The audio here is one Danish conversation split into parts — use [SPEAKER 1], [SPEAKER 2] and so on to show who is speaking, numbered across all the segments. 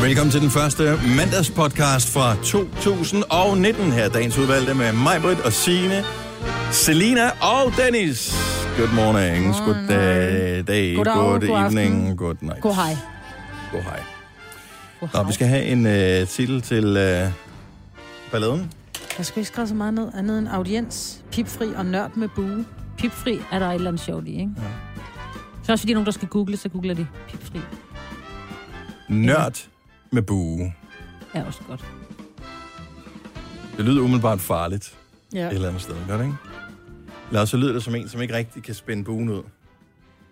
[SPEAKER 1] Velkommen til den første mandagspodcast fra 2019. Her er dagens udvalgte med mig, Britt og Signe, Selina og Dennis. Good morning, good day, day.
[SPEAKER 2] Goddag,
[SPEAKER 1] good
[SPEAKER 2] god aften.
[SPEAKER 1] evening, good night.
[SPEAKER 2] God hej.
[SPEAKER 1] God hej.
[SPEAKER 2] God
[SPEAKER 1] Nå, vi skal have en øh, titel til øh, balladen.
[SPEAKER 2] Jeg skulle ikke skrive så meget ned. Andet end audiens, pipfri og nørd med bue.
[SPEAKER 3] Pipfri er der et eller andet sjovt i, ikke? Ja. Så også fordi nogen, der skal google, så googler de pipfri.
[SPEAKER 1] Nørd med bue.
[SPEAKER 3] Er også godt.
[SPEAKER 1] Det lyder umiddelbart farligt
[SPEAKER 2] Ja.
[SPEAKER 1] et eller andet sted, gør det ikke? Eller så lyder det som en, som ikke rigtig kan spænde buen ud.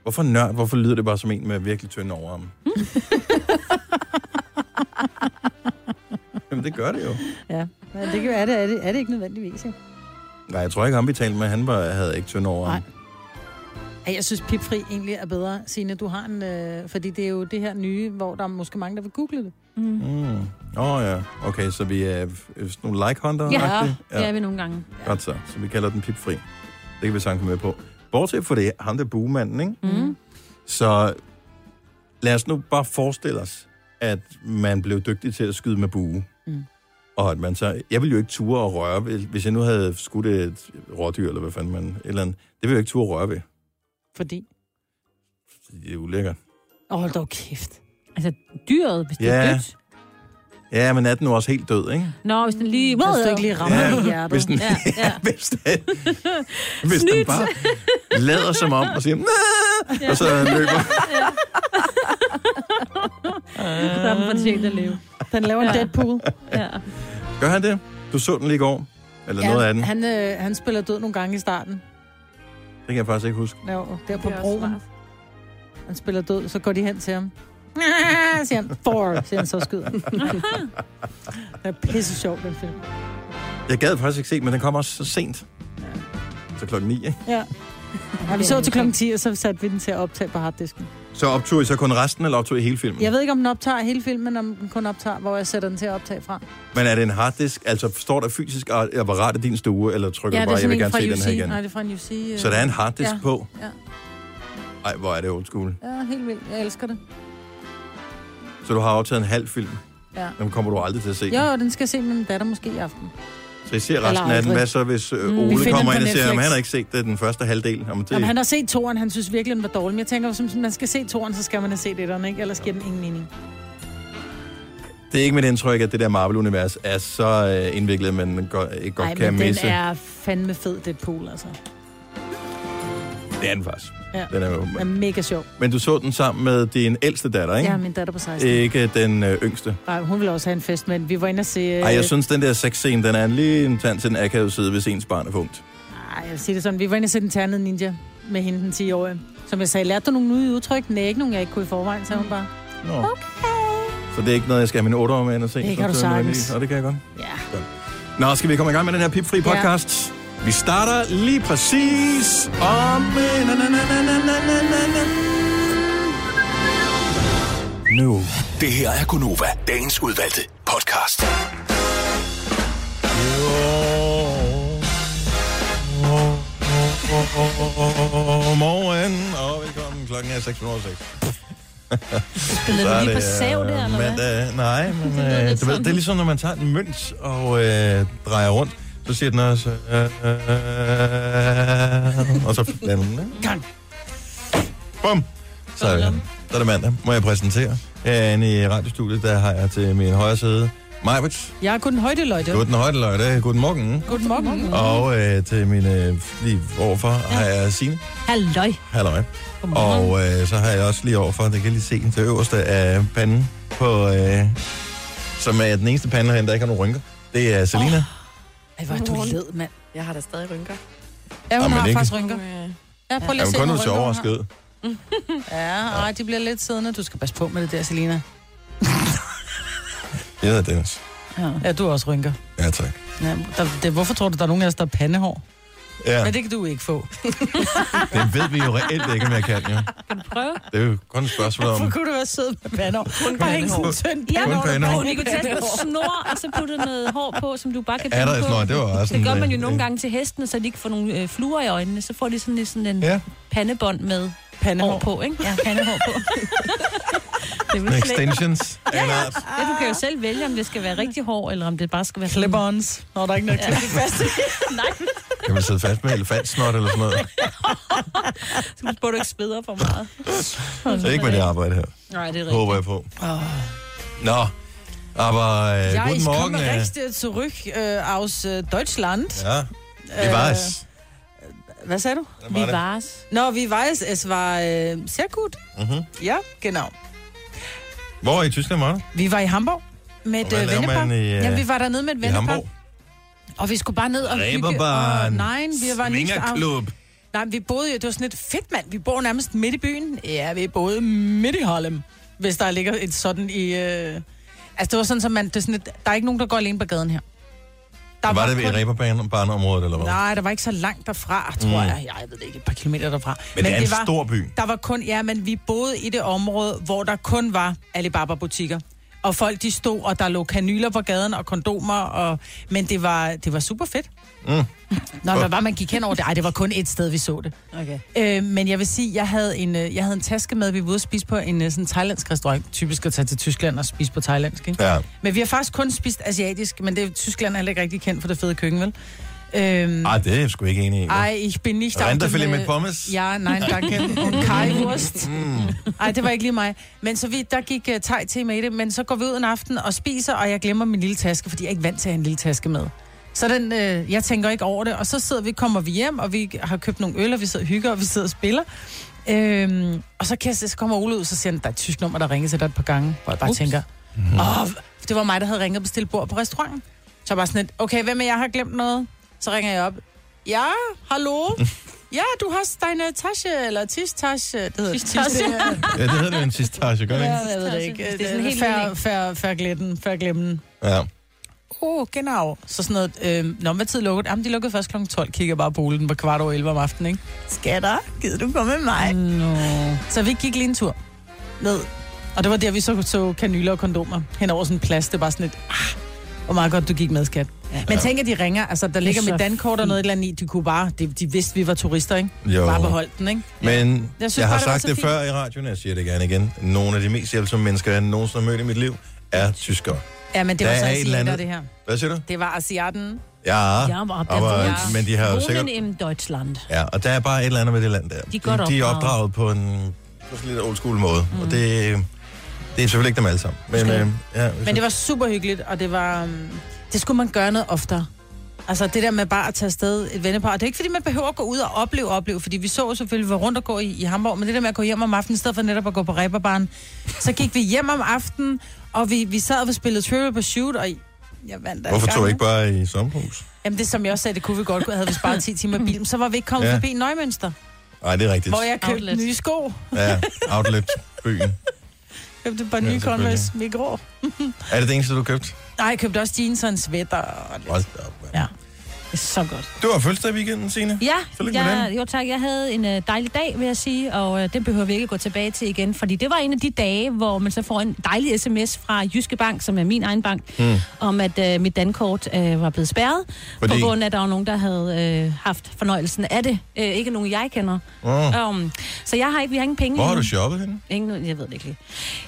[SPEAKER 1] Hvorfor nørd? Hvorfor lyder det bare som en med virkelig tynd overarm? Jamen, det gør det jo.
[SPEAKER 2] ja. Men det kan, er, det, er, det, er det ikke nødvendigvis, ikke?
[SPEAKER 1] Nej, jeg tror ikke, ham vi talte med, han var, havde ikke tynd overarm.
[SPEAKER 2] Nej. Ej, Jeg synes, pipfri egentlig er bedre. Signe, du har en... Øh, fordi det er jo det her nye, hvor der er måske mange, der vil google det.
[SPEAKER 3] Mm.
[SPEAKER 1] Åh mm. oh, ja, okay, så vi er øh, sådan nogle like hunter
[SPEAKER 3] Ja,
[SPEAKER 1] ja.
[SPEAKER 3] det er vi nogle gange.
[SPEAKER 1] Godt så, så vi kalder den pipfri. Det kan vi sagtens komme med på. Bortset fra det, ham der bugemanden, ikke?
[SPEAKER 3] Mm.
[SPEAKER 1] Så lad os nu bare forestille os, at man blev dygtig til at skyde med bue. Mm.
[SPEAKER 2] Mm.
[SPEAKER 1] Og at man så... Jeg ville jo ikke ture at røre ved... Hvis jeg nu havde skudt et rådyr, eller hvad fanden man... Et eller andet, det ville jeg ikke ture at røre ved.
[SPEAKER 2] Fordi...
[SPEAKER 1] Det er ulækkert.
[SPEAKER 2] Åh, hold dog kæft.
[SPEAKER 3] Altså, dyret, hvis det
[SPEAKER 1] Ja.
[SPEAKER 3] er dødt.
[SPEAKER 1] Ja, men er den nu også helt død, ikke?
[SPEAKER 3] Nå, hvis den lige...
[SPEAKER 2] Hvis du ikke lige rammer ja, i hjertet.
[SPEAKER 1] hvis den,
[SPEAKER 3] Ja, ja.
[SPEAKER 1] hvis den, hvis den
[SPEAKER 3] Snydt.
[SPEAKER 1] bare lader som om og siger, ja. og så løber.
[SPEAKER 3] Så er den fortjent at leve.
[SPEAKER 2] Den laver en Deadpool.
[SPEAKER 3] Ja.
[SPEAKER 1] Gør han det? Du så den lige i går? Eller ja, noget af den? Han...
[SPEAKER 2] Han, øh, han spiller død nogle gange i starten.
[SPEAKER 1] Det kan jeg faktisk ikke huske.
[SPEAKER 2] Ja, jo, der på broen. Han spiller død, så går de hen til ham. Ah, siger han, four, siger han, så skyder han. Det er pisse sjovt, den film.
[SPEAKER 1] Jeg gad faktisk ikke se, den, men den kommer også så sent. Så klokken 9, ikke?
[SPEAKER 2] Ja. ja vi så til klokken 10, og så satte vi den til at optage på harddisken.
[SPEAKER 1] Så optog I så kun resten, eller optog I hele filmen?
[SPEAKER 2] Jeg ved ikke, om den optager hele filmen, men om den kun optager, hvor jeg sætter den til at optage fra.
[SPEAKER 1] Men er det en harddisk? Altså, står der fysisk a- apparat i din stue, eller trykker
[SPEAKER 3] Ja,
[SPEAKER 1] du
[SPEAKER 3] det er
[SPEAKER 1] bare, jeg
[SPEAKER 3] sådan
[SPEAKER 1] vil
[SPEAKER 3] en
[SPEAKER 1] gerne
[SPEAKER 3] fra
[SPEAKER 1] se den her
[SPEAKER 3] UC.
[SPEAKER 1] igen?
[SPEAKER 2] Nej, det er fra en UC. øh.
[SPEAKER 1] Så der er en harddisk
[SPEAKER 2] Ja.
[SPEAKER 1] på?
[SPEAKER 2] Ja.
[SPEAKER 1] Ej, hvor er det old school.
[SPEAKER 2] Ja, helt vildt. Jeg elsker det.
[SPEAKER 1] Så du har optaget en halv film?
[SPEAKER 2] Ja.
[SPEAKER 1] Den kommer du aldrig til at se.
[SPEAKER 2] Jo, og den skal jeg se med min datter måske i aften.
[SPEAKER 1] Så I ser resten
[SPEAKER 2] Eller
[SPEAKER 1] af den.
[SPEAKER 2] aldrig.
[SPEAKER 1] Hvad så, hvis øh,
[SPEAKER 3] Mm. Vi
[SPEAKER 1] Ole
[SPEAKER 2] finder
[SPEAKER 1] kommer
[SPEAKER 2] den
[SPEAKER 1] ind
[SPEAKER 2] på
[SPEAKER 1] og siger, at
[SPEAKER 2] Netflix.
[SPEAKER 1] han har ikke set det, den første halvdel? Jamen, det...
[SPEAKER 2] Jamen, han har set toren, han synes virkelig, den var dårlig. Men jeg tænker, hvis man skal se toren, så skal man have set etteren, ikke? Ellers giver den ingen mening.
[SPEAKER 1] Det er ikke mit indtryk, at det der Marvel-univers er så øh, indviklet, at man go- ikke godt
[SPEAKER 2] Nej,
[SPEAKER 1] kan
[SPEAKER 2] men den
[SPEAKER 1] misse.
[SPEAKER 2] er fandme fed, Deadpool, altså.
[SPEAKER 1] Det er den faktisk.
[SPEAKER 2] Ja.
[SPEAKER 1] Den er jo...
[SPEAKER 2] Den er mega sjov.
[SPEAKER 1] Men du så den sammen med din ældste datter, ikke?
[SPEAKER 2] Ja, min datter på 16. Øh.
[SPEAKER 1] Ikke den øh, yngste.
[SPEAKER 2] Nej, hun ville også have en fest, men vi var inde og se... Øh...
[SPEAKER 1] Ej, jeg synes, den der sexscene, den er lige en tand til den akavede side, hvis ens barn er punkt.
[SPEAKER 2] Ej, jeg vil sige det sådan. Vi var inde og se den ternede ninja med hende den 10-årige. Som jeg sagde, lærte du nogle nye udtryk? Nej, ikke nogen, jeg ikke kunne i forvejen, sagde hun bare.
[SPEAKER 1] Nå. Okay. Så det er ikke noget, jeg skal have min 8 med ind og se.
[SPEAKER 2] Det kan
[SPEAKER 1] Så
[SPEAKER 2] du
[SPEAKER 1] det er noget
[SPEAKER 2] sagtens.
[SPEAKER 1] nyt, Og det kan jeg godt.
[SPEAKER 2] Ja.
[SPEAKER 1] Nå, skal vi komme i gang med den her pipfri podcast? Ja. Vi starter lige præcis om... Nu.
[SPEAKER 4] Det her er Gunova, dagens udvalgte podcast.
[SPEAKER 1] Godmorgen og velkommen. Klokken er 6.06.
[SPEAKER 3] Spillede du lige på
[SPEAKER 1] øh,
[SPEAKER 3] sav der, eller hvad?
[SPEAKER 1] mandag. Nej, men det,
[SPEAKER 3] lyder
[SPEAKER 1] øh,
[SPEAKER 3] lidt
[SPEAKER 1] du ved,
[SPEAKER 3] sådan.
[SPEAKER 1] det er ligesom, når man tager en mønt og øh, drejer rundt, så siger den også... Øh, øh, og så lander den, ikke? Gang! Bum! Så er, vi her. så er det mandag. Må jeg præsentere? Herinde i radiostudiet, der har jeg til min højre side Majbert.
[SPEAKER 2] Jeg er kun højde, løjde.
[SPEAKER 1] Godten højde løjde. Godten morgen.
[SPEAKER 2] Godmorgen. morgen.
[SPEAKER 1] Og øh, til min øh, lige overfor har jeg Signe.
[SPEAKER 3] Halløj.
[SPEAKER 1] Halløj.
[SPEAKER 3] Godmorgen.
[SPEAKER 1] Og øh, så har jeg også lige overfor, det kan jeg lige se, den til øverste af panden på... Øh, som er den eneste pande herinde, der ikke har nogen rynker. Det er Selina. Oh,
[SPEAKER 2] Ej, hvor er du led, mand.
[SPEAKER 5] Jeg har da stadig rynker.
[SPEAKER 2] Ja, hun
[SPEAKER 1] Jamen,
[SPEAKER 2] har
[SPEAKER 1] ikke.
[SPEAKER 2] faktisk rynker. Ja, prøv lige
[SPEAKER 1] jeg
[SPEAKER 2] at se,
[SPEAKER 1] er kun
[SPEAKER 2] hvor
[SPEAKER 1] ud til
[SPEAKER 2] rynker hun
[SPEAKER 1] overrasket. ud.
[SPEAKER 2] har. Ja, ej, de bliver lidt siddende. Du skal passe på med det der, Selina.
[SPEAKER 1] Jeg hedder Dennis.
[SPEAKER 2] Ja, du har også rynker.
[SPEAKER 1] Ja, tak.
[SPEAKER 2] Ja, der, det, hvorfor tror du, der er nogen af os, der har pandehår?
[SPEAKER 1] Ja,
[SPEAKER 2] Men det kan du ikke få.
[SPEAKER 1] det ved vi jo reelt ikke, om jeg kan, jo.
[SPEAKER 3] Kan du prøve?
[SPEAKER 1] Det er jo kun et spørgsmål om...
[SPEAKER 2] Hvorfor kunne du være sød med pandehår? Kun Bare ikke sådan en tynd
[SPEAKER 3] Ja,
[SPEAKER 1] Kun
[SPEAKER 3] Og
[SPEAKER 2] pandehår. der bare
[SPEAKER 1] pandehår.
[SPEAKER 3] du
[SPEAKER 2] hænger
[SPEAKER 3] kan tage
[SPEAKER 2] ned.
[SPEAKER 3] sådan en snor, og så putte noget hår på, som du bare kan
[SPEAKER 1] Er der
[SPEAKER 3] binde
[SPEAKER 1] et
[SPEAKER 3] på.
[SPEAKER 1] snor? Det var også
[SPEAKER 3] Det gør
[SPEAKER 1] en,
[SPEAKER 3] man jo
[SPEAKER 1] øh,
[SPEAKER 3] nogle
[SPEAKER 1] øh,
[SPEAKER 3] gange til hestene, så de ikke får nogle øh, fluer i øjnene. Så får de sådan, lidt sådan en
[SPEAKER 1] Ja.
[SPEAKER 3] pandebånd med hår
[SPEAKER 2] Pandehår.
[SPEAKER 3] på, ikke? Ja, pandehår på. Det er
[SPEAKER 1] Med
[SPEAKER 3] vel slet-
[SPEAKER 1] extensions. ja, ja.
[SPEAKER 3] Ja, du kan jo selv vælge, om det skal være rigtig hår, eller om det bare skal være... sådan-
[SPEAKER 2] Clip-ons. Nå, der er ikke noget klip fast.
[SPEAKER 3] Nej,
[SPEAKER 1] Kan man sidde fast med elefantsnot eller sådan noget?
[SPEAKER 3] så burde du ikke spidere for meget.
[SPEAKER 1] Det er ikke med det arbejde her.
[SPEAKER 3] Nej, det er rigtigt.
[SPEAKER 1] Håber jeg på. Nå, aber äh,
[SPEAKER 2] Ja,
[SPEAKER 1] guten
[SPEAKER 2] ich
[SPEAKER 1] Morgen.
[SPEAKER 2] komme
[SPEAKER 1] Äh,
[SPEAKER 2] recht äh, zurück äh, aus äh, Deutschland.
[SPEAKER 1] ja,
[SPEAKER 2] Øh.
[SPEAKER 1] wie war's?
[SPEAKER 2] Was sagst du?
[SPEAKER 1] Äh,
[SPEAKER 3] Vi vares.
[SPEAKER 2] No, wie war es? Es war äh, sehr gut.
[SPEAKER 1] Mhm.
[SPEAKER 2] Ja, genau.
[SPEAKER 1] Hvor i Tyskland var du?
[SPEAKER 2] Vi var i Hamburg med et
[SPEAKER 1] hvad
[SPEAKER 2] øh,
[SPEAKER 1] laver man
[SPEAKER 2] vennepar.
[SPEAKER 1] i, øh,
[SPEAKER 2] ja, vi var dernede med et
[SPEAKER 1] I
[SPEAKER 2] vennepar.
[SPEAKER 1] Hamburg?
[SPEAKER 2] Og vi skulle bare ned og hygge.
[SPEAKER 1] Reeperbahn.
[SPEAKER 2] Og, nej, vi var ikke...
[SPEAKER 1] Svingerklub.
[SPEAKER 2] Nej, vi boede jo... Det var sådan et fedt, mand. Vi bor nærmest midt i byen. Ja, vi boede midt i Harlem. Hvis der ligger et sådan i... Øh... Altså, det var sådan, så man... Det er sådan et, der er ikke nogen, der går alene på gaden her. Der
[SPEAKER 1] Var det
[SPEAKER 2] kun-
[SPEAKER 1] ved Reberbaneområdet, eller hvad?
[SPEAKER 2] Nej, der var ikke så langt derfra, tror mm. jeg. Jeg ved det ikke, et par kilometer derfra.
[SPEAKER 1] Men det er en
[SPEAKER 2] var,
[SPEAKER 1] stor by.
[SPEAKER 2] Der var kun, ja, men vi boede i det område, hvor der kun var Alibaba-butikker. Og folk, de stod, og der lå kanyler på gaden og kondomer, og, men det var, det var super fedt. Mm. Nå, hvad var man gik hen over det? Ej, det var kun et sted, vi så det.
[SPEAKER 3] Okay.
[SPEAKER 2] Øh, men jeg vil sige, jeg havde en, øh, jeg havde en taske med, vi var ude at spise på en øh, sådan thailandsk restaurant. Typisk at tage til Tyskland og spise på thailandsk, ikke?
[SPEAKER 1] Ja.
[SPEAKER 2] Men vi har faktisk kun spist asiatisk, men det, Tyskland er heller ikke rigtig kendt for det fede køkken, vel? Øhm,
[SPEAKER 1] Ej, Ah, det er jeg sgu ikke enig i. hva'?
[SPEAKER 2] Ej, ich bin nicht...
[SPEAKER 1] Rinderfilet
[SPEAKER 2] auch dem, øh,
[SPEAKER 1] mit Pommes?
[SPEAKER 2] Ja, nein, danke. Und Kajwurst. Ej, det var ikke lige mig. Men så vi, der gik uh, thai til med i det, men så går vi ud en aften og spiser, og jeg glemmer min lille taske, fordi jeg er ikke vant til at have en lille taske med. Så den, øh, jeg tænker ikke over det, og så sidder vi, kommer vi hjem, og vi har købt nogle øl, og vi sidder og hygger, og vi sidder og spiller. Øhm, og så, kan jeg, se- så kommer Ole ud, så siger han, der er et tysk nummer, der ringer til dig et par gange. Hvor jeg bare
[SPEAKER 3] Ups.
[SPEAKER 2] tænker, åh, oh, det var mig, der havde ringet og bestilt bord på restauranten. Så jeg bare sådan lidt, okay, hvem af jer har glemt noget? Så ringer jeg op. Ja, hallo? Ja, du har deine Tasche, eller Tistasche. Det hedder
[SPEAKER 3] Tischtasche.
[SPEAKER 2] Tischtasche.
[SPEAKER 1] Ja, det hedder det jo en tistage, gør det
[SPEAKER 2] Ja,
[SPEAKER 1] ikke?
[SPEAKER 2] jeg ved det ikke.
[SPEAKER 3] Det er
[SPEAKER 2] Det er
[SPEAKER 3] sådan
[SPEAKER 2] sådan
[SPEAKER 3] helt
[SPEAKER 2] helt fær,
[SPEAKER 3] vildt.
[SPEAKER 2] fær, fær glæden, fær glemmen.
[SPEAKER 1] Ja.
[SPEAKER 2] Oh, genau. Så sådan noget, øh, nå, hvad tid lukkede? Jamen, de lukkede først kl. 12, kigger bare på ulen på kvart over 11 om aftenen, ikke? Skatter, gider du komme med mig?
[SPEAKER 3] Nå.
[SPEAKER 2] Så vi gik lige en tur ned. Og det var der, vi så, så kanyler og kondomer hen over sådan en plads. Det var sådan et, ah, hvor meget godt du gik med, skat. Ja. Men tænk, at de ringer. Altså, der ligger
[SPEAKER 3] så
[SPEAKER 2] mit dankort og noget eller andet i. De kunne bare, de, de vidste, vi var turister, ikke?
[SPEAKER 1] Jo.
[SPEAKER 2] Bare beholdt den, ikke?
[SPEAKER 1] Men jeg,
[SPEAKER 2] Jeg
[SPEAKER 1] synes,
[SPEAKER 2] synes
[SPEAKER 1] jeg har
[SPEAKER 2] bare, det var
[SPEAKER 1] sagt
[SPEAKER 2] så
[SPEAKER 1] det
[SPEAKER 2] fint.
[SPEAKER 1] før i radioen, og jeg siger det gerne igen. Nogle af de mest hjælpsomme mennesker, jeg nogensinde har mødt i mit liv, er tyskere.
[SPEAKER 2] Ja, men det
[SPEAKER 1] Der
[SPEAKER 2] var så
[SPEAKER 1] er et eller
[SPEAKER 2] asiater,
[SPEAKER 1] andet-
[SPEAKER 2] det her.
[SPEAKER 1] Hvad siger du?
[SPEAKER 2] Det var asiaten.
[SPEAKER 1] Ja,
[SPEAKER 3] Ja, aber-
[SPEAKER 1] aber, øh, men de har jo
[SPEAKER 3] Wohnen
[SPEAKER 1] sikkert...
[SPEAKER 3] im Deutschland.
[SPEAKER 1] Ja, og der er bare et eller andet med det land der.
[SPEAKER 3] De er godt
[SPEAKER 1] de er
[SPEAKER 3] opdraget.
[SPEAKER 1] opdraget på en på sådan lidt old school måde, mm. og det, det er selvfølgelig ikke dem alle sammen. Men,
[SPEAKER 2] Skal-
[SPEAKER 1] øh, ja,
[SPEAKER 2] Men det var super hyggeligt, og det var... øhm, Det skulle man gøre noget oftere. Altså det der med bare at tage afsted et vennepar. Og det er ikke fordi, man behøver at gå ud og opleve, opleve. Fordi vi så jo selvfølgelig, hvor rundt og gå i, i Hamburg. Men det der med at gå hjem om aftenen, i stedet for netop at gå på ræberbaren. Så gik vi hjem om aftenen, og vi, vi sad og spillede Trivial Pursuit, og jeg vandt da
[SPEAKER 1] Hvorfor
[SPEAKER 2] en gang,
[SPEAKER 1] tog I
[SPEAKER 2] ikke?
[SPEAKER 1] ikke bare i sommerhus?
[SPEAKER 2] Jamen det, som jeg også sagde, det kunne vi godt, havde vi sparet 10 timer i bilen. Så var vi ikke kommet
[SPEAKER 1] Ja.
[SPEAKER 2] ja. forbi Nøgmønster,
[SPEAKER 1] Nej, det er rigtigt.
[SPEAKER 2] hvor jeg købte
[SPEAKER 3] Outlet.
[SPEAKER 2] nye sko.
[SPEAKER 1] Ja, outlet-byen.
[SPEAKER 2] Købte bare
[SPEAKER 1] Ja,
[SPEAKER 2] nye ja,
[SPEAKER 1] selvfølgelig.
[SPEAKER 2] Converse, mikro.
[SPEAKER 1] Er det det eneste, du har købt?
[SPEAKER 2] Nej, jeg købte også jeans og en sweater. Og lidt.
[SPEAKER 1] Hold da op, mand.
[SPEAKER 2] Ja.
[SPEAKER 3] Det er så godt.
[SPEAKER 1] Du har fødselsdag i weekenden, Signe?
[SPEAKER 3] Ja,
[SPEAKER 1] Tillykke med
[SPEAKER 3] jeg, jo tak. Jeg havde en øh, dejlig dag, vil jeg sige, og øh, den behøver vi ikke gå tilbage til igen, fordi det var en af de dage, hvor man så får en dejlig sms fra Jyske Bank, som er min egen bank, mm. om at øh, mit dankort øh, var blevet spærret,
[SPEAKER 1] Fordi?
[SPEAKER 3] fordi... på grund af, at der var nogen, der havde øh, haft fornøjelsen af det. Øh, ikke nogen, jeg kender.
[SPEAKER 1] Åh.
[SPEAKER 3] Um, så jeg har ikke, vi har ingen penge.
[SPEAKER 1] Hvor har
[SPEAKER 3] endnu.
[SPEAKER 1] du shoppet henne?
[SPEAKER 3] Ingen, jeg ved det ikke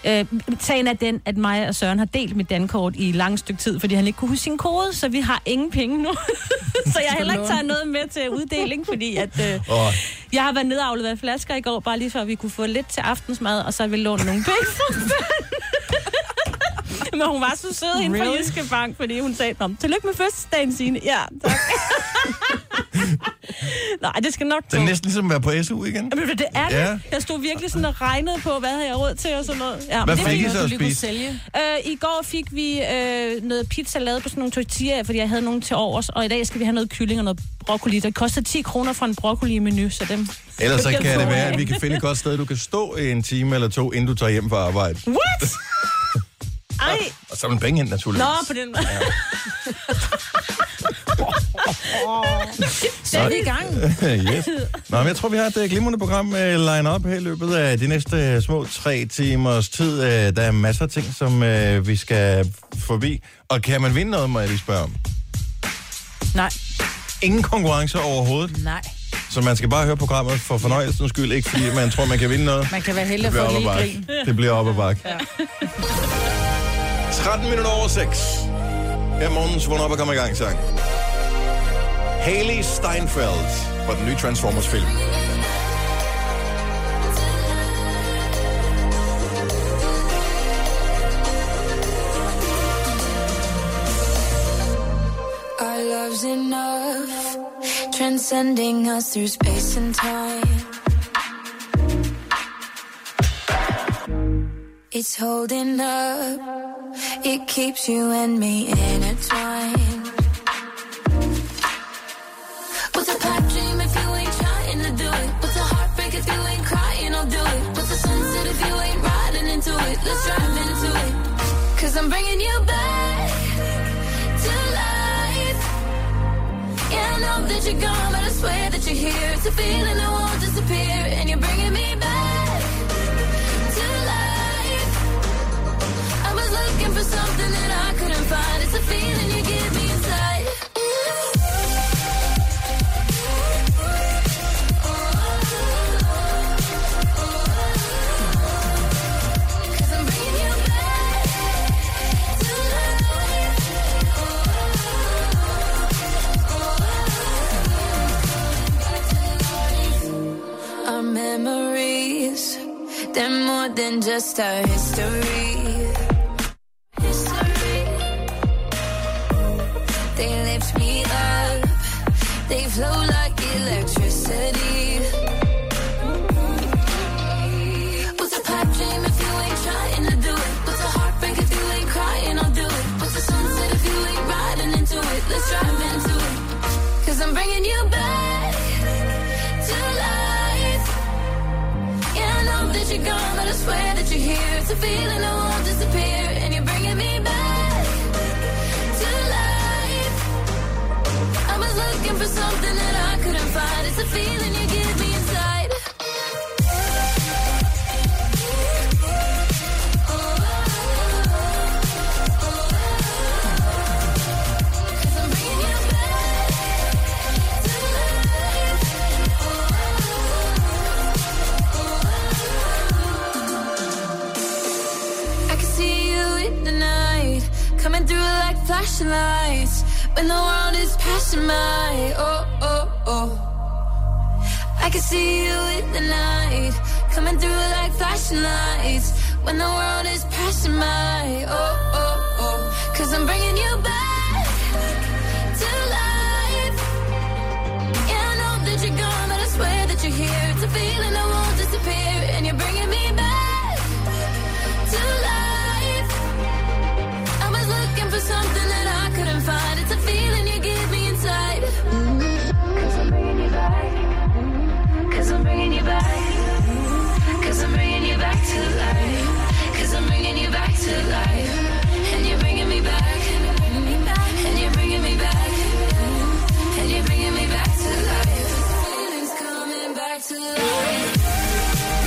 [SPEAKER 3] lige. Øh, sagen er den, at mig og Søren har delt mit dankort i lang stykke tid, fordi han ikke kunne huske sin kode, så vi har ingen penge nu. så jeg heller ikke tager noget med til uddeling, fordi at, øh,
[SPEAKER 1] Åh,
[SPEAKER 3] jeg har været nede og afleveret flasker i går, bare lige før vi kunne få lidt til aftensmad, og så ville låne nogle penge fra Søren. Men hun var så sød hende really? fra
[SPEAKER 2] Really?
[SPEAKER 3] Jyske Bank, fordi hun sagde, "Nå, men tillykke med fødselsdagen, Signe. Ja, tak. Nej, det skal nok
[SPEAKER 1] det er næsten ligesom at være på SU igen.
[SPEAKER 3] Jamen, det er det.
[SPEAKER 1] Ja.
[SPEAKER 3] Ja. Jeg stod virkelig sådan og regnede på, hvad havde jeg råd til og sådan noget. Ja, men
[SPEAKER 1] Hvad
[SPEAKER 3] det var
[SPEAKER 1] fik I
[SPEAKER 3] noget.
[SPEAKER 1] så at
[SPEAKER 2] lige kunne
[SPEAKER 1] spise?
[SPEAKER 2] sælge.
[SPEAKER 3] Øh, I går fik vi øh, noget pizza lavet på sådan nogle tortillaer, fordi jeg havde nogle til overs. Og i dag skal vi have noget kylling og noget broccoli. Det koster 10 kroner for en broccoli i menu, så dem...
[SPEAKER 1] Ellers så
[SPEAKER 3] dem
[SPEAKER 1] kan
[SPEAKER 3] får
[SPEAKER 1] det være,
[SPEAKER 3] jeg.
[SPEAKER 1] at vi kan finde et godt sted, du kan stå i en time eller to, inden du tager hjem fra arbejde.
[SPEAKER 3] What? Ej!
[SPEAKER 1] Og samle penge ind, naturligvis.
[SPEAKER 3] Nå, på den måde.
[SPEAKER 2] Så er vi i gang.
[SPEAKER 1] yes. Nå, men jeg tror, vi har et øh, glimrende program uh, line up her i løbet af de næste øh, små tre timers tid. Uh, der er masser af ting, som uh, vi skal forbi. Og kan man vinde noget, må jeg lige spørge om?
[SPEAKER 2] Nej,
[SPEAKER 1] Ingen konkurrence overhovedet.
[SPEAKER 2] nej.
[SPEAKER 1] Så man skal bare høre programmet for fornøjelsens skyld, ikke fordi man tror, man kan vinde noget.
[SPEAKER 2] Man kan være heldig
[SPEAKER 1] Det
[SPEAKER 2] at få
[SPEAKER 1] bliver
[SPEAKER 2] et
[SPEAKER 1] op ad
[SPEAKER 2] lille
[SPEAKER 1] bakke.
[SPEAKER 2] grin.
[SPEAKER 1] Det bliver op ad bakke.
[SPEAKER 2] Ja.
[SPEAKER 1] 13 minutter over 6. Her er morgens vågn op og kommer i gang sang. Haley Steinfeld fra den nye Transformers-film.
[SPEAKER 6] Our love's enough, transcending us through space and time. It's holding up, it keeps you and me intertwined. What's a pipe dream if you ain't trying to do it? What's a heartbreak if you ain't crying? I'll do it. What's a sunset if you ain't riding into it? Let's drive into it. Cause I'm bringing you back to life. Yeah, I know that you're gone, but I swear that you're here. It's a feeling that won't disappear, and you're bringing me back to life. I was looking for something that I couldn't find. It's a feeling you give me inside. Cause I'm bringing you back to life. Our memories, they're more than just our history. History. They lift me up, they flow like electricity. What's a pipe dream if you ain't trying to do it? What's a heartbreak if you ain't crying? I'll do it. What's a sunset if you ain't riding into it? Let's drive into it. Cause I'm bringing you back to life. Yeah, I know that you're gone, but I swear that you're here. It's a feeling that won't disappear, and you're bringing me back to life. I was looking for something that I couldn't find. It's a feeling you give me inside. Cause I'm bringing you back to life. I can see you in the night, coming through like flashing lights. When the world is passing by, oh, oh, oh. I can see you in the night, coming through like flashing lights. When the world is passing by, oh, oh, oh. Cause I'm bringing you back to life. Yeah, I know that you're gone, but I swear that you're here. It's a feeling that won't disappear, and you're bringing me back to life. I was looking for something that I couldn't find. It's a feeling you give me inside. Cause I'm bringing you back. Cause I'm bringing you back. Cause I'm bringing you back to life. Cause I'm bringing you back to life. And you're bringing me back. And you're bringing me back. And you're bringing me back to life. Feelings coming back to life.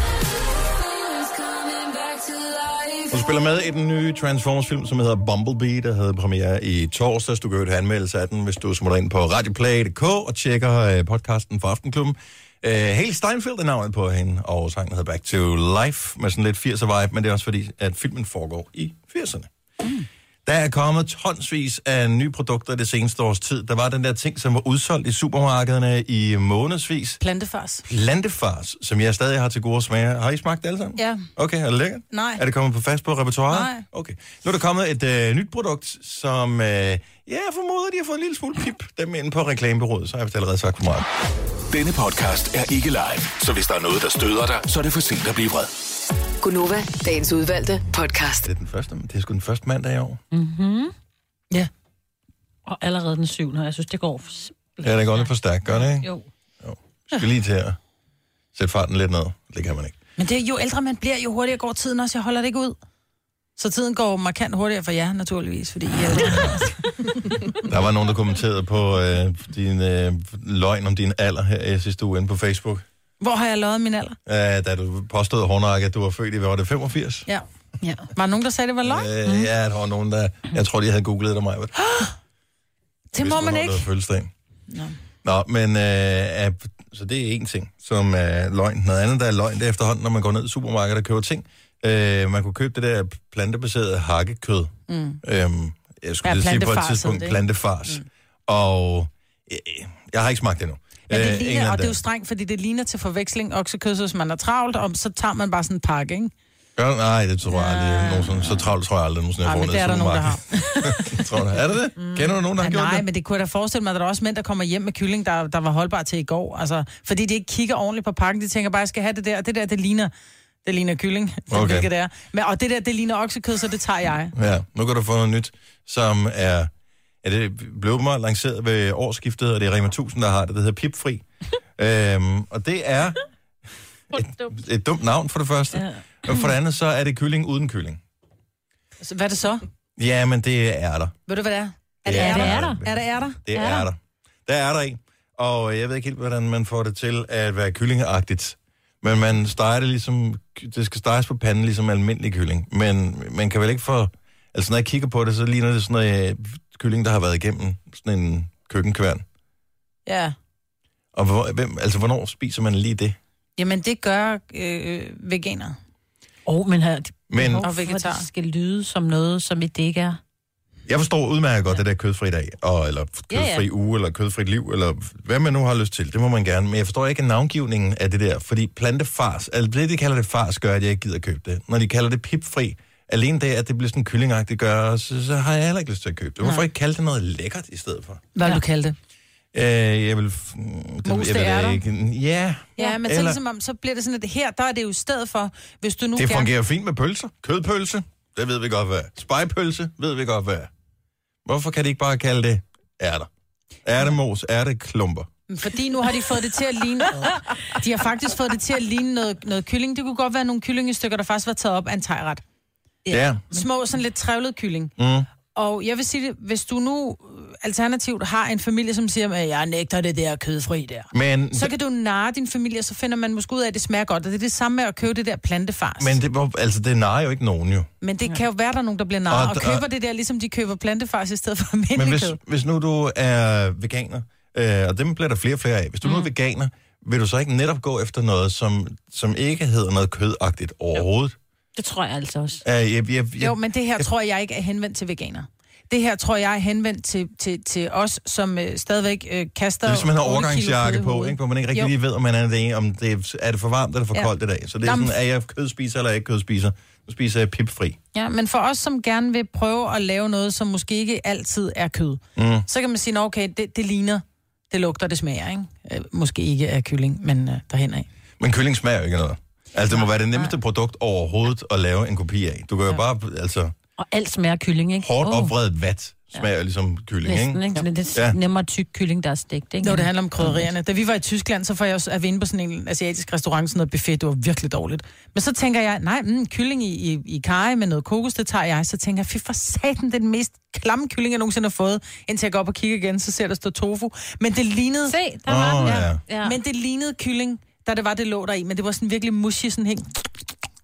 [SPEAKER 6] Feelings coming back to life.
[SPEAKER 1] Hun spiller med i den nye Transformers-film, som hedder Bumblebee, der havde premiere i torsdags. Du kan høre anmeldelse af den, hvis du smutter ind på radioplay.dk og tjekker øh, podcasten fra Aftenklubben. Øh, Haley Steinfeld er navnet på hende, og sangen hedder Back to Life, med sådan lidt 80'er vibe, men det er også fordi, at filmen foregår i 80'erne. Der er kommet tonsvis af nye produkter det seneste års tid. Der var den der ting, som var udsolgt i supermarkederne i månedsvis.
[SPEAKER 2] Plantefars.
[SPEAKER 1] Plantefars, som jeg stadig har til gode smage. Har I smagt det alle sammen?
[SPEAKER 2] Ja.
[SPEAKER 1] Okay, er det lækkert?
[SPEAKER 2] Nej.
[SPEAKER 1] Er det kommet på fast på repertoireet?
[SPEAKER 2] Nej.
[SPEAKER 1] Okay. Nu er der kommet et øh, nyt produkt, som øh, ja, jeg formoder, de har fået en lille smule pip dem inde på reklamebureauet, så har jeg vist allerede sagt for meget.
[SPEAKER 4] Denne podcast er ikke live, så hvis der er noget, der støder dig, så er det for sent at blive vred.
[SPEAKER 7] Gunova, dagens udvalgte podcast.
[SPEAKER 1] Det er den første, det er sgu den første mandag i år.
[SPEAKER 2] Ja.
[SPEAKER 3] Mm-hmm. Og allerede den syvende, og jeg synes, det går... simpelthen
[SPEAKER 1] Ja, det går lidt for
[SPEAKER 3] stærkt.
[SPEAKER 1] stærkt, gør det ikke?
[SPEAKER 3] Jo.
[SPEAKER 1] Vi skal lige til at sætte farten lidt ned. Det kan man ikke.
[SPEAKER 2] Men det, er jo ældre man bliver, jo hurtigere går tiden også. Jeg holder det ikke ud. Så tiden går markant hurtigere for jer, naturligvis, fordi I er
[SPEAKER 1] Der var nogen, der kommenterede på øh, din øh, løgn om din alder her i sidste uge inde på Facebook.
[SPEAKER 2] Hvor har jeg løjet min alder?
[SPEAKER 1] Øh, da du påstod hårdnakket, at du var født i, hvad var det, 85?
[SPEAKER 2] Ja. ja. Var der nogen, der sagde, det var løgn? Øh,
[SPEAKER 1] Øh, ja, der var nogen, der... Jeg tror, de havde googlet dig, mig.
[SPEAKER 2] det må Ah, man ikke.
[SPEAKER 1] Fødselsdagen.
[SPEAKER 2] Nå.
[SPEAKER 1] Nå, men øh, er- så det er en ting, som er løgn. Noget andet, der er løgn, det er efterhånden, når man går ned i supermarkedet og køber ting. Øh, man kunne købe det der plantebaserede hakkekød. Mm. Øhm, jeg skulle
[SPEAKER 2] Ja,
[SPEAKER 1] ja, sige på et
[SPEAKER 2] plantefars hed
[SPEAKER 1] tidspunkt
[SPEAKER 2] det, ikke?
[SPEAKER 1] plantefars. Mm. Og øh, jeg har ikke smagt det endnu.
[SPEAKER 2] Men
[SPEAKER 1] Øh,
[SPEAKER 2] det
[SPEAKER 1] en eller
[SPEAKER 2] ligner,
[SPEAKER 1] anden
[SPEAKER 2] og det er
[SPEAKER 1] dag.
[SPEAKER 2] jo strengt, fordi det ligner til forveksling oksekød, så hvis man er travlt, og så tager man bare sådan en pakke, ikke?
[SPEAKER 1] Ja, nej, det tror jeg aldrig. Nogensinde. Så travlt tror jeg aldrig, nogensinde
[SPEAKER 2] Ah. Ej, men
[SPEAKER 1] jeg får
[SPEAKER 2] det er
[SPEAKER 1] ned i
[SPEAKER 2] der nogen, der har.
[SPEAKER 1] supermarkedet. tror du, er det det? Mm. Kender du nogen, der har
[SPEAKER 2] Ja,
[SPEAKER 1] gjort
[SPEAKER 2] nej,
[SPEAKER 1] det?
[SPEAKER 2] men det kunne jeg da forestille mig, at der er også mænd, der kommer hjem med kylling, der, der var holdbar til i går. Altså, fordi de ikke kigger ordentligt på pakken. De tænker bare, jeg skal have det der, og det der, det ligner, det ligner kylling,
[SPEAKER 1] Okay.
[SPEAKER 2] okay. hvilket det er. Men, og det der, det ligner oksekød, så det tager jeg.
[SPEAKER 1] Ja, nu kan du få noget nyt, som er... Ja, det blev meget lanceret ved årsskiftet, og det er Rema 1000, der har det. Det hedder Pipfri. øhm, og det er et, et dumt navn for det første. Ja. Og for det andet, så er det kylling uden kylling.
[SPEAKER 2] Så, hvad er det så?
[SPEAKER 1] Ja, men det er der.
[SPEAKER 2] Ved du, hvad det er? Er det
[SPEAKER 1] Ja,
[SPEAKER 2] ærter?
[SPEAKER 1] det er
[SPEAKER 2] Er,
[SPEAKER 1] der.
[SPEAKER 2] er det ærter?
[SPEAKER 1] Det er, der. Der er der en. Og jeg ved ikke helt, hvordan man får det til at være kyllingeagtigt. Men man steger det ligesom... Det skal steges på panden ligesom almindelig kylling. Men man kan vel ikke få... Altså, når jeg kigger på det, så ligner det sådan noget øh, kylling, der har været igennem sådan en køkkenkværn.
[SPEAKER 2] Ja.
[SPEAKER 1] Og hvor, hvem, altså, hvornår spiser man lige det?
[SPEAKER 2] Jamen, det gør øh, veganere.
[SPEAKER 3] Åh, oh, men her, det
[SPEAKER 1] Men
[SPEAKER 2] Og vegetar.
[SPEAKER 3] det skal lyde som noget, som det ikke er.
[SPEAKER 1] jeg forstår udmærket godt det der kødfri dag, og, eller kødfri
[SPEAKER 3] Ja, ja.
[SPEAKER 1] uge, eller kødfrit liv, eller hvad man nu har lyst til. Det må man gerne. Men jeg forstår ikke navngivningen af det der, fordi plantefars, altså det de kalder det fars, gør, at jeg ikke gider købe det. Når de kalder det pipfri, alene det, at det bliver sådan kyllingagtigt gør, så, så har jeg heller ikke lyst til at købe det. Hvorfor ikke kalde det noget lækkert i stedet for?
[SPEAKER 2] Hvad ja. du kalde det?
[SPEAKER 1] Øh, jeg vil... f- Det,
[SPEAKER 2] Mos,
[SPEAKER 1] jeg
[SPEAKER 2] det er
[SPEAKER 1] ved
[SPEAKER 2] der.
[SPEAKER 1] det ikke. Ja,
[SPEAKER 2] Ja, men så,
[SPEAKER 1] Eller-
[SPEAKER 2] ligesom, om, så bliver det sådan, at her, der er det jo i stedet for, hvis du nu
[SPEAKER 1] det
[SPEAKER 2] gerne...
[SPEAKER 1] fungerer fint med pølser. Kødpølse, det ved vi godt hvad. er. Spejpølse, ved vi godt hvad. er. Hvorfor kan de ikke bare kalde det ærter? Ærtemos, ærteklumper.
[SPEAKER 2] Fordi nu har de fået det til at ligne... De har faktisk fået det til at ligne noget, noget kylling. Det kunne godt være nogle kyllingestykker, der faktisk var taget op af en tegret.
[SPEAKER 1] Ja. ja.
[SPEAKER 2] Små, sådan lidt trævlet kylling. Mm. Og jeg vil sige det, hvis du nu øh, alternativt har en familie, som siger, at jeg nægter det der kødfri der,
[SPEAKER 1] Men,
[SPEAKER 2] så kan du narre din familie, og så finder man måske ud af, at det smager godt. Og det er det samme med at købe det der plantefars.
[SPEAKER 1] men det, hvor- altså, det narer jo ikke nogen jo.
[SPEAKER 2] Men det kan jo være, der er nogen, der bliver narret
[SPEAKER 1] Og-
[SPEAKER 2] og, og
[SPEAKER 1] og-
[SPEAKER 2] køber det der, ligesom de køber plantefars i stedet for
[SPEAKER 1] Men
[SPEAKER 2] almindelig
[SPEAKER 1] hvis,
[SPEAKER 2] kød.
[SPEAKER 1] hvis nu du er veganer, øh, og dem bliver der flere og flere af, hvis du mm. nu er veganer, vil du så ikke netop gå efter noget, som, som ikke hedder noget kødagtigt overhovedet?
[SPEAKER 3] Det tror jeg altså også.
[SPEAKER 1] Øh, jeg, jeg, jeg,
[SPEAKER 2] Jo, men det her tror jeg ikke er henvendt til veganer. Det her tror jeg er henvendt til, til, til os, som øh, stadigvæk øh, kaster...
[SPEAKER 1] det er ligesom, man har
[SPEAKER 2] otte kilo
[SPEAKER 1] overgangsjakke
[SPEAKER 2] kød i
[SPEAKER 1] på,
[SPEAKER 2] hovedet.
[SPEAKER 1] ikke, hvor man ikke rigtig
[SPEAKER 2] Jo.
[SPEAKER 1] lige ved, om man er det ene, om det er, er det for varmt eller for ja.
[SPEAKER 2] Ja.
[SPEAKER 1] koldt i dag. Så det er
[SPEAKER 2] Jamen-
[SPEAKER 1] sådan, er jeg kødspiser eller er jeg ikke kødspiser? Nu spiser jeg pipfri.
[SPEAKER 2] Ja, men for os, som gerne vil prøve at lave noget, som måske ikke altid er kød, mm. så kan man sige, "Nå, okay, det, det ligner, det lugter, det smager, ikke? Øh, måske ikke af kylling, men øh, derhen af.
[SPEAKER 1] Men kylling smager jo ikke af noget. Altså, det må være det nemmeste produkt overhovedet at lave en kopi af. Du kan jo bare, altså,
[SPEAKER 3] Og alt smager af kylling, ikke?
[SPEAKER 1] hårdt
[SPEAKER 3] Åh,
[SPEAKER 1] opvredet vat smager jo ligesom kylling, ikke?
[SPEAKER 3] Næsten, ikke? Så Det er
[SPEAKER 1] Ja.
[SPEAKER 3] ja. nemmere tyk kylling, der er stegt, ikke?
[SPEAKER 2] Når det handler om krydderierne. Da vi var i Tyskland, så får jeg også at vinde på sådan en asiatisk restaurant, sådan noget buffet, det var virkelig dårligt. Men så tænker jeg, nej, mm, kylling i, i, i kaj med noget kokos, det tager jeg. Så tænker jeg, fy for satan, det er den mest klamme kylling, jeg nogensinde har fået. Indtil jeg går op og kigger igen, så ser der stå tofu. Men det lignede,
[SPEAKER 3] Se, der var
[SPEAKER 1] Åh,
[SPEAKER 3] den.
[SPEAKER 1] ja.
[SPEAKER 3] Ja.
[SPEAKER 2] ja. men det lignede kylling, da det var, det lå der i. Men det var sådan virkelig mushy, sådan helt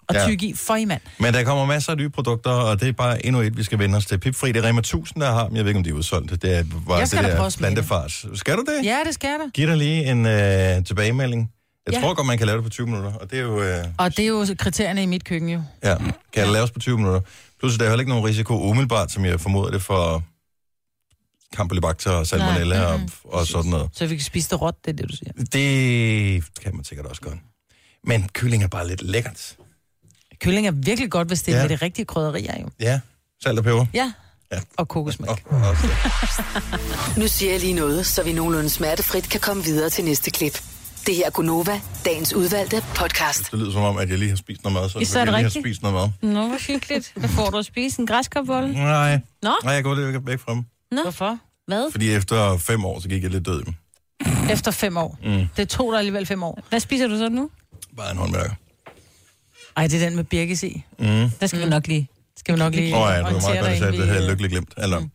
[SPEAKER 2] og
[SPEAKER 1] Ja.
[SPEAKER 2] tyk i. For i mand.
[SPEAKER 1] Men der kommer masser af nye produkter, og det er bare endnu et, vi skal vende os til. Pipfri, det er Rema 1000, der har dem. Jeg ved ikke, om de er udsolgt. Det er, var
[SPEAKER 2] Jeg skal
[SPEAKER 1] det
[SPEAKER 2] da prøve
[SPEAKER 1] der
[SPEAKER 2] at smage det.
[SPEAKER 1] plantefars. Skal du det?
[SPEAKER 2] Ja, det skal der.
[SPEAKER 1] Giv dig lige en øh, tilbagemelding. Jeg
[SPEAKER 2] Ja.
[SPEAKER 1] tror godt, man kan lave det på 20 minutter, og det er jo... Øh,
[SPEAKER 2] Og det er jo kriterierne i mit køkken jo.
[SPEAKER 1] ja, kan det laves på 20 minutter. Plus, der er heller ikke nogen risiko umiddelbart, som jeg formoder det for Campylobacter og salmonella
[SPEAKER 2] Nej, mm-hmm.
[SPEAKER 1] og,
[SPEAKER 2] mm-mm.
[SPEAKER 1] og sådan noget.
[SPEAKER 2] Så vi kan spise det råt, det er det, du siger.
[SPEAKER 1] Det kan man sikkert også godt. Men kylling er bare lidt lækkert.
[SPEAKER 2] Kylling er virkelig godt, hvis det er
[SPEAKER 1] Ja.
[SPEAKER 2] ja. med de rigtige krydderier jo.
[SPEAKER 1] Ja, salt og peber.
[SPEAKER 2] Ja.
[SPEAKER 1] Ja.
[SPEAKER 2] Og kokosmælk.
[SPEAKER 1] Og, og,
[SPEAKER 7] Nu siger jeg lige noget, så vi nogenlunde smertefrit kan komme videre til næste klip. Det her er Gunova, dagens udvalgte podcast.
[SPEAKER 1] det lyder som om, at jeg lige har spist noget mad, så
[SPEAKER 3] Især er
[SPEAKER 1] jeg
[SPEAKER 3] det
[SPEAKER 1] lige har
[SPEAKER 3] rigtigt.
[SPEAKER 1] spist noget mad.
[SPEAKER 3] Nå, hvor hyggeligt. Hvad får du at spise? En græskarbolle?
[SPEAKER 1] Nej.
[SPEAKER 3] Nå?
[SPEAKER 1] Nej, jeg går lidt væk fra dem.
[SPEAKER 2] Hvorfor?
[SPEAKER 3] Hvad?
[SPEAKER 1] Fordi efter fem år, så gik jeg lidt død i dem.
[SPEAKER 2] Efter fem år. Mm. Det er to, der er alligevel fem år.
[SPEAKER 3] Hvad spiser du så nu?
[SPEAKER 1] Bare en håndværker.
[SPEAKER 2] Ej, det er den med birkes i.
[SPEAKER 1] mm.
[SPEAKER 3] Der skal vi nok lige.
[SPEAKER 2] Skal vi nok lige
[SPEAKER 1] Åh oh, ja, det var
[SPEAKER 2] orientere
[SPEAKER 1] meget godt,
[SPEAKER 2] dig,
[SPEAKER 1] at jeg
[SPEAKER 2] inden
[SPEAKER 1] det havde
[SPEAKER 2] vi, øh,
[SPEAKER 1] jeg lykkeligt glemt. Eller. Mm.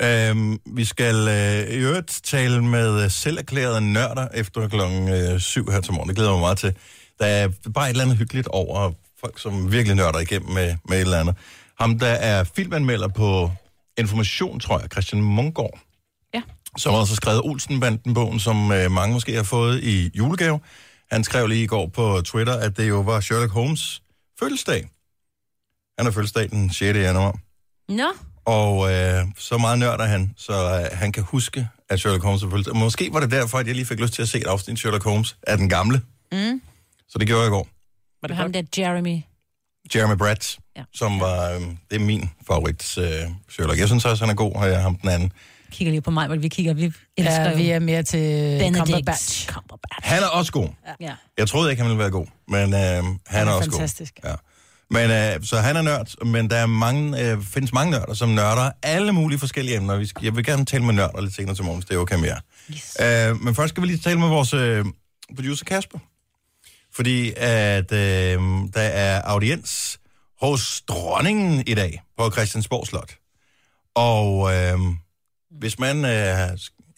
[SPEAKER 1] Øhm, vi skal øh, i øvrigt tale med øh, selverklærede nørder efter klokken øh, 7 her til morgen. Det glæder jeg mig meget til. Der er bare et eller andet hyggeligt over folk, som virkelig nørder igennem med, med et eller andet. Ham, der er filmanmelder på Information, tror jeg, Christian Munggaard
[SPEAKER 3] Ja.
[SPEAKER 1] som også har skrevet Olsenbanden-bogen, som øh, mange måske har fået i julegave. Han skrev lige i går på Twitter, at det jo var Sherlock Holmes fødselsdag. Han har fødselsdag den 6. januar.
[SPEAKER 3] Nå,
[SPEAKER 1] Og øh, så meget nørder han, så øh, han kan huske, at Sherlock Holmes er fødselsdag. Måske var det derfor, at jeg lige fik lyst til at se et afsnit af Sherlock Holmes af den gamle. Mm. Så det gjorde jeg i går.
[SPEAKER 3] var det ham der Jeremy.
[SPEAKER 1] Jeremy Bratt, ja.
[SPEAKER 3] Ja.
[SPEAKER 1] som var, øh, det er min favorit øh, Sherlock. Jeg synes også, han er god, og jeg ham den anden.
[SPEAKER 3] Kigger lige på mig, hvor vi kigger. Vi elsker
[SPEAKER 2] Ja, vi er mere til
[SPEAKER 3] Benedict
[SPEAKER 2] Cumberbatch.
[SPEAKER 3] Cumberbatch.
[SPEAKER 1] Han er også god.
[SPEAKER 3] Ja.
[SPEAKER 1] Jeg troede ikke, han ville være god, men øh, han, han er,
[SPEAKER 2] er
[SPEAKER 1] også
[SPEAKER 2] fantastisk.
[SPEAKER 1] god. Ja. Men, øh, så han er nørd, men der er mange, øh, findes mange nørder, som nørder alle mulige forskellige emner. Vi skal, jeg vil gerne tale med nørder lidt senere til morgen, hvis det er okay med jer.
[SPEAKER 3] Yes.
[SPEAKER 1] Øh, men først skal vi lige tale med vores øh, producer Kasper. Fordi at øh, der er audiens hos dronningen i dag på Christiansborg Slot. Og øh, hvis man, øh,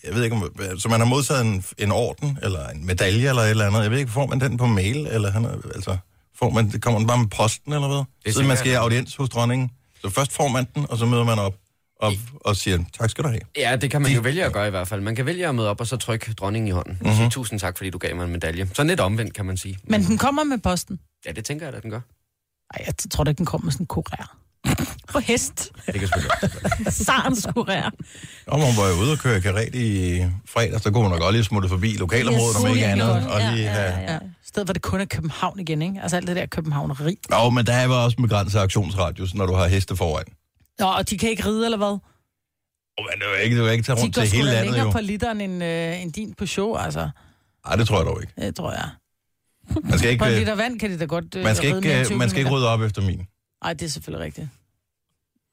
[SPEAKER 1] jeg ved ikke, om, så man har modtaget en, en orden, eller en medalje, eller et eller andet, jeg ved ikke, får man den på mail, eller han, er- altså, får man, kommer den bare med posten, eller hvad? Det så
[SPEAKER 8] tænker
[SPEAKER 1] man skal i
[SPEAKER 8] jeg.
[SPEAKER 1] audiens hos dronningen. Så først får man den, og så møder man op og, og siger, tak skal du have.
[SPEAKER 8] Ja, det kan man jo vælge at gøre i hvert fald. Man kan vælge at møde op og så trykke dronningen i hånden. Mm-hmm. Sige tusind tak, fordi du gav mig en medalje. Så lidt omvendt, kan man sige.
[SPEAKER 2] Men den kommer med posten.
[SPEAKER 8] Ja, det tænker jeg, at den gør.
[SPEAKER 2] Nej, jeg tror da ikke, den kommer med sådan en kurér.
[SPEAKER 3] På hest.
[SPEAKER 8] Det kan selvfølgelig også.
[SPEAKER 3] Sarens kurér.
[SPEAKER 1] Om hun var jo ude og køre karet i fredags, så kunne hun nok godt lige smutte forbi lokalområdet, yes,
[SPEAKER 3] Yes,
[SPEAKER 1] om ikke
[SPEAKER 3] det gjorde
[SPEAKER 1] andet.
[SPEAKER 3] hun.
[SPEAKER 1] Og
[SPEAKER 3] Ja,
[SPEAKER 1] lige have...
[SPEAKER 3] Ja.
[SPEAKER 2] Ja. Stedet, hvor det kun er København igen, ikke? Altså alt det der københavneri.
[SPEAKER 1] Nå, men der er jo også en begrænset aktionsradius, når du har heste foran.
[SPEAKER 2] Nå, og de kan ikke ride, eller hvad?
[SPEAKER 1] Oh, men det er jo ikke, det er jo ikke tage
[SPEAKER 2] De
[SPEAKER 1] rundt
[SPEAKER 2] går
[SPEAKER 1] til
[SPEAKER 2] sgu
[SPEAKER 1] hele
[SPEAKER 2] da
[SPEAKER 1] landet,
[SPEAKER 2] længere
[SPEAKER 1] jo.
[SPEAKER 2] på literen end, øh, end din på show, altså.
[SPEAKER 1] Nej, det tror jeg dog ikke.
[SPEAKER 2] Det tror jeg.
[SPEAKER 1] Man skal
[SPEAKER 2] På
[SPEAKER 1] ikke,
[SPEAKER 2] en
[SPEAKER 1] øh,
[SPEAKER 2] liter vand kan de da godt øh,
[SPEAKER 1] man skal
[SPEAKER 2] ride mere end
[SPEAKER 1] ikke,
[SPEAKER 2] 20
[SPEAKER 1] øh, man skal ikke
[SPEAKER 2] kilometer.
[SPEAKER 1] rydde op efter min.
[SPEAKER 2] Ej, det er selvfølgelig rigtigt.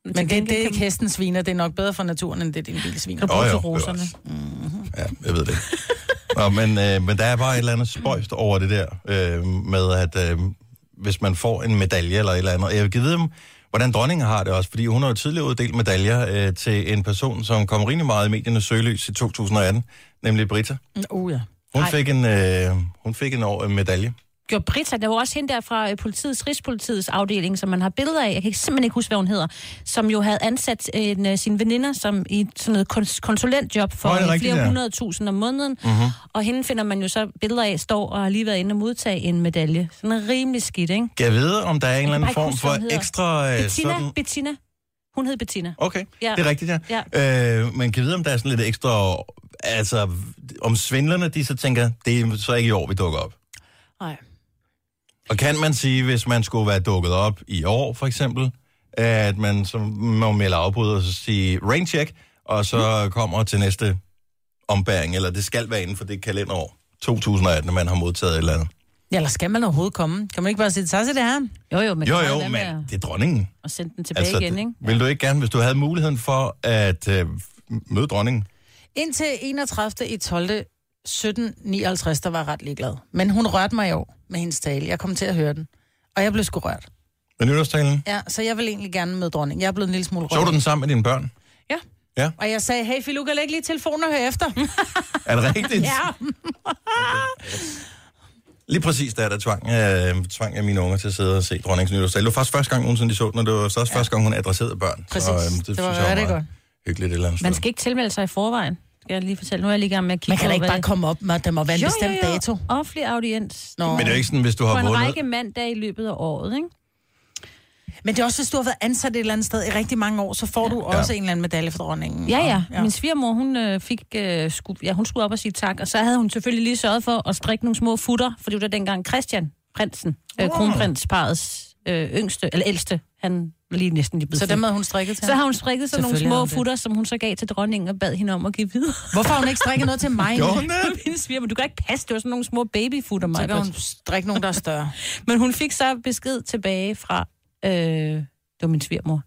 [SPEAKER 3] Men,
[SPEAKER 2] Men
[SPEAKER 3] til
[SPEAKER 2] det,
[SPEAKER 3] gengæld
[SPEAKER 2] det er
[SPEAKER 3] kan
[SPEAKER 2] ikke
[SPEAKER 3] man-
[SPEAKER 2] hestens sviner, det er nok bedre for naturen, end det er din bil
[SPEAKER 3] Kan
[SPEAKER 2] sviner.
[SPEAKER 3] du bruge
[SPEAKER 1] Åh,
[SPEAKER 3] til
[SPEAKER 1] jo, det er
[SPEAKER 3] roserne?
[SPEAKER 1] Ja, jeg ved det. Nå, men, øh, men der er bare et eller andet spøjst over det der, øh, med at øh, hvis man får en medalje eller et eller andet. Jeg vil vide, om, hvordan dronningen har det også, fordi hun har jo tidligere uddelt medaljer øh, til en person, som kom rimelig meget i mediernes søgelys i 2018, nemlig Britta.
[SPEAKER 2] Uh, ja.
[SPEAKER 1] Hun
[SPEAKER 3] Ej.
[SPEAKER 1] fik en, øh, hun fik en år, en medalje.
[SPEAKER 3] Gjorde Britta, der var også hende der fra øh, politiets, Rigspolitiets afdeling, som man har billeder af, jeg kan ikke- simpelthen ikke huske, hvad hun hedder, som jo havde ansat en, øh, sine veninder som i et sådan noget kons- konsulentjob for
[SPEAKER 1] Nå, er det
[SPEAKER 3] øh,
[SPEAKER 1] rigtigt,
[SPEAKER 3] flere
[SPEAKER 1] ja. Mm.
[SPEAKER 3] hundrede tusind om måneden.
[SPEAKER 1] Mhm.
[SPEAKER 3] Mm-hmm. Og hende finder man jo så billeder af, står og har lige været inde og modtage en medalje. Sådan er rimelig skidt, ikke?
[SPEAKER 1] Kan jeg vide, om der er en eller anden
[SPEAKER 3] bare ikke
[SPEAKER 1] form
[SPEAKER 3] huske,
[SPEAKER 1] for
[SPEAKER 3] hvad hun hedder.
[SPEAKER 1] ekstra... Øh,
[SPEAKER 3] Bettina,
[SPEAKER 1] sådan...
[SPEAKER 3] Bettina. Hun hed Bettina.
[SPEAKER 1] Okay, ja.
[SPEAKER 3] Ja.
[SPEAKER 1] det er rigtigt, ja. ja. Øh, man kan vide, om der er sådan lidt ekstra... Altså, om svindlerne, de så tænker, det er så ikke i år, vi dukker op.
[SPEAKER 2] Ej.
[SPEAKER 1] Og kan man sige, hvis man skulle være dukket op i år, for eksempel, at man så må melde afbud og så sige rain check, og
[SPEAKER 3] Mm.
[SPEAKER 1] så kommer til næste ombæring, eller det skal være inden for det kalenderår 2018, at man har modtaget et eller andet.
[SPEAKER 2] ja, eller skal man overhovedet komme? Kan man ikke bare sige, så er det her?
[SPEAKER 3] Jo, jo, men
[SPEAKER 1] Jo,
[SPEAKER 3] det var
[SPEAKER 1] jo,
[SPEAKER 3] hvad med
[SPEAKER 1] men
[SPEAKER 3] at-
[SPEAKER 1] det er dronningen.
[SPEAKER 3] at sende den tilbage altså, igen, ikke?
[SPEAKER 1] det- Vil du ikke gerne, hvis du havde muligheden for at øh, møde dronningen?
[SPEAKER 2] Indtil 31. i 12. 1759, der var jeg ret ligeglad. Men hun rørte mig jo med hendes tale. Jeg kom til at høre den. Og jeg blev sgu rørt.
[SPEAKER 1] Med nytårstalen?
[SPEAKER 2] Ja, så jeg vil egentlig gerne møde dronningen. Jeg er blevet en lille smule
[SPEAKER 1] Så
[SPEAKER 2] rørt.
[SPEAKER 1] du den sammen med dine børn?
[SPEAKER 2] Ja.
[SPEAKER 1] Ja.
[SPEAKER 2] Og jeg sagde, hey Filuka, læg lige telefonen og hør efter.
[SPEAKER 1] Er det rigtigt?
[SPEAKER 2] ja.
[SPEAKER 1] Lige præcis der, der tvang, øh, tvang jeg mine unger til at sidde og se dronningens nytårstale. Det var faktisk første gang nogensinde, de så den, og det var så også ja. første gang, hun adresserede børn.
[SPEAKER 2] Præcis.
[SPEAKER 1] Så, øhm,
[SPEAKER 2] Det var
[SPEAKER 1] synes
[SPEAKER 2] rigtig
[SPEAKER 1] meget
[SPEAKER 2] godt.
[SPEAKER 1] Hyggeligt et eller andet
[SPEAKER 3] Man
[SPEAKER 1] sted.
[SPEAKER 3] skal ikke tilmelde sig i forvejen, skal jeg lige fortælle. Nu er jeg lige i gang med at kigge
[SPEAKER 2] Man kan da
[SPEAKER 3] på,
[SPEAKER 2] ikke
[SPEAKER 3] hvad-
[SPEAKER 2] bare komme op med, at der må være en
[SPEAKER 3] Jo,
[SPEAKER 2] bestemt
[SPEAKER 3] jo, jo.
[SPEAKER 2] dato.
[SPEAKER 3] Offentlig audiens.
[SPEAKER 2] Nå.
[SPEAKER 1] Men det er jo ikke sådan, hvis du har
[SPEAKER 3] På en
[SPEAKER 1] vundet...
[SPEAKER 3] række mandag i løbet af året, ikke?
[SPEAKER 2] Men det er også, hvis du har været ansat et eller andet sted i rigtig mange år, så får du også en eller anden medalje for dronningen.
[SPEAKER 3] Ja, ja.
[SPEAKER 2] Og-
[SPEAKER 3] Min svigermor, hun øh, fik, øh, sku, ja, hun skulle op og sige tak, og så havde hun selvfølgelig lige sørget for at strikke nogle små futter, for det var da dengang Christian, prinsen, øh, kronprinsparets øh, yngste, eller ældste, han var lige næsten lige blevet
[SPEAKER 2] Så
[SPEAKER 3] født.
[SPEAKER 2] dem havde hun strikket til.
[SPEAKER 3] så
[SPEAKER 2] ham.
[SPEAKER 3] har hun strikket sig nogle
[SPEAKER 2] Selvfølgelig har
[SPEAKER 3] små
[SPEAKER 2] hun det.
[SPEAKER 3] futter, som hun så gav til dronningen og bad hende om at give videre.
[SPEAKER 2] Hvorfor har hun ikke strikket noget til mig?
[SPEAKER 1] Gjorde hun det?
[SPEAKER 3] Min sviger, men du kan ikke passe, det var sådan nogle små babyfutter,
[SPEAKER 2] Så
[SPEAKER 3] mig.
[SPEAKER 2] kan hun strikke nogen, der er større.
[SPEAKER 3] Men hun fik så besked tilbage fra, øh, det var min svigermor.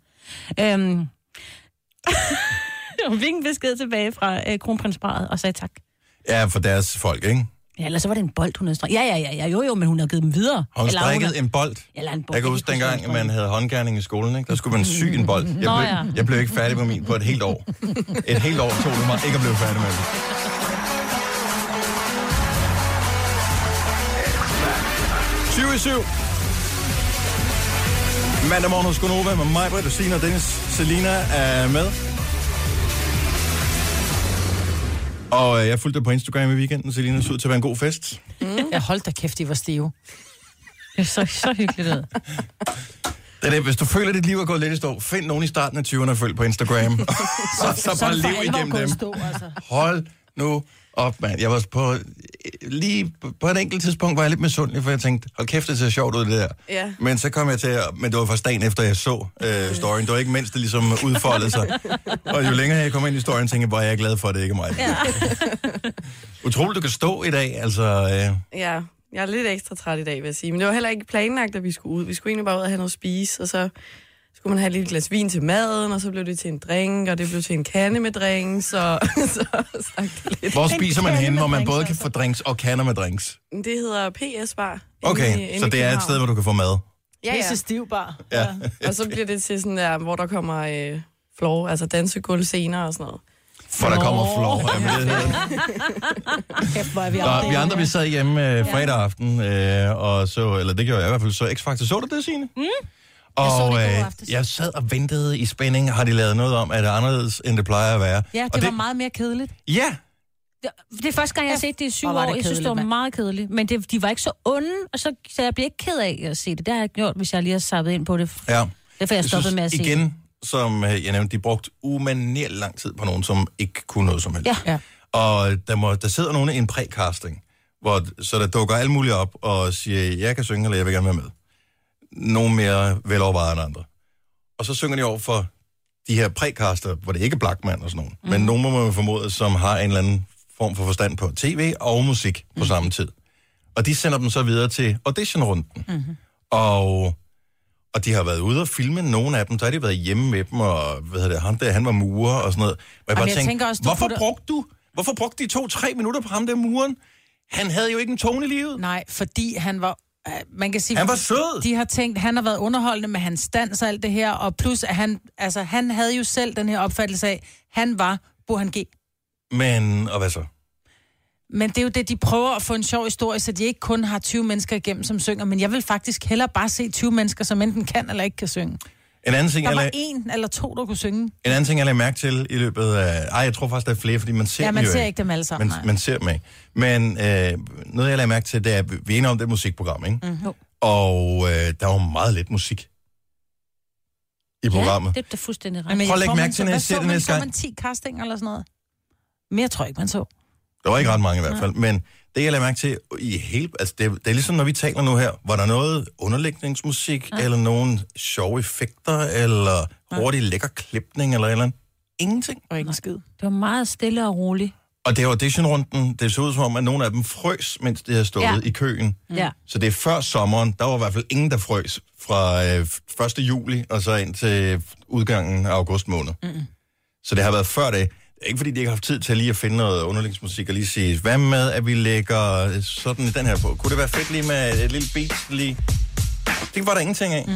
[SPEAKER 3] Øhm, hun fik en besked tilbage fra øh, kronprinsparet og sagde tak.
[SPEAKER 1] Ja, for deres folk, ikke?
[SPEAKER 3] Ja, eller så var det en bold, hun havde strikket. Ja, ja, ja, ja, jo, jo, men hun havde givet dem videre.
[SPEAKER 1] Har hun
[SPEAKER 3] eller,
[SPEAKER 1] strikket en bold?
[SPEAKER 3] Eller en bold.
[SPEAKER 1] Jeg kan huske dengang, man havde håndgerning i skolen, ikke? der skulle man sy en bold. Jeg blev,
[SPEAKER 3] Nå ja.
[SPEAKER 1] jeg blev ikke færdig med min på et helt år. Et helt år tog det mig ikke at blive færdig med det. Syv i syv. Mandag morgen hos Gunova med mig, Britt, Signe og Dennis. Selina er med. Og øh, jeg fulgte dig på Instagram i weekenden. Selina så ud til at være en god fest.
[SPEAKER 2] Jeg holdt da kæft, de var stive.
[SPEAKER 3] Det så, så hyggeligt ud.
[SPEAKER 1] Det er det. Hvis du føler, at dit liv er gået lidt i stå, find nogen i starten af 20'erne og følg på Instagram. og så bare
[SPEAKER 2] for
[SPEAKER 1] lev
[SPEAKER 2] alvor
[SPEAKER 1] igennem
[SPEAKER 2] gået
[SPEAKER 1] dem.
[SPEAKER 2] i Stå, altså.
[SPEAKER 1] Hold nu op, mand. Jeg var på, lige på et enkelt tidspunkt var jeg lidt misundelig, for jeg tænkte, hold kæft, det ser sjovt ud, det der.
[SPEAKER 5] Ja.
[SPEAKER 1] Men så kom jeg til, at- men det var først dagen efter, jeg så øh, storyen. Det var ikke mindst, det ligesom udfoldede sig. Og jo længere jeg kom ind i storyen, tænkte jeg, hvor er jeg glad for, at det ikke er mig. Ja. Utroligt, du kan stå i dag, altså... Øh,
[SPEAKER 5] Ja, jeg er lidt ekstra træt i dag, vil jeg sige. Men det var heller ikke planlagt, at vi skulle ud. Vi skulle egentlig bare ud og have noget at spise, og så skulle man have et lille glas vin til maden, og så blev det til en drink, og det blev til en kande med drinks, så, så sagt det lidt.
[SPEAKER 1] hvor spiser man
[SPEAKER 2] kande
[SPEAKER 1] henne,
[SPEAKER 2] med
[SPEAKER 1] hvor man
[SPEAKER 2] drinks,
[SPEAKER 1] både kan
[SPEAKER 2] altså.
[SPEAKER 1] få drinks og kander med drinks?
[SPEAKER 5] Det hedder PS Bar. inde i- inde
[SPEAKER 1] Okay,
[SPEAKER 5] i
[SPEAKER 1] så det er et
[SPEAKER 5] København.
[SPEAKER 1] sted, hvor du kan få mad.
[SPEAKER 5] Ja,
[SPEAKER 2] Pisse
[SPEAKER 5] ja.
[SPEAKER 2] stiv bare.
[SPEAKER 1] Ja.
[SPEAKER 5] Og så bliver det til sådan der, hvor der kommer øh, floor, altså dansegulv senere og sådan noget.
[SPEAKER 1] For der kommer flov. Jamen, det hedder det.
[SPEAKER 2] Kæft, hvor er vi
[SPEAKER 1] Nå, vi
[SPEAKER 2] afdækket.
[SPEAKER 1] andre, vi sad hjemme øh, fredag aften, øh, og så, eller det gjorde jeg i hvert fald, så X-Factor. Så du det, Signe? Mm. Og
[SPEAKER 3] så det i går
[SPEAKER 1] jeg,
[SPEAKER 3] aftes.
[SPEAKER 1] øh, jeg sad og ventede i spænding. Har de lavet noget om, at det er anderledes, end det plejer at være?
[SPEAKER 2] Ja,
[SPEAKER 1] og
[SPEAKER 2] det var meget mere kedeligt.
[SPEAKER 1] Ja,
[SPEAKER 3] Det- Det er første gang, jeg har set det i syv
[SPEAKER 2] Hvor var det
[SPEAKER 3] år. Jeg synes, det var
[SPEAKER 2] kedeligt, mand.
[SPEAKER 3] meget kedeligt. Men det, de var ikke så onde, og så, så jeg bliver ikke ked af at se det. Det har jeg ikke gjort, hvis jeg lige har sappet ind på det.
[SPEAKER 1] ja.
[SPEAKER 3] Derfor er jeg stoppet med at se det.
[SPEAKER 1] igen, som øh, jeg nævnte, de brugte umanerligt lang tid på nogen, som ikke kunne noget som helst.
[SPEAKER 3] Ja.
[SPEAKER 2] Ja.
[SPEAKER 1] Og der, må, der sidder nogen i en præcasting, hvor, så der dukker alle mulige op og siger, jeg kan synge, eller jeg vil gerne være med. Nogle mere velovervejede end andre. Og så synger de over for de her præcaster, hvor det ikke er Blackman og sådan nogen,
[SPEAKER 2] Mhm.
[SPEAKER 1] mm. men nogen må man formode, som har en eller anden form for forstand på tv og musik på mm.
[SPEAKER 2] Mhm.
[SPEAKER 1] samme tid. Og de sender dem så videre til auditionrunden. Mm.
[SPEAKER 2] Mm-hmm.
[SPEAKER 1] Og og de har været ude og filme nogle af dem, så har de været hjemme med dem, og hvad hedder det, ham der, han var murer og sådan noget. Og jeg bare
[SPEAKER 2] jeg
[SPEAKER 1] tænkte,
[SPEAKER 2] tænker også, du
[SPEAKER 1] hvorfor,
[SPEAKER 2] putter-
[SPEAKER 1] brugte du, hvorfor brugte de to-tre minutter på ham der muren? Han havde jo ikke en tone i livet.
[SPEAKER 2] Nej, fordi han var... øh, Man kan sige,
[SPEAKER 1] Han var sød.
[SPEAKER 2] De har tænkt, han har været underholdende med hans dans og alt det her, og plus, at han, altså, han havde jo selv den her opfattelse af, han var Burhan G.
[SPEAKER 1] Men, og hvad så?
[SPEAKER 2] Men det er jo det, de prøver at få en sjov historie, så de ikke kun har 20 mennesker igennem, som synger. Men jeg vil faktisk hellere bare se 20 mennesker, som enten kan eller ikke kan synge.
[SPEAKER 1] En anden ting,
[SPEAKER 2] Der
[SPEAKER 1] jeg
[SPEAKER 2] var
[SPEAKER 1] lag,
[SPEAKER 2] en eller to, der kunne synge.
[SPEAKER 3] Mhm.
[SPEAKER 1] en anden ting, jeg lagde mærke til i løbet af... Ej, jeg tror faktisk, der er flere, fordi man ser
[SPEAKER 2] Ja,
[SPEAKER 1] dem
[SPEAKER 2] man
[SPEAKER 1] jo
[SPEAKER 2] ser ikke dem alle sammen.
[SPEAKER 1] Man,
[SPEAKER 2] nej.
[SPEAKER 1] man ser dem ikke. Men øh, noget, jeg lagde mærke til, det er, at vi er enige om det er et musikprogram, ikke?
[SPEAKER 2] Mm.
[SPEAKER 3] Jo.
[SPEAKER 1] Og øh, der var meget lidt musik i programmet.
[SPEAKER 3] Ja, det er da fuldstændig
[SPEAKER 2] Men
[SPEAKER 3] ret.
[SPEAKER 2] jeg
[SPEAKER 1] Prøv at lægge
[SPEAKER 2] tror,
[SPEAKER 1] mærke
[SPEAKER 2] man
[SPEAKER 1] til,
[SPEAKER 2] så-
[SPEAKER 1] når jeg
[SPEAKER 2] hvad
[SPEAKER 1] ser
[SPEAKER 2] så
[SPEAKER 1] det
[SPEAKER 2] man?
[SPEAKER 1] næste
[SPEAKER 2] Så
[SPEAKER 1] gang.
[SPEAKER 2] man 10 castinger eller sådan noget? Mere tror jeg ikke, man så.
[SPEAKER 1] Der var ikke ret mange
[SPEAKER 2] Mm.
[SPEAKER 1] i hvert fald, men det jeg lagde mærke til i hele, altså det, det er ligesom når vi taler nu her, var der noget underlægningsmusik, ja. eller nogen sjove effekter, eller hurtig lækker klipning, eller et eller andet. Ingenting.
[SPEAKER 2] Og ikke en skid.
[SPEAKER 3] Det var meget stille og roligt.
[SPEAKER 1] Og det er auditionrunden, det så ud som om, at nogle af dem frøs, mens de havde stået ja.
[SPEAKER 3] Ja.
[SPEAKER 1] i køen.
[SPEAKER 3] Mm. Ja.
[SPEAKER 1] Så det er før sommeren, der var i hvert fald ingen, der frøs fra øh, 1. juli og så ind til udgangen af august måned. Mm. Så det har været før det. Ikke fordi de ikke har haft tid til lige at finde noget underlægningsmusik og lige sige, hvad med, at vi lægger sådan den her på? Kunne det være fedt lige med et lille beat lige? Det var der ingenting af. Mm.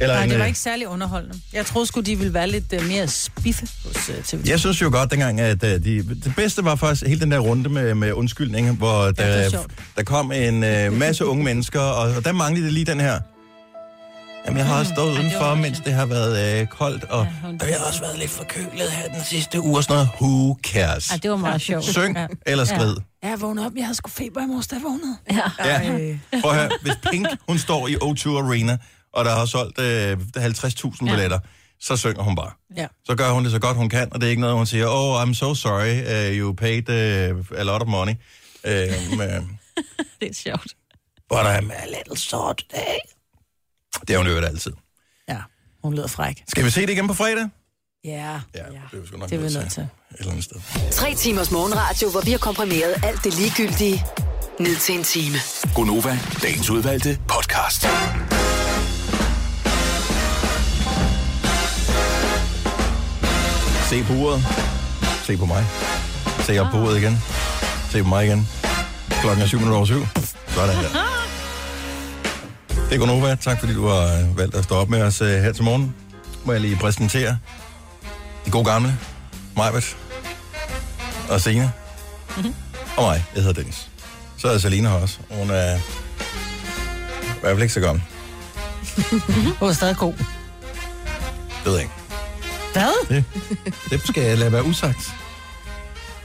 [SPEAKER 1] Eller
[SPEAKER 2] Nej,
[SPEAKER 1] en,
[SPEAKER 2] det var
[SPEAKER 1] øh,
[SPEAKER 2] ikke særlig underholdende. Jeg troede sgu, de ville være lidt øh, mere spiffe hos øh, TV2.
[SPEAKER 1] Jeg synes jo godt dengang, at øh, de, det bedste var faktisk hele den der runde med, med undskyldninger, hvor der,
[SPEAKER 2] det
[SPEAKER 1] ja,
[SPEAKER 2] var sjovt.
[SPEAKER 1] der kom en øh, masse unge mennesker, og, og der manglede det lige den her. Jamen, jeg har også stået udenfor, mens det har været øh, koldt, og, og jeg har også været lidt forkølet her den sidste uge, og sådan noget. Who cares?
[SPEAKER 3] Ej, det var meget sjovt.
[SPEAKER 1] Syng eller skrid.
[SPEAKER 2] Ja, jeg vågnede op. Jeg havde sgu feber i morges, da jeg vågnede.
[SPEAKER 1] Ja. Prøv at høre, hvis Pink, hun står i O2 Arena, og der har solgt øh, 50.000 billetter, så synger hun bare.
[SPEAKER 2] Ja.
[SPEAKER 1] Så gør hun det så godt hun kan, og det er ikke noget, hun siger, oh, I'm so sorry, uh, you paid uh, a lot of money. Uh, uh,
[SPEAKER 3] Det er sjovt.
[SPEAKER 1] but I'm a little sore today. Det er hun øvrigt altid.
[SPEAKER 2] Ja, hun lyder fræk.
[SPEAKER 1] Skal vi se det igen på fredag?
[SPEAKER 2] Ja,
[SPEAKER 1] Ja, det er vi sgu nok
[SPEAKER 2] det er vi
[SPEAKER 1] nødt
[SPEAKER 2] nødt til.
[SPEAKER 1] Et eller andet sted.
[SPEAKER 7] Tre timers morgenradio, hvor vi har komprimeret alt det ligegyldige ned til en time.
[SPEAKER 4] Gonova, dagens udvalgte podcast.
[SPEAKER 1] Se på uret. Se på mig. Se op på uret igen. Se på mig igen. Klokken er syv minutter over syv. Sådan der. Det er Gunova. Tak fordi du har øh, valgt at stå op med os øh, her til morgen. Må jeg lige præsentere de gode gamle, Majbet og Sina. Mm-hmm. Og mig. Jeg hedder Dennis. Så er Selina her også. Hun er i hvert fald ikke så gammel.
[SPEAKER 2] Hun er stadig god.
[SPEAKER 1] Det ved jeg ikke.
[SPEAKER 2] Hvad?
[SPEAKER 1] Det skal jeg lade være usagt.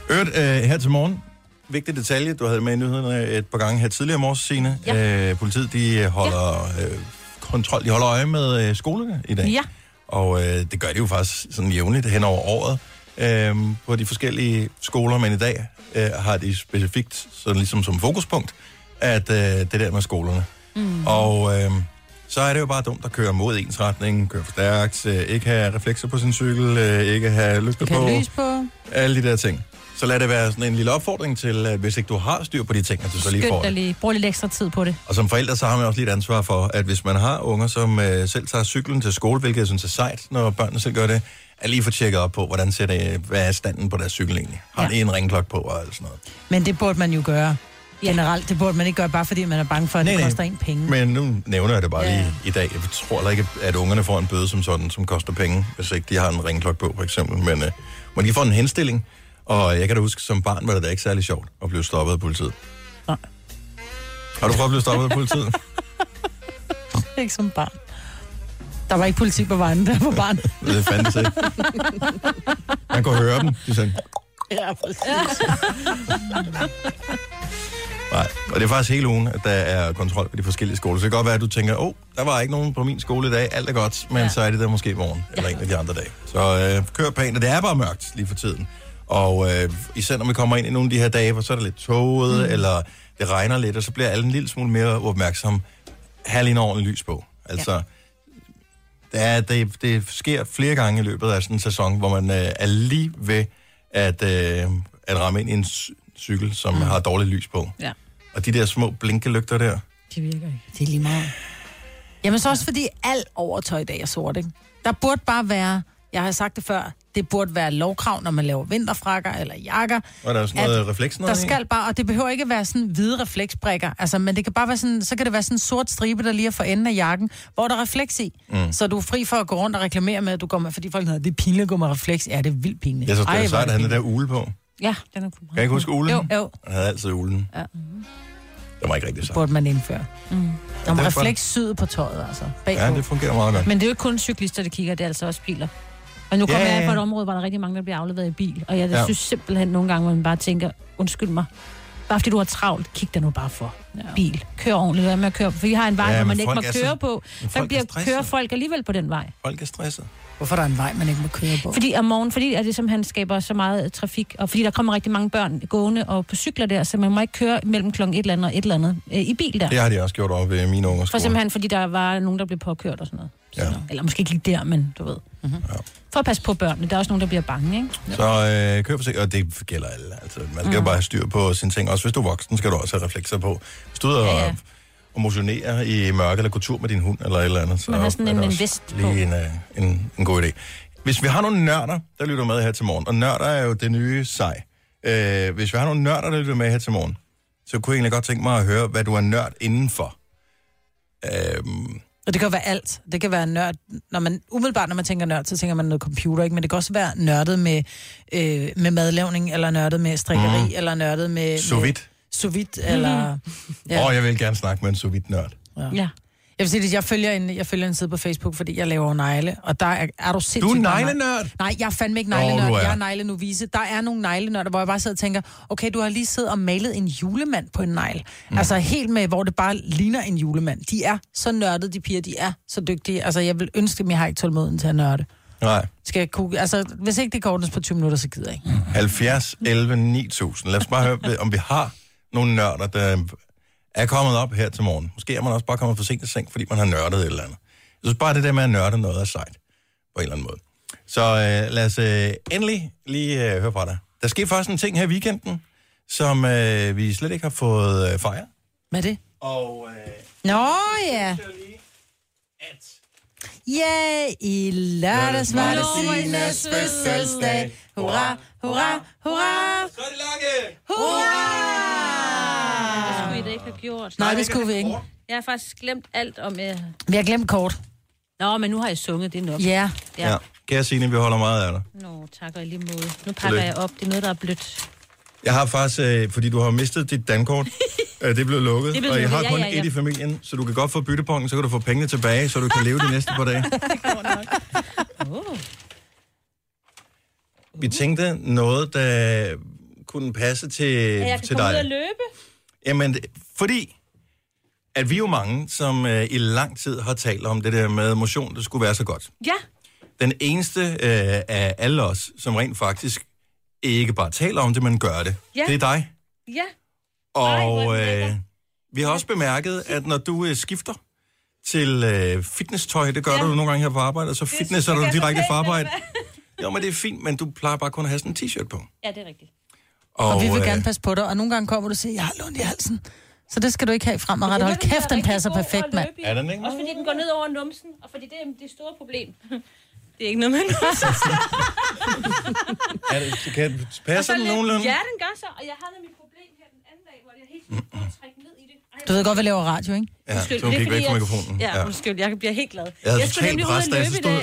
[SPEAKER 1] Øvrigt, øh, her til morgen, vigtig detalje, du havde med i nyhederne et par gange her tidligere i morges, Signe. Ja. Øh, politiet, de holder ja. øh, kontrol, de holder øje med øh, skolerne i dag.
[SPEAKER 3] Ja.
[SPEAKER 1] Og øh, det gør de jo faktisk sådan jævnligt hen over året øh, på de forskellige skoler, men i dag øh, har de specifikt, sådan ligesom som fokuspunkt, at øh, det der med skolerne. Mm.
[SPEAKER 2] Mm-hmm.
[SPEAKER 1] Og øh, så er det jo bare dumt at køre mod ens retning, køre for stærkt, øh, ikke have reflekser på sin cykel, øh, ikke have lygter
[SPEAKER 2] Kan
[SPEAKER 1] på.
[SPEAKER 2] jeg lys på?
[SPEAKER 1] Alle de der ting. Så lad det være sådan en lille opfordring til, at hvis ikke du har styr på de ting, at du så lige får
[SPEAKER 3] Skynd dig
[SPEAKER 1] det.
[SPEAKER 3] lige. Brug lidt ekstra tid på det.
[SPEAKER 1] Og som forældre, så har man også lidt ansvar for, at hvis man har unger, som øh, selv tager cyklen til skole, hvilket jeg synes er sejt, når børnene selv gør det, at lige få tjekket op på, hvordan ser det, hvad er standen på deres cykel egentlig. Har
[SPEAKER 2] Ja.
[SPEAKER 1] det en ringklok på og alt sådan noget.
[SPEAKER 2] Men det burde man jo gøre. Generelt, det burde man ikke gøre, bare fordi man er bange for, at
[SPEAKER 1] Nej,
[SPEAKER 2] det
[SPEAKER 1] nej.
[SPEAKER 2] koster en penge.
[SPEAKER 1] Men nu nævner jeg det bare
[SPEAKER 2] Ja.
[SPEAKER 1] lige i dag. Jeg tror heller ikke, at ungerne får en bøde som sådan, som koster penge, hvis ikke de har en ringklok på, for eksempel. Men øh, man de får en henstilling, og jeg kan da huske, som barn var det da ikke særlig sjovt at blive stoppet af politiet.
[SPEAKER 2] Nej.
[SPEAKER 1] Har du prøvet at blive stoppet af politiet?
[SPEAKER 2] Ikke som barn. Der var ikke politik på vejen, der var barn.
[SPEAKER 1] Det fandt sig. Man kunne høre dem. De sagde,
[SPEAKER 2] ja, præcis.
[SPEAKER 1] nej. Og det er faktisk hele ugen, at der er kontrol på de forskellige skoler. Så det kan godt være, at du tænker, åh, oh, der var ikke nogen på min skole i dag, alt er godt, men ja.
[SPEAKER 3] Ja.
[SPEAKER 1] så er det der måske i morgen, ja. eller en af de andre dage. Så øh, kør pænt, og det er bare mørkt lige for tiden. Og øh, især når vi kommer ind i nogle af de her dage, hvor så er der lidt tåget, mm. eller det regner lidt, og så bliver alle en lille smule mere opmærksom. Have lige en ordentlig lys på. Altså, ja. Ja, det, det sker flere gange i løbet af sådan en sæson, hvor man øh, er lige ved at, øh, at ramme ind i en cy- cykel, som mm. har dårligt lys på.
[SPEAKER 3] Ja.
[SPEAKER 1] Og de der små blinkelygter der.
[SPEAKER 3] Det virker ikke.
[SPEAKER 2] Det er lige meget. Jamen så også fordi alt overtøj i dag er sort, ikke? Der burde bare være, jeg har sagt det før, det burde være lovkrav, når man laver vinterfrakker eller jakker.
[SPEAKER 1] Og der er sådan
[SPEAKER 2] At
[SPEAKER 1] noget øh, at, refleks noget
[SPEAKER 2] Der
[SPEAKER 1] i.
[SPEAKER 2] skal bare, og det behøver ikke være sådan hvide refleksbrikker, altså, men det kan bare være sådan, så kan det være sådan en sort stribe, der lige er for enden af jakken, hvor der er refleks i. Mm. Så du er fri for at gå rundt og reklamere med, at du går med, fordi folk hedder, det er pinligt at gå med refleks. Ja, det er vildt pinligt.
[SPEAKER 1] Jeg synes,
[SPEAKER 2] Ej,
[SPEAKER 1] det er
[SPEAKER 2] hvor
[SPEAKER 1] sejt, at han
[SPEAKER 2] pinligt.
[SPEAKER 1] havde der ule på. Kan
[SPEAKER 3] Ja, den er cool.
[SPEAKER 1] jeg ikke huske ulen?
[SPEAKER 2] Jo, jo.
[SPEAKER 1] Han havde altid ulen. Ja.
[SPEAKER 3] Mm.
[SPEAKER 1] Det var ikke rigtig sejt.
[SPEAKER 2] burde man indføre. Mm. Om
[SPEAKER 1] er
[SPEAKER 2] refleks syet på tøjet, altså. Bagpå.
[SPEAKER 1] Ja, det fungerer meget godt.
[SPEAKER 3] Men det er jo ikke kun cyklister, der kigger, det er altså også biler. Og nu
[SPEAKER 1] Ja,
[SPEAKER 3] kommer
[SPEAKER 1] ja,
[SPEAKER 3] yeah. jeg
[SPEAKER 1] ja.
[SPEAKER 3] fra et område, hvor der er rigtig mange, der bliver afleveret i bil. Og jeg
[SPEAKER 1] Ja.
[SPEAKER 3] ja. synes simpelthen nogle gange, hvor man bare tænker, undskyld mig, bare fordi du har travlt, kig dig nu bare for. Ja. Bil. Kør ordentligt, hvad med at køre. For vi har en vej,
[SPEAKER 1] Ja,
[SPEAKER 3] ja, hvor
[SPEAKER 1] men
[SPEAKER 3] man ikke
[SPEAKER 1] folk
[SPEAKER 3] må
[SPEAKER 1] er
[SPEAKER 3] køre
[SPEAKER 1] så-
[SPEAKER 3] på.
[SPEAKER 1] men folk
[SPEAKER 3] Der
[SPEAKER 1] er
[SPEAKER 3] bliver
[SPEAKER 1] stressede.
[SPEAKER 3] kører folk alligevel på den vej.
[SPEAKER 1] Folk er stresset.
[SPEAKER 2] Hvorfor er der en vej, man ikke må køre på?
[SPEAKER 3] Fordi om morgenen, fordi at det simpelthen skaber så meget øh, trafik, og fordi der kommer rigtig mange børn gående og på cykler der, så man må ikke køre mellem klokken et eller andet og et eller andet øh, i bil der.
[SPEAKER 1] Det har de også gjort over ved mine ungers
[SPEAKER 3] For
[SPEAKER 1] skole.
[SPEAKER 3] simpelthen, fordi der var nogen, der blev påkørt og sådan noget. Så,
[SPEAKER 1] Ja.
[SPEAKER 3] ja. Eller måske ikke lige der, men du ved. Mm-hmm.
[SPEAKER 1] Ja.
[SPEAKER 3] Ja. For at passe på børnene. Der er også nogen, der bliver bange, ikke?
[SPEAKER 1] Så øh, kør forsigtigt, og det gælder alle. Altså, man
[SPEAKER 3] Mhm.
[SPEAKER 1] skal mm. bare have styr på sine ting. Også hvis du er voksen, skal du også have reflekser på. Hvis du er ude og,
[SPEAKER 3] Ja, ja.
[SPEAKER 1] og motionerer i mørke, eller går tur med din hund, eller et eller andet, så
[SPEAKER 3] Man har sådan
[SPEAKER 1] er
[SPEAKER 3] en-
[SPEAKER 1] det
[SPEAKER 3] en
[SPEAKER 1] også
[SPEAKER 3] vest på.
[SPEAKER 1] lige en, øh, en, en god idé. Hvis vi har nogle nørder, der lytter med her til morgen, og nørder er jo det nye sej. Øh, hvis vi har nogle nørder, der lytter med her til morgen, så kunne jeg egentlig godt tænke mig at høre, hvad du er nørd indenfor. Øhm,
[SPEAKER 2] Og det kan jo være alt. Det kan være nørd. Når man, umiddelbart, når man tænker nørd, så tænker man noget computer, ikke? Men det kan også være nørdet med, øh, med madlavning, eller nørdet med strikkeri, mm. eller nørdet med...
[SPEAKER 1] sous
[SPEAKER 2] med
[SPEAKER 1] vide.
[SPEAKER 2] Sous vide, eller...
[SPEAKER 1] Åh,
[SPEAKER 2] Ja.
[SPEAKER 1] oh, jeg vil gerne snakke med en sous vide nørd.
[SPEAKER 3] Ja.
[SPEAKER 2] Jeg vil sige, at jeg følger, en, jeg følger en side på Facebook, fordi jeg laver negle, og der er, er du sindssygt...
[SPEAKER 1] Du er
[SPEAKER 2] mange-
[SPEAKER 1] neglenørd!
[SPEAKER 2] Nej, jeg er fandme ikke
[SPEAKER 1] Nå, du
[SPEAKER 2] neglenørd.
[SPEAKER 1] er.
[SPEAKER 2] Jeg er neglenuvise. Der er nogle neglenørder, hvor jeg bare sidder og tænker, okay, du har lige siddet og malet en julemand på en negl. Mm. Altså helt med, hvor det bare ligner en julemand. De er så nørdede, de piger. De er så dygtige. Altså, jeg vil ønske, at jeg har ikke tålmoden til at nørde.
[SPEAKER 1] Nej.
[SPEAKER 2] Skal jeg kunne... Altså, hvis ikke det kan ordnes på 20 minutter, så gider jeg ikke.
[SPEAKER 1] 70, 11, 9000. Lad os bare høre, om vi har nogle nørder, der er kommet op her til morgen. Måske er man også bare kommet for sent i seng, fordi man har nørdet et eller andet. Jeg synes bare, det der med at nørde noget er sejt, på en eller anden måde. Så øh, lad os øh, endelig lige øh, høre fra dig. Der skete faktisk en ting her i weekenden, som øh, vi slet ikke har fået øh, fejret.
[SPEAKER 2] Hvad er det?
[SPEAKER 1] Og øh,
[SPEAKER 2] Nå, ja.
[SPEAKER 1] at
[SPEAKER 2] Ja, i lørdags var det Sinas fødselsdag. Hurra, hurra, hurra,
[SPEAKER 1] så er det lange!
[SPEAKER 2] hurra!
[SPEAKER 3] du gjort?
[SPEAKER 2] Nej, det skulle vi ikke.
[SPEAKER 3] Jeg har faktisk glemt alt om... Uh...
[SPEAKER 2] Vi har glemt kort.
[SPEAKER 3] Nå, men nu har jeg sunget, det er nok.
[SPEAKER 2] Ja.
[SPEAKER 3] Ja.
[SPEAKER 1] Ja. Kære Signe, vi holder meget af dig.
[SPEAKER 3] Nå, tak og i lige måde. Nu pakker jeg op. Det er noget, der er blødt.
[SPEAKER 1] Jeg har faktisk, øh, fordi du har mistet dit dankort, øh, det blev
[SPEAKER 3] Det
[SPEAKER 1] lukket, det
[SPEAKER 3] blev
[SPEAKER 1] og jeg
[SPEAKER 3] lukket,
[SPEAKER 1] har
[SPEAKER 3] ja,
[SPEAKER 1] kun
[SPEAKER 3] ja, ja.
[SPEAKER 1] et i familien, så du kan godt få byttepongen, så kan du få pengene tilbage, så du kan leve de næste par dage.
[SPEAKER 3] Oh.
[SPEAKER 1] Vi tænkte noget, der kunne passe til,
[SPEAKER 3] Ja, jeg kan
[SPEAKER 1] Øh, til
[SPEAKER 3] komme ud
[SPEAKER 1] dig.
[SPEAKER 3] og løbe.
[SPEAKER 1] Jamen, det- fordi at vi er jo mange, som øh, i lang tid har talt om det der med motion, det skulle være så godt.
[SPEAKER 3] Ja.
[SPEAKER 1] Den eneste øh, af alle os, som rent faktisk ikke bare taler om det, men gør det,
[SPEAKER 3] Ja.
[SPEAKER 1] det er dig.
[SPEAKER 3] Ja. hvor
[SPEAKER 1] Og
[SPEAKER 3] er den lækker.
[SPEAKER 1] øh, vi har også bemærket, at når du øh, skifter til øh, fitnesstøj, det gør ja.
[SPEAKER 3] Ja.
[SPEAKER 1] du nogle gange her på arbejde, og så fitnesser
[SPEAKER 3] jeg
[SPEAKER 1] du
[SPEAKER 3] kan
[SPEAKER 1] direkte
[SPEAKER 3] fortælle
[SPEAKER 1] fra
[SPEAKER 3] dig,
[SPEAKER 1] arbejde. Jo, men det er fint, men du plejer bare kun at have sådan en t-shirt på.
[SPEAKER 3] Ja, det er rigtigt.
[SPEAKER 2] Og vi vil
[SPEAKER 1] øh,
[SPEAKER 2] gerne passe på dig, og nogle gange kommer du og siger, jeg har lånt i halsen. Så det skal du ikke have fremadrettet. Hold kæft, den passer perfekt, mand.
[SPEAKER 1] Er den ikke?
[SPEAKER 3] Også fordi den går ned over numsen, og fordi det er det store problem. Det er ikke noget med
[SPEAKER 1] er det, så kan, passer den nogenlunde?
[SPEAKER 3] Ja, den gør så, og jeg havde mit problem her den anden dag, hvor jeg helt prøvede at trække ned i det. Ej,
[SPEAKER 2] Du ved godt, vi laver radio, ikke?
[SPEAKER 1] Ja,
[SPEAKER 3] undskyld,
[SPEAKER 1] så hun
[SPEAKER 3] det er
[SPEAKER 1] gik væk fra
[SPEAKER 3] fordi,
[SPEAKER 1] mikrofonen.
[SPEAKER 3] Jeg,
[SPEAKER 1] Ja.
[SPEAKER 3] ja, undskyld, jeg bliver helt glad.
[SPEAKER 1] Jeg havde
[SPEAKER 3] skulle nemlig
[SPEAKER 1] totalt
[SPEAKER 3] ud
[SPEAKER 1] pres,
[SPEAKER 3] og
[SPEAKER 1] da jeg så
[SPEAKER 3] løbe i
[SPEAKER 1] stod,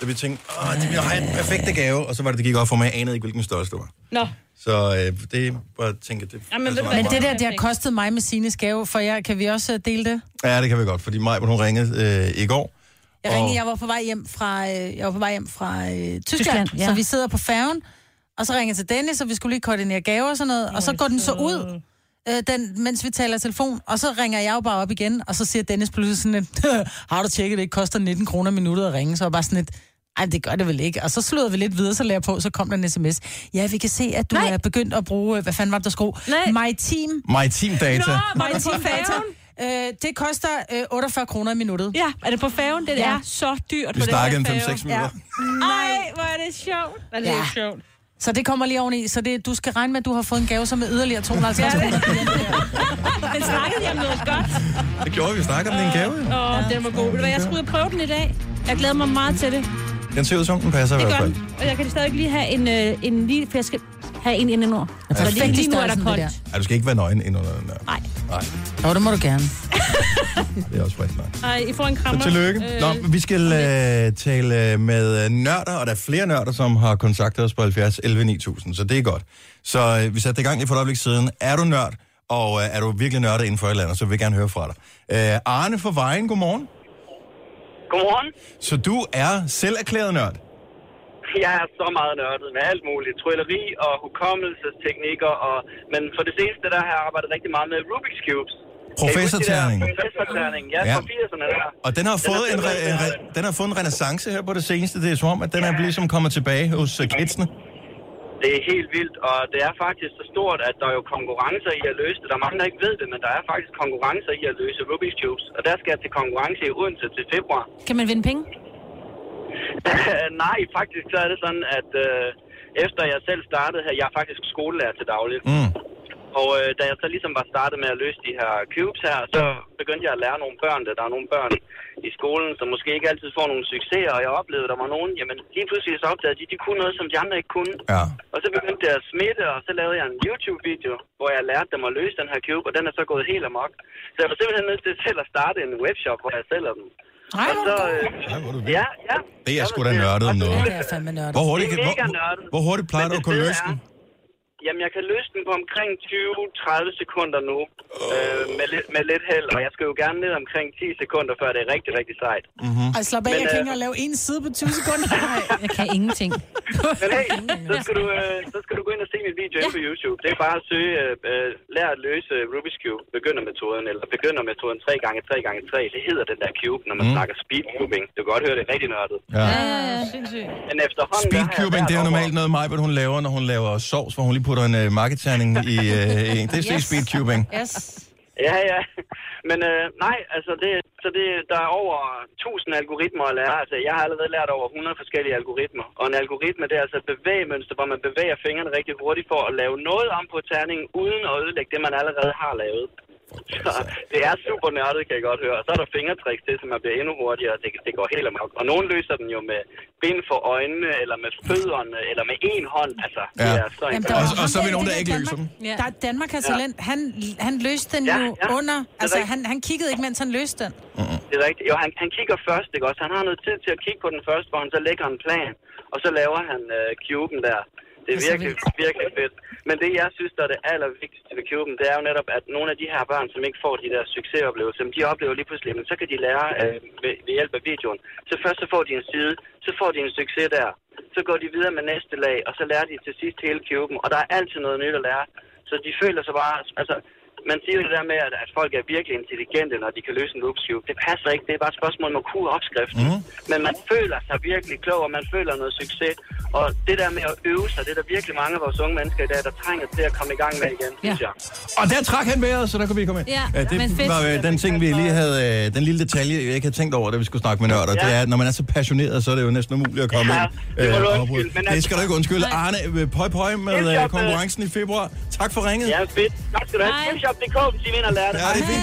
[SPEAKER 3] dag.
[SPEAKER 1] da vi tænkte, åh, det- jeg har den perfekte gave, og så var det, det gik op for mig, jeg anede ikke, hvilken størrelse det var.
[SPEAKER 3] Nå,
[SPEAKER 1] Så øh, det var, tænker
[SPEAKER 3] Jamen, ved
[SPEAKER 1] det passer
[SPEAKER 3] du
[SPEAKER 1] mig
[SPEAKER 3] hvad,
[SPEAKER 2] Men
[SPEAKER 1] meget
[SPEAKER 2] det der,
[SPEAKER 1] godt.
[SPEAKER 2] det har kostet mig med sine gave, for jeg, kan vi også øh, dele det?
[SPEAKER 1] Ja, det kan vi godt, fordi Maj, hun ringede øh, i går,
[SPEAKER 2] Jeg
[SPEAKER 1] Og-
[SPEAKER 2] ringede, jeg var på vej hjem fra, øh, jeg var på vej hjem fra øh, Tyskland,
[SPEAKER 3] Tyskland,
[SPEAKER 2] Tyskland ja.
[SPEAKER 3] ja.
[SPEAKER 2] så vi sidder på færgen, og så ringer jeg til Dennis, og vi skulle lige koordinere gaver og sådan noget, og så går den så ud,
[SPEAKER 3] Mm.
[SPEAKER 2] øh, den, mens vi taler i telefon, og så ringer jeg jo bare op igen, og så siger Dennis pludselig sådan lidt, har du tjekket, det koster 19 kroner minuttet at ringe, så var jeg bare sådan lidt, ej, det gør det vel ikke. Og så slåede vi lidt videre, så lagde jeg på, så kom der en sms. Ja, vi kan se, at du Nej.
[SPEAKER 3] Nej.
[SPEAKER 2] er begyndt at bruge, øh, hvad fanden var det, der skro?
[SPEAKER 3] Nej. Ah,
[SPEAKER 2] My Team.
[SPEAKER 1] My Team Data.
[SPEAKER 3] var det på færgen?
[SPEAKER 2] Øh, det koster øh, 48 kroner i minuttet.
[SPEAKER 3] Ja, er det på færgen? Det
[SPEAKER 2] Ja.
[SPEAKER 3] er så dyrt
[SPEAKER 1] Vi
[SPEAKER 3] på den her
[SPEAKER 1] snakkede om 5-6
[SPEAKER 3] færge.
[SPEAKER 1] minutter. Ja.
[SPEAKER 3] Ej, hvor er det sjovt. Hvor Er det
[SPEAKER 2] Ja.
[SPEAKER 3] ja. sjovt.
[SPEAKER 2] Så det kommer lige oveni, så det, du skal regne med, at du har fået en gave, som er yderligere 250 kroner.
[SPEAKER 3] Men snakkede jeg om noget godt?
[SPEAKER 1] Det gjorde vi, vi snakkede om din gave. jo.
[SPEAKER 3] Åh, oh, den var god. Ved du hvad, jeg skulle ud og prøve den i dag. Jeg glæder mig meget til det.
[SPEAKER 1] Den ser ud som, den passer i
[SPEAKER 3] Det
[SPEAKER 1] hvert
[SPEAKER 3] gør
[SPEAKER 1] fald.
[SPEAKER 3] den. Og jeg kan stadig lige have en, øh, en lille, for jeg skal have en inden over.
[SPEAKER 2] er
[SPEAKER 3] Fordi
[SPEAKER 2] perfekt i
[SPEAKER 3] lige nu er der
[SPEAKER 2] størrelsen, det
[SPEAKER 3] koldt.
[SPEAKER 1] Altså, Ej, du skal ikke være nøgen ind under den der.
[SPEAKER 3] Nej.
[SPEAKER 1] Nej,
[SPEAKER 2] Nå, det må du gerne.
[SPEAKER 1] det er også rigtig nok.
[SPEAKER 3] Ej, I får en krammer.
[SPEAKER 1] Så tillykke.
[SPEAKER 3] Øh,
[SPEAKER 1] Nå, vi skal øh, tale øh, med øh, nørder, og der er flere nørder, som har kontaktet os på 70 11 9000, så det er godt. Så øh, vi satte i gang lige for et øjeblik siden. Er du nørd, og øh, er du virkelig nørdet inden for et eller andet, så vil vi gerne høre fra dig. Øh, Arne fra Vejen, godmorgen.
[SPEAKER 9] Godmorgen.
[SPEAKER 1] Så du er selv erklæret nørd?
[SPEAKER 9] Jeg er så meget nørdet med alt muligt. Trylleri og hukommelsesteknikker. Og... Men for det seneste, der har jeg arbejdet rigtig meget med Rubik's Cubes.
[SPEAKER 1] Professorterningen.
[SPEAKER 9] Professorterning, ja,
[SPEAKER 1] Ja.
[SPEAKER 9] ja. fra 80'erne der.
[SPEAKER 1] Og den har, fået en, re- en re- den har fået en renaissance her på det seneste. Det er som om, at den er ligesom kommet tilbage hos øh, kidsene.
[SPEAKER 9] Det er helt vildt, og det er faktisk så stort, at der er jo konkurrencer i at løse det. Der er mange, der ikke ved det, men der er faktisk konkurrencer i at løse Rubik's Cubes. Og der skal jeg til konkurrence i Odense til februar.
[SPEAKER 3] Kan man vinde penge?
[SPEAKER 9] Nej, faktisk så er det sådan, at øh, efter jeg selv startede her, jeg er faktisk skolelærer til dagligt.
[SPEAKER 1] Mm.
[SPEAKER 9] Og øh, da jeg så ligesom var startet med at løse de her cubes her, så begyndte jeg at lære nogle børn, det. der er nogle børn i skolen, som måske ikke altid får nogle succeser, og jeg oplevede, at der var nogen, jamen lige pludselig så opdagede de, de kunne noget, som de andre ikke kunne.
[SPEAKER 1] Ja.
[SPEAKER 9] Og så begyndte det at smitte, og så lavede jeg en YouTube-video, hvor jeg lærte dem at løse den her cube, og den er så gået helt amok. Så jeg var simpelthen nødt til selv at starte en webshop, hvor jeg sælger dem.
[SPEAKER 2] Ej,
[SPEAKER 9] Og
[SPEAKER 2] hvor
[SPEAKER 9] så,
[SPEAKER 2] er
[SPEAKER 9] øh,
[SPEAKER 1] Ja, hvor er du vild.
[SPEAKER 9] ja, ja.
[SPEAKER 1] Det er
[SPEAKER 9] Jeg
[SPEAKER 1] sgu
[SPEAKER 9] vil
[SPEAKER 1] da
[SPEAKER 9] sige,
[SPEAKER 1] nørdet om
[SPEAKER 9] og-
[SPEAKER 1] noget.
[SPEAKER 2] det er fandme nørdet.
[SPEAKER 1] Hvor hurtigt,
[SPEAKER 9] Det
[SPEAKER 1] kan,
[SPEAKER 9] er mega
[SPEAKER 1] hvor,
[SPEAKER 9] nørdet.
[SPEAKER 1] hvor hurtigt plejer
[SPEAKER 9] Men
[SPEAKER 1] du at
[SPEAKER 9] det
[SPEAKER 1] kunne
[SPEAKER 9] fede
[SPEAKER 1] løse den?
[SPEAKER 9] er- Jamen, jeg kan løse den på omkring 20-30 sekunder nu, øh, med, lidt, med lidt held, og jeg skal jo gerne ned omkring 10 sekunder, før det er rigtig, rigtig sejt.
[SPEAKER 1] Mm.
[SPEAKER 2] Ej, slap af,
[SPEAKER 9] Men,
[SPEAKER 2] jeg kan
[SPEAKER 9] øh,
[SPEAKER 2] ikke engang lave en side på 20 sekunder.
[SPEAKER 3] Jeg kan ingenting.
[SPEAKER 9] Men hey, så skal du, øh, så skal du gå ind og se min video ja. på YouTube. Det er bare at søge, øh, øh, lær at løse Rubik's Cube, begyndermetoden, eller begyndermetoden 3x3x3. Det hedder den der cube, når man mm. snakker speed cubing. Du kan godt høre, det er rigtig nørdet.
[SPEAKER 1] Ja.
[SPEAKER 9] Men efterhånden... der har jeg
[SPEAKER 1] Speedcubing, det er
[SPEAKER 9] hvert
[SPEAKER 1] jo
[SPEAKER 9] år-
[SPEAKER 1] normalt noget, Majbert, hun laver, når hun laver sovs, hvor hun lige putter en uh, markedterning i uh, en. Det er yes.
[SPEAKER 3] Yes.
[SPEAKER 1] speedcubing.
[SPEAKER 3] Yes.
[SPEAKER 9] Ja, ja. Men øh, nej, altså det, så det, der er over 1000 algoritmer at lære. Altså, jeg har allerede lært over 100 forskellige algoritmer. Og en algoritme, det er altså et bevægemønster, hvor man bevæger fingrene rigtig hurtigt for at lave noget om på terningen, uden at ødelægge det, man allerede har lavet.
[SPEAKER 10] Så det er super nørdet, kan jeg godt høre. Og så er der fingertricks til, som man bliver endnu hurtigere. Det, det går helt amok. Og nogen løser den jo med bind for øjnene, eller med fødderne, eller med en hånd. Altså, ja. det
[SPEAKER 1] Ja.
[SPEAKER 10] er så
[SPEAKER 1] Jamen,
[SPEAKER 10] imponerende.
[SPEAKER 1] Og- og så er vi nogen, der ikke løser dem.
[SPEAKER 2] Ja. Der er Danmark har
[SPEAKER 10] Ja.
[SPEAKER 2] talent. Han, han løste den
[SPEAKER 10] Ja,
[SPEAKER 2] ja, jo
[SPEAKER 10] ja.
[SPEAKER 2] ja. under...
[SPEAKER 10] er
[SPEAKER 2] Altså,
[SPEAKER 10] rigtigt.
[SPEAKER 2] han, han kiggede ikke, mens han løste den.
[SPEAKER 10] Det er rigtigt. Jo, han, han kigger først, ikke også? Han har noget tid til at kigge på den først, hvor han så lægger en plan, og så laver han øh, cuben der. Det er
[SPEAKER 2] Det er så
[SPEAKER 10] virkelig, virkelig fedt. Men det, jeg synes, der er det allervigtigste ved cuben, det er jo netop, at nogle af de her børn, som ikke får de der succesoplevelser, men de oplever lige pludselig, men så kan de lære øh, ved, ved hjælp af videoen. Så først så får de en side, så får de en succes der, så går de videre med næste lag, og så lærer de til sidst hele cuben, og der er altid noget nyt at lære. Så de føler sig bare, altså, man siger jo det der med, at, at folk er virkelig intelligente, når de kan løse en Rubik's Cube. Det passer ikke. Det er bare et spørgsmål om at kunne opskriften. Mm. Men man føler sig virkelig klog, og man føler noget succes. Og det der med at øve sig, det er der virkelig mange af vores unge mennesker i dag, der trænger til at komme i gang med igen, ja. synes jeg.
[SPEAKER 1] Og der trak han vejret, så der kunne vi komme ind.
[SPEAKER 3] Ja,
[SPEAKER 1] Øh, det
[SPEAKER 3] men fedt.
[SPEAKER 1] var øh, den ting, vi lige havde, øh, den lille detalje, jeg ikke havde tænkt over, da vi skulle snakke med nørder. Ja. Det er, at når man er så passioneret, så er det jo næsten umuligt at komme
[SPEAKER 10] Ja,
[SPEAKER 1] ind.
[SPEAKER 10] det må du
[SPEAKER 1] og
[SPEAKER 10] undskylde,
[SPEAKER 1] afbryde.
[SPEAKER 10] men
[SPEAKER 1] det
[SPEAKER 10] altså-
[SPEAKER 1] skal du ikke undskylde. Arne, øh, pøj pøj
[SPEAKER 10] Helt
[SPEAKER 1] med øh,
[SPEAKER 10] op, øh.
[SPEAKER 1] konkurrencen i februar. Tak for ringet.
[SPEAKER 10] Ja, fedt. Tak skal du have.
[SPEAKER 3] Hej.
[SPEAKER 10] Filmshop.dk, hvis I vinder lærer det.
[SPEAKER 1] Ja, det er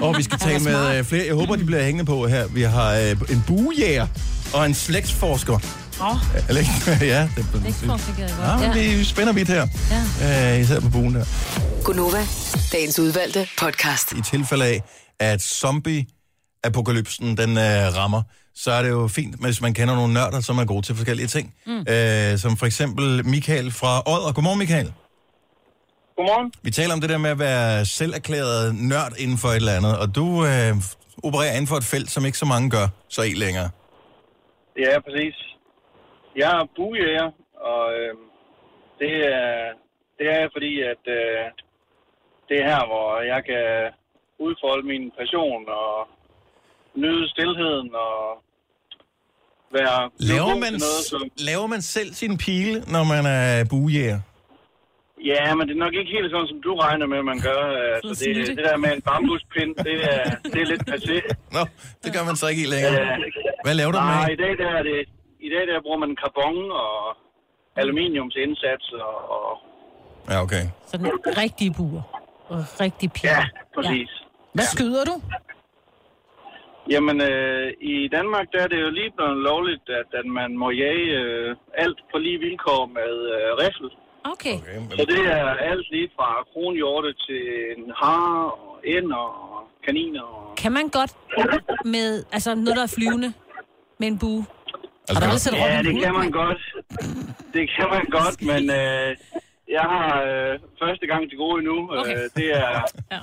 [SPEAKER 1] fint. Og vi skal tale med øh, flere. Jeg håber, de bliver hængende på her. Vi har øh, en bujæger og en slægtsforsker.
[SPEAKER 3] Åh,
[SPEAKER 1] Eller ikke? ja, det,
[SPEAKER 3] det
[SPEAKER 1] det,
[SPEAKER 3] tror jeg, jeg
[SPEAKER 1] Ja,
[SPEAKER 3] godt.
[SPEAKER 1] men
[SPEAKER 3] Ja.
[SPEAKER 1] det spænder vidt her. Ja. Øh, især på buen der.
[SPEAKER 7] Gunova, dagens udvalgte podcast.
[SPEAKER 1] i tilfælde af, at zombie-apokalypsen den øh, rammer, så er det jo fint, hvis man kender nogle nørder, som er gode til forskellige ting. Mm. Øh, som for eksempel Michael fra Odder. Godmorgen, Michael.
[SPEAKER 10] Godmorgen.
[SPEAKER 1] Vi taler om det der med at være selverklæret nørd inden for et eller andet, og du øh, opererer inden for et felt, som ikke så mange gør så i længere.
[SPEAKER 10] Ja, præcis. Jeg er bujæger, og øh, det, er, det er jeg, fordi, at øh, det er her, hvor jeg kan udfolde min passion og nyde stillheden og være
[SPEAKER 1] Laver
[SPEAKER 10] god
[SPEAKER 1] man,
[SPEAKER 10] til noget, som...
[SPEAKER 1] laver man selv sin pile, når man er bujæger?
[SPEAKER 10] Ja, men det er nok ikke helt sådan, som du regner med, man gør. Altså, det, det der med en bambuspind, det er, det er lidt passé.
[SPEAKER 1] Nå, det gør man så ikke i længere.
[SPEAKER 10] Øh,
[SPEAKER 1] Hvad laver du
[SPEAKER 10] Nej, i
[SPEAKER 1] med?
[SPEAKER 10] dag der er det... I dag der bruger man karbon og aluminiumsindsats og, og
[SPEAKER 1] Ja, okay.
[SPEAKER 3] Sådan rigtige buer. Og rigtig pige.
[SPEAKER 10] ja, præcis. Ja.
[SPEAKER 2] Hvad skyder du?
[SPEAKER 10] Jamen, øh, i Danmark der er det jo lige blevet lovligt, at, at man må jage øh, alt på lige vilkår med øh, riffel.
[SPEAKER 3] Okay.
[SPEAKER 1] okay.
[SPEAKER 10] Så det er alt lige fra kronhjorte til en har og ender og kaniner. Og...
[SPEAKER 3] Kan man godt med altså noget, der er flyvende med en bue?
[SPEAKER 1] Altså,
[SPEAKER 2] Har du aldrig set
[SPEAKER 10] Ja,
[SPEAKER 2] Robin
[SPEAKER 10] det
[SPEAKER 2] Hood?
[SPEAKER 10] kan man godt. Det kan man godt, men øh, jeg har øh, første gang til gode endnu.
[SPEAKER 3] Okay.
[SPEAKER 10] Øh, det er,
[SPEAKER 3] Ja.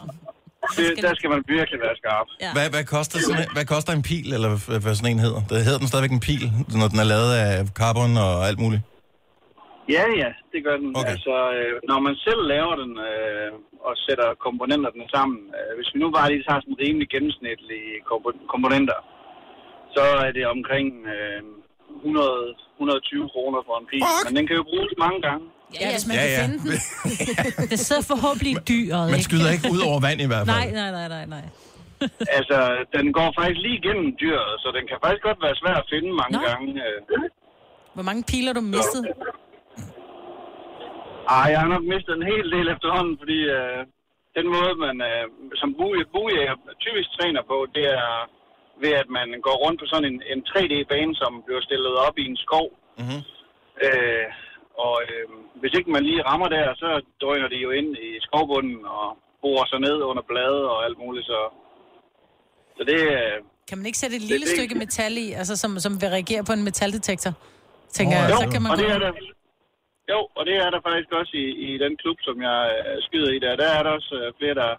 [SPEAKER 10] det, der skal man virkelig være skarp.
[SPEAKER 1] Hvad, hvad, koster sådan, en- hvad koster en pil, eller hvad, hvad sådan en hedder? Det hedder den stadigvæk en pil, når den er lavet af carbon og alt muligt.
[SPEAKER 10] Ja, ja, det gør den.
[SPEAKER 1] Okay.
[SPEAKER 10] Okay. Altså, øh, når man selv laver den øh, og sætter komponenterne sammen, øh, hvis vi nu bare lige tager sådan rimelig gennemsnitlige kompo- komponenter, så er det omkring øh, 100, 120 kroner for en pil. Men den kan jo bruges mange gange.
[SPEAKER 2] Ja, hvis man
[SPEAKER 1] Ja,
[SPEAKER 2] ja, ja.
[SPEAKER 1] ja.
[SPEAKER 2] kan finde den.
[SPEAKER 3] Det sidder forhåbentlig i dyret,
[SPEAKER 1] Man
[SPEAKER 3] ikke?
[SPEAKER 1] skyder ikke ud over vand i hvert fald.
[SPEAKER 3] Nej, nej, nej, nej, nej.
[SPEAKER 10] Altså, den går faktisk lige igennem dyret, så den kan faktisk godt være svær at finde mange
[SPEAKER 3] Nå.
[SPEAKER 10] Nå. gange. Øh.
[SPEAKER 2] Hvor mange piler har du mistet?
[SPEAKER 10] Ej, jeg har nok mistet en hel del efterhånden, fordi øh, den måde, man øh, som buje- bujæger typisk træner på, det er ved, at man går rundt på sådan en, en 3D-bane, som bliver stillet op i en skov.
[SPEAKER 1] Mhm.
[SPEAKER 10] Øh, og øh, hvis ikke man lige rammer der, så drøner de jo ind i skovbunden og borer sig ned under blade og alt muligt. Så, så det, øh,
[SPEAKER 2] Kan man ikke sætte et lille
[SPEAKER 10] det-
[SPEAKER 2] stykke metal i, altså som, som vil reagere på en metaldetektor? Tænker
[SPEAKER 1] Åh,
[SPEAKER 2] jeg,
[SPEAKER 1] jo,
[SPEAKER 2] så kan man
[SPEAKER 10] og
[SPEAKER 2] gå...
[SPEAKER 10] det er der, jo, og det er der faktisk også i, i den klub, som jeg øh, skyder i der. Der er der også øh, flere, der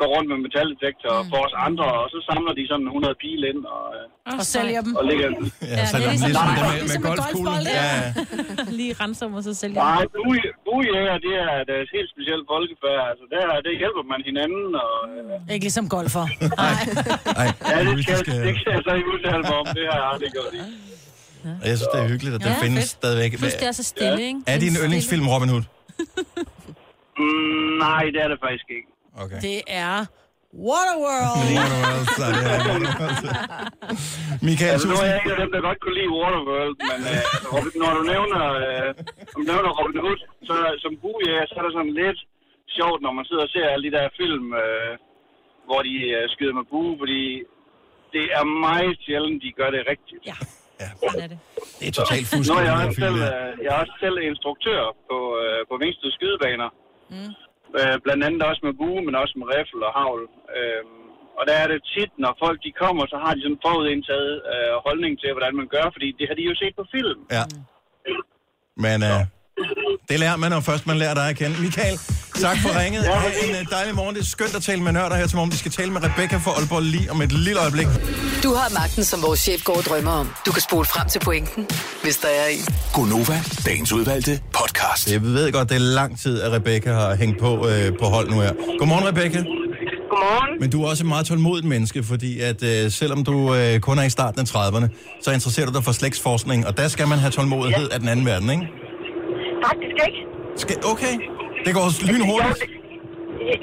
[SPEAKER 10] går rundt med metaldetektor mm. for os andre, og så samler de sådan 100 pile ind og, øh,
[SPEAKER 2] og sælger dem.
[SPEAKER 10] og ligger...
[SPEAKER 1] Ja, så
[SPEAKER 3] det er
[SPEAKER 1] er det
[SPEAKER 3] ligesom-
[SPEAKER 1] ligesom det med,
[SPEAKER 2] Ligesom
[SPEAKER 1] med
[SPEAKER 2] en
[SPEAKER 1] golfkuglen.
[SPEAKER 2] golfbold,
[SPEAKER 1] Ja, ja.
[SPEAKER 3] Lige renser mig så selv.
[SPEAKER 10] Nej, buje- bujæger, det er deres helt specielle folkefærd. Altså, der, det hjælper man hinanden, og øh,
[SPEAKER 2] Ikke ligesom golfer.
[SPEAKER 10] ja,
[SPEAKER 1] Ej,
[SPEAKER 10] det,
[SPEAKER 1] hvis
[SPEAKER 10] skal,
[SPEAKER 1] vi skal-
[SPEAKER 10] det kan jeg så ikke udtale mig om. Det har jeg aldrig gjort i.
[SPEAKER 1] Og Jeg synes, det er hyggeligt, at den
[SPEAKER 3] Ja,
[SPEAKER 1] findes
[SPEAKER 3] fedt.
[SPEAKER 1] stadigvæk.
[SPEAKER 3] Plus det er så stille, ikke?
[SPEAKER 1] Er
[SPEAKER 3] Det
[SPEAKER 1] din
[SPEAKER 3] stille.
[SPEAKER 1] yndlingsfilm Robin Hood?
[SPEAKER 10] Mm, nej, det er det faktisk ikke.
[SPEAKER 1] Okay.
[SPEAKER 2] Det er Waterworld.
[SPEAKER 1] Waterworld, så er det Michael,
[SPEAKER 10] Altså, nu er
[SPEAKER 1] tusind.
[SPEAKER 10] jeg en af dem, der godt kunne lide Waterworld, men øh, Robin, når du nævner, øh, når du nævner Robin Hood, så som bujæger, så er der sådan lidt
[SPEAKER 9] sjovt, når man sidder og ser alle de der film, øh, hvor de øh, skyder med bue, fordi det er meget sjældent, de gør det rigtigt.
[SPEAKER 3] Ja, sådan er det.
[SPEAKER 1] Det er totalt
[SPEAKER 9] Nå,
[SPEAKER 1] fuldstændig.
[SPEAKER 9] jeg er, også selv, øh, jeg er også selv instruktør på, øh, på Vingsted Skydebaner.
[SPEAKER 2] Mm.
[SPEAKER 9] Øh, blandt andet også med bue, men også med riffel og havl. Øh, og der er det tit, når folk de kommer, så har de sådan en forudindtaget øh, holdning til, hvordan man gør, fordi det har de jo set på film.
[SPEAKER 1] Ja. Men øh, det lærer man, når først man lærer dig at kende. Michael, tak for ringet. Ha' en øh, dejlig morgen. Det er skønt at tale med nørder her til morgen. Vi skal tale med Rebecca fra Aalborg lige om et lille øjeblik.
[SPEAKER 7] Du har magten, som vores chef går og drømmer om. Du kan spole frem til pointen, hvis der er en.
[SPEAKER 4] Gonova, dagens udvalgte podcast.
[SPEAKER 1] Jeg ved godt, det er lang tid, at Rebecca har hængt på øh, på hold nu her. Godmorgen, Rebecca.
[SPEAKER 11] Godmorgen.
[SPEAKER 1] Men du er også et meget tålmodigt menneske, fordi at øh, selvom du øh, kun er i starten af 30'erne, så interesserer du dig for slægtsforskning, og der skal man have tålmodighed af den anden verden, ikke?
[SPEAKER 11] Faktisk ikke.
[SPEAKER 1] Skal, okay, det går lynhurtigt.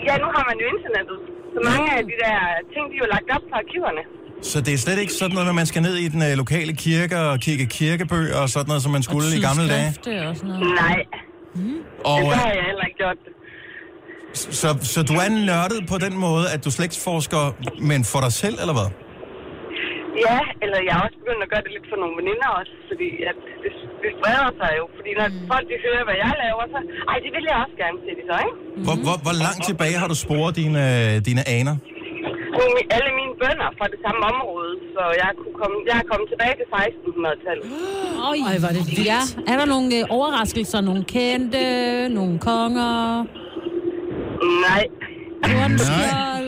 [SPEAKER 11] Ja, nu har man jo internettet. Så mange af de der ting, de er jo lagt op på arkiverne.
[SPEAKER 1] Så det er slet ikke sådan noget, at man skal ned i den øh, lokale kirke og kigge kirkebøger og sådan noget, som man skulle i gamle dage.
[SPEAKER 3] øh, Og sådan noget.
[SPEAKER 11] Nej,
[SPEAKER 1] Og,
[SPEAKER 11] det
[SPEAKER 1] øh,
[SPEAKER 11] så har jeg heller ikke gjort det.
[SPEAKER 1] så, så du er nørdet på den måde, at du slægtsforsker, men for dig selv, eller hvad?
[SPEAKER 11] Ja, eller jeg er også begyndt at gøre det lidt for nogle veninder også, fordi at det, det spreder sig jo. Fordi når mm. folk de hører, hvad jeg laver, så... Ej, det vil jeg også gerne se det så, ikke?
[SPEAKER 1] Hvor, hvor, hvor langt tilbage har du sporet dine, øh, dine aner?
[SPEAKER 11] Min- Alle mine bønder fra det samme område, så jeg, kunne komme, jeg er kommet tilbage til 1600-tallet.
[SPEAKER 3] Oj, var det vildt. Ja. Er der nogle øh, overraskelser? Nogle kendte? Nogle konger?
[SPEAKER 11] Nej,
[SPEAKER 3] Kornskjold?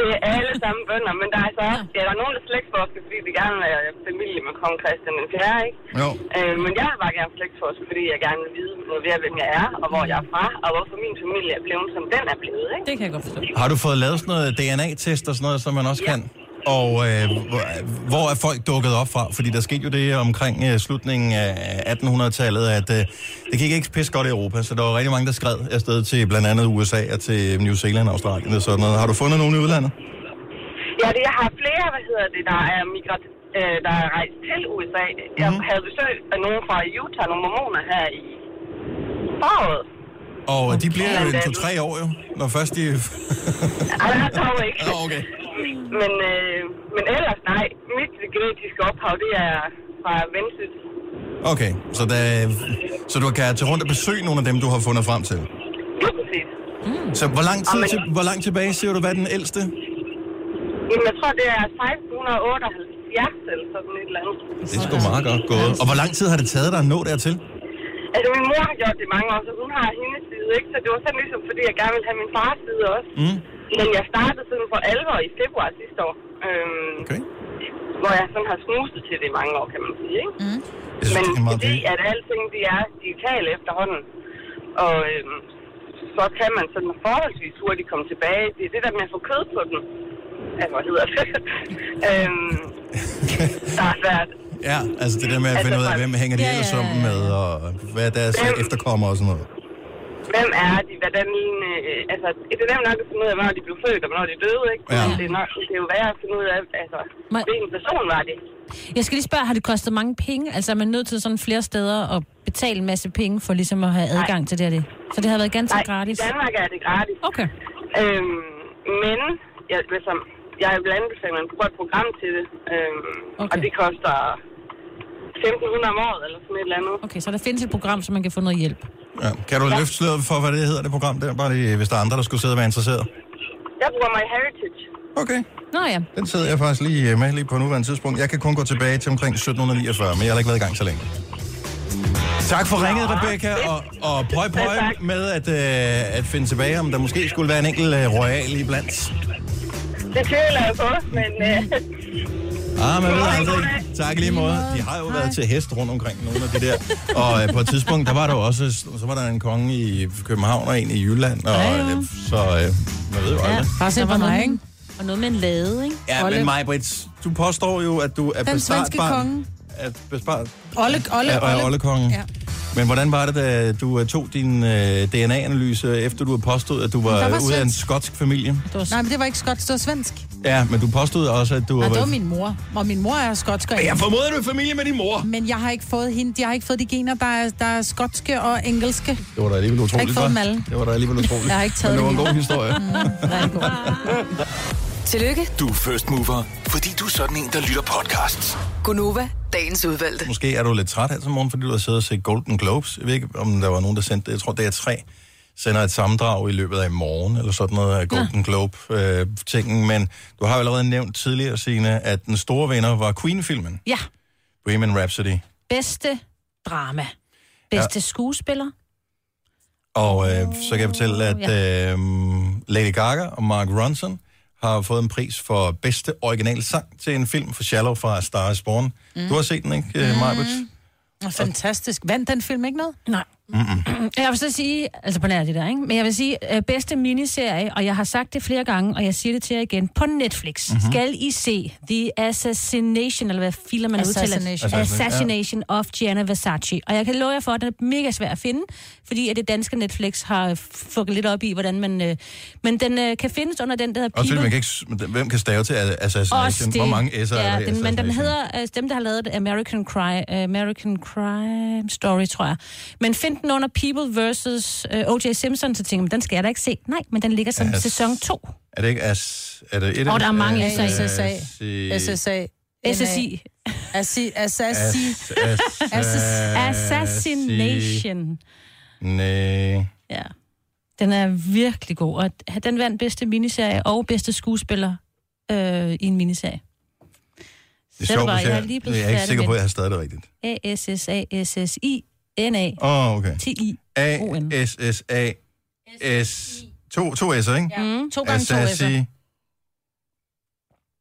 [SPEAKER 11] det er alle samme bønder, men der er så også... Ja, der er nogen, der slægtsforsker, fordi de gerne vil være familie med kong Christian den 4., ikke?
[SPEAKER 1] Jo.
[SPEAKER 11] Øh, men jeg har bare gerne slægtsforsker, fordi jeg gerne vil vide noget ved, hvem jeg er, og hvor jeg er fra, og hvorfor min familie er blevet, som den er blevet, ikke?
[SPEAKER 3] Det kan jeg godt forstå.
[SPEAKER 1] Har du fået lavet sådan noget DNA-test og sådan noget, som man også kan? Og øh, hvor- hvor er folk dukket op fra? Fordi der skete jo det omkring øh, slutningen af 1800-tallet, at øh, det gik ikke pisse godt i Europa, så der var rigtig mange, der skred afsted til blandt andet USA og til New Zealand og Australien og sådan noget. Har du fundet nogen i udlandet?
[SPEAKER 11] Ja, det, jeg har flere, hvad hedder det, der er migrat, øh, der er rejst til USA. Jeg mm. havde besøg af nogen fra Utah, nogle mormoner her i foråret.
[SPEAKER 1] Og okay. de bliver jo
[SPEAKER 11] Blandt
[SPEAKER 1] en
[SPEAKER 11] andet.
[SPEAKER 1] to-tre år jo, når først de...
[SPEAKER 11] Ej, der dog ikke.
[SPEAKER 1] Nå, okay.
[SPEAKER 11] Men, øh, men ellers, nej, mit genetiske ophav, det er fra Vendsyssel.
[SPEAKER 1] Okay, så, der, så du kan tage rundt og besøge nogle af dem, du har fundet frem til.
[SPEAKER 11] Jo, præcis.
[SPEAKER 1] Hmm, Så hvor lang tid,
[SPEAKER 11] Amen.
[SPEAKER 1] til, hvor langt tilbage siger du, hvad er den ældste?
[SPEAKER 11] Jamen, jeg tror, det er 1678 eller sådan et eller andet.
[SPEAKER 1] Det er sgu meget godt gået. Og hvor lang tid har det taget dig at nå dertil?
[SPEAKER 11] Altså, min mor har gjort det i mange år, så hun har hendes side, ikke? Så det var sådan ligesom, fordi jeg gerne ville have min fars side også.
[SPEAKER 1] Mm.
[SPEAKER 11] Men jeg startede sådan for alvor i februar sidste år. Øhm,
[SPEAKER 1] Okay.
[SPEAKER 11] Hvor jeg sådan har snuset til det i mange år, kan man sige, ikke? Mm.
[SPEAKER 1] Jeg synes,
[SPEAKER 11] Men
[SPEAKER 1] det er meget
[SPEAKER 11] fordi,
[SPEAKER 1] vildt.
[SPEAKER 11] at alting, de er digitale efterhånden. Og øhm, så kan man sådan forholdsvis hurtigt komme tilbage. Det er det der med at få kød på den. Altså, hvad hedder det? øhm, der er svært.
[SPEAKER 1] Ja, altså det der med at finde ud af, hvem hænger de
[SPEAKER 3] Ja, ja,
[SPEAKER 1] ellers
[SPEAKER 3] ja,
[SPEAKER 1] sammen med, og hvad er deres
[SPEAKER 11] Øhm.
[SPEAKER 1] efterkommere og sådan noget.
[SPEAKER 11] hvem er de, hvordan, øh, altså, det er nemt nok at finde ud af, hvornår de blev født, og hvornår de døde, ikke?
[SPEAKER 1] Ja.
[SPEAKER 11] Ja. Men det er, nok, det er jo værre at finde ud af, altså,
[SPEAKER 3] Men-
[SPEAKER 11] hvilken person var det?
[SPEAKER 3] Jeg skal lige spørge, har det kostet mange penge? Altså er man nødt til sådan flere steder at betale en masse penge for ligesom at have adgang til det og det? Så det har været ganske gratis?
[SPEAKER 11] i Danmark er det gratis.
[SPEAKER 3] Okay.
[SPEAKER 11] Øhm, men, jeg, altså, jeg vil anbefale, at man bruger et program til det, øhm, okay. og
[SPEAKER 3] Okay.
[SPEAKER 11] det koster 1.500 om året, eller sådan et eller andet.
[SPEAKER 3] Okay, så der findes et program, så man kan få noget hjælp.
[SPEAKER 1] Ja. Kan du løfte sløret for, hvad det hedder, det program der? Bare lige, hvis der er andre, der skulle sidde og være interesseret.
[SPEAKER 11] Jeg bruger My Heritage.
[SPEAKER 1] Okay,
[SPEAKER 3] Nå ja.
[SPEAKER 1] den sidder jeg faktisk lige øh, med lige på nuværende tidspunkt. Jeg kan kun gå tilbage til omkring 1749, men jeg har heller ikke været i gang så længe. Tak for ringet, Rebecca, og, og prøv prøv
[SPEAKER 11] Selv tak.
[SPEAKER 1] med at, øh, at finde tilbage, om der måske skulle være en enkelt øh, royal iblandt.
[SPEAKER 11] Det tvivler jeg på, men øh,
[SPEAKER 1] Ah, men ved jeg altså ikke. Tak i lige måde. De har jo været til hest rundt omkring nogle af de der. Og øh, på et tidspunkt, der var der jo også, så var der en konge i København og en i Jylland. Og,
[SPEAKER 3] Ja, ja.
[SPEAKER 1] øh, så øh, man ved jo aldrig.
[SPEAKER 2] Bare se
[SPEAKER 3] Der
[SPEAKER 2] på
[SPEAKER 3] var
[SPEAKER 2] mig,
[SPEAKER 3] noget
[SPEAKER 2] ikke?
[SPEAKER 3] med- Og noget med en lade, ikke?
[SPEAKER 1] Ja, men mig, Britt, du påstår jo, at du er
[SPEAKER 2] Den svenske
[SPEAKER 1] bespartbarn.
[SPEAKER 2] konge.
[SPEAKER 1] At bespart,
[SPEAKER 2] Olle, Olle,
[SPEAKER 1] er, er
[SPEAKER 2] Olle.
[SPEAKER 1] oldekongen. Ja.
[SPEAKER 2] Ja.
[SPEAKER 1] Men hvordan var det, da du øh, tog din øh, DNA-analyse, efter du havde påstået, at du
[SPEAKER 2] Men der
[SPEAKER 1] var,
[SPEAKER 2] var
[SPEAKER 1] var ude af en
[SPEAKER 2] svensk.
[SPEAKER 1] skotsk familie?
[SPEAKER 2] Nej, men det var ikke skotsk, det var svensk.
[SPEAKER 1] Ja, men du påstod også, at du
[SPEAKER 2] Nej, det var min mor, og min mor er skotsk. og
[SPEAKER 1] Jeg
[SPEAKER 2] engelsk.
[SPEAKER 1] formoder, du er i familie med din mor.
[SPEAKER 2] Men jeg har ikke fået hende, jeg har ikke fået de gener, der er, der er skotske og engelske.
[SPEAKER 1] Det var da alligevel
[SPEAKER 2] Jeg har ikke
[SPEAKER 1] utroligt,
[SPEAKER 2] fået
[SPEAKER 1] hva'?
[SPEAKER 2] dem alle.
[SPEAKER 1] Det var da alligevel utroligt.
[SPEAKER 2] Jeg har ikke taget Mm.
[SPEAKER 1] Men det var en
[SPEAKER 2] det
[SPEAKER 1] god
[SPEAKER 2] hele.
[SPEAKER 1] historie.
[SPEAKER 7] Tillykke,
[SPEAKER 4] Du er first mover, fordi du er sådan en, der lytter podcasts.
[SPEAKER 7] Gunova, dagens udvalgte.
[SPEAKER 1] Måske er du lidt træt her til morgen, fordi du har siddet og set Golden Globes. Jeg ved ikke, om der var nogen, der sendte det. Jeg tror, det er tre sender et sammendrag i løbet af i morgen, eller sådan noget af Golden Globe-tingen. Men du har jo allerede nævnt tidligere, Signe, at den store vinder var Queen-filmen,
[SPEAKER 3] Ja,
[SPEAKER 1] Bohemian Rhapsody.
[SPEAKER 3] bedste drama. Bedste ja. skuespiller.
[SPEAKER 1] Og øh, så kan jeg fortælle, at øh, Lady Gaga og Mark Ronson har fået en pris for bedste original sang til en film for Shallow fra A Star is Born. Mm. Du har set den, ikke, mm. Marbet?
[SPEAKER 2] Og fantastisk. Vandt den film ikke noget?
[SPEAKER 3] Nej.
[SPEAKER 7] Mm.
[SPEAKER 3] Jeg vil så sige, altså på nær det der, ikke? men jeg vil sige, øh, bedste miniserie, og jeg har sagt det flere gange, og jeg siger det til jer igen, på Netflix
[SPEAKER 12] Mhm.
[SPEAKER 3] mm-hmm. skal I se The Assassination, eller hvad filer man udtaler?
[SPEAKER 12] Assassination.
[SPEAKER 3] Assassination. Assassination of Gianna Versace. Og jeg kan love jer for, at den er mega svær at finde, fordi at det danske Netflix har fucket lidt op i, hvordan man... Øh, men den øh, kan findes under den, der hedder
[SPEAKER 1] Og selvfølgelig, man
[SPEAKER 3] People-
[SPEAKER 1] kan ikke, s- men hvem kan stave til a-
[SPEAKER 3] Også
[SPEAKER 1] assassination?
[SPEAKER 3] det.
[SPEAKER 1] Hvor mange S'er er der altså, i
[SPEAKER 3] ja, den, men den
[SPEAKER 1] assassination?
[SPEAKER 3] hedder, øh, dem, der har lavet det, American, Cry, American Crime Story, tror jeg. Men find den under People vs. Øh, O.J. Simpson, så tænker man, den skal jeg da ikke se. Nej, men den ligger som
[SPEAKER 1] As-
[SPEAKER 3] sæson 2.
[SPEAKER 1] Er det ikke as... Er det et
[SPEAKER 3] Åh,
[SPEAKER 1] af-
[SPEAKER 3] der er mange
[SPEAKER 1] as-
[SPEAKER 3] S'er i.
[SPEAKER 1] assi-
[SPEAKER 2] SSA.
[SPEAKER 3] SSI.
[SPEAKER 2] Assi, assassi.
[SPEAKER 1] As- as-
[SPEAKER 3] Assas- Assassination.
[SPEAKER 1] Næh.
[SPEAKER 3] Ja. Den er virkelig god, og den vandt bedste miniserie og bedste skuespiller øh, i en miniserie.
[SPEAKER 1] Det er
[SPEAKER 3] Så er det
[SPEAKER 1] sjovt,
[SPEAKER 3] bare,
[SPEAKER 1] hvis
[SPEAKER 3] jeg er
[SPEAKER 1] jeg,
[SPEAKER 3] lige
[SPEAKER 1] jeg
[SPEAKER 3] blevet
[SPEAKER 1] er ikke
[SPEAKER 3] færdig
[SPEAKER 1] sikker på,
[SPEAKER 3] med
[SPEAKER 1] at jeg har stadig det rigtigt.
[SPEAKER 3] A-S-S-A-S-S-I-N-A.
[SPEAKER 1] Åh, okay.
[SPEAKER 3] T-I.
[SPEAKER 1] A, S, S, A, S... To, to S'er, ikke?
[SPEAKER 2] Mm. To gange to S'er.
[SPEAKER 1] Assassi...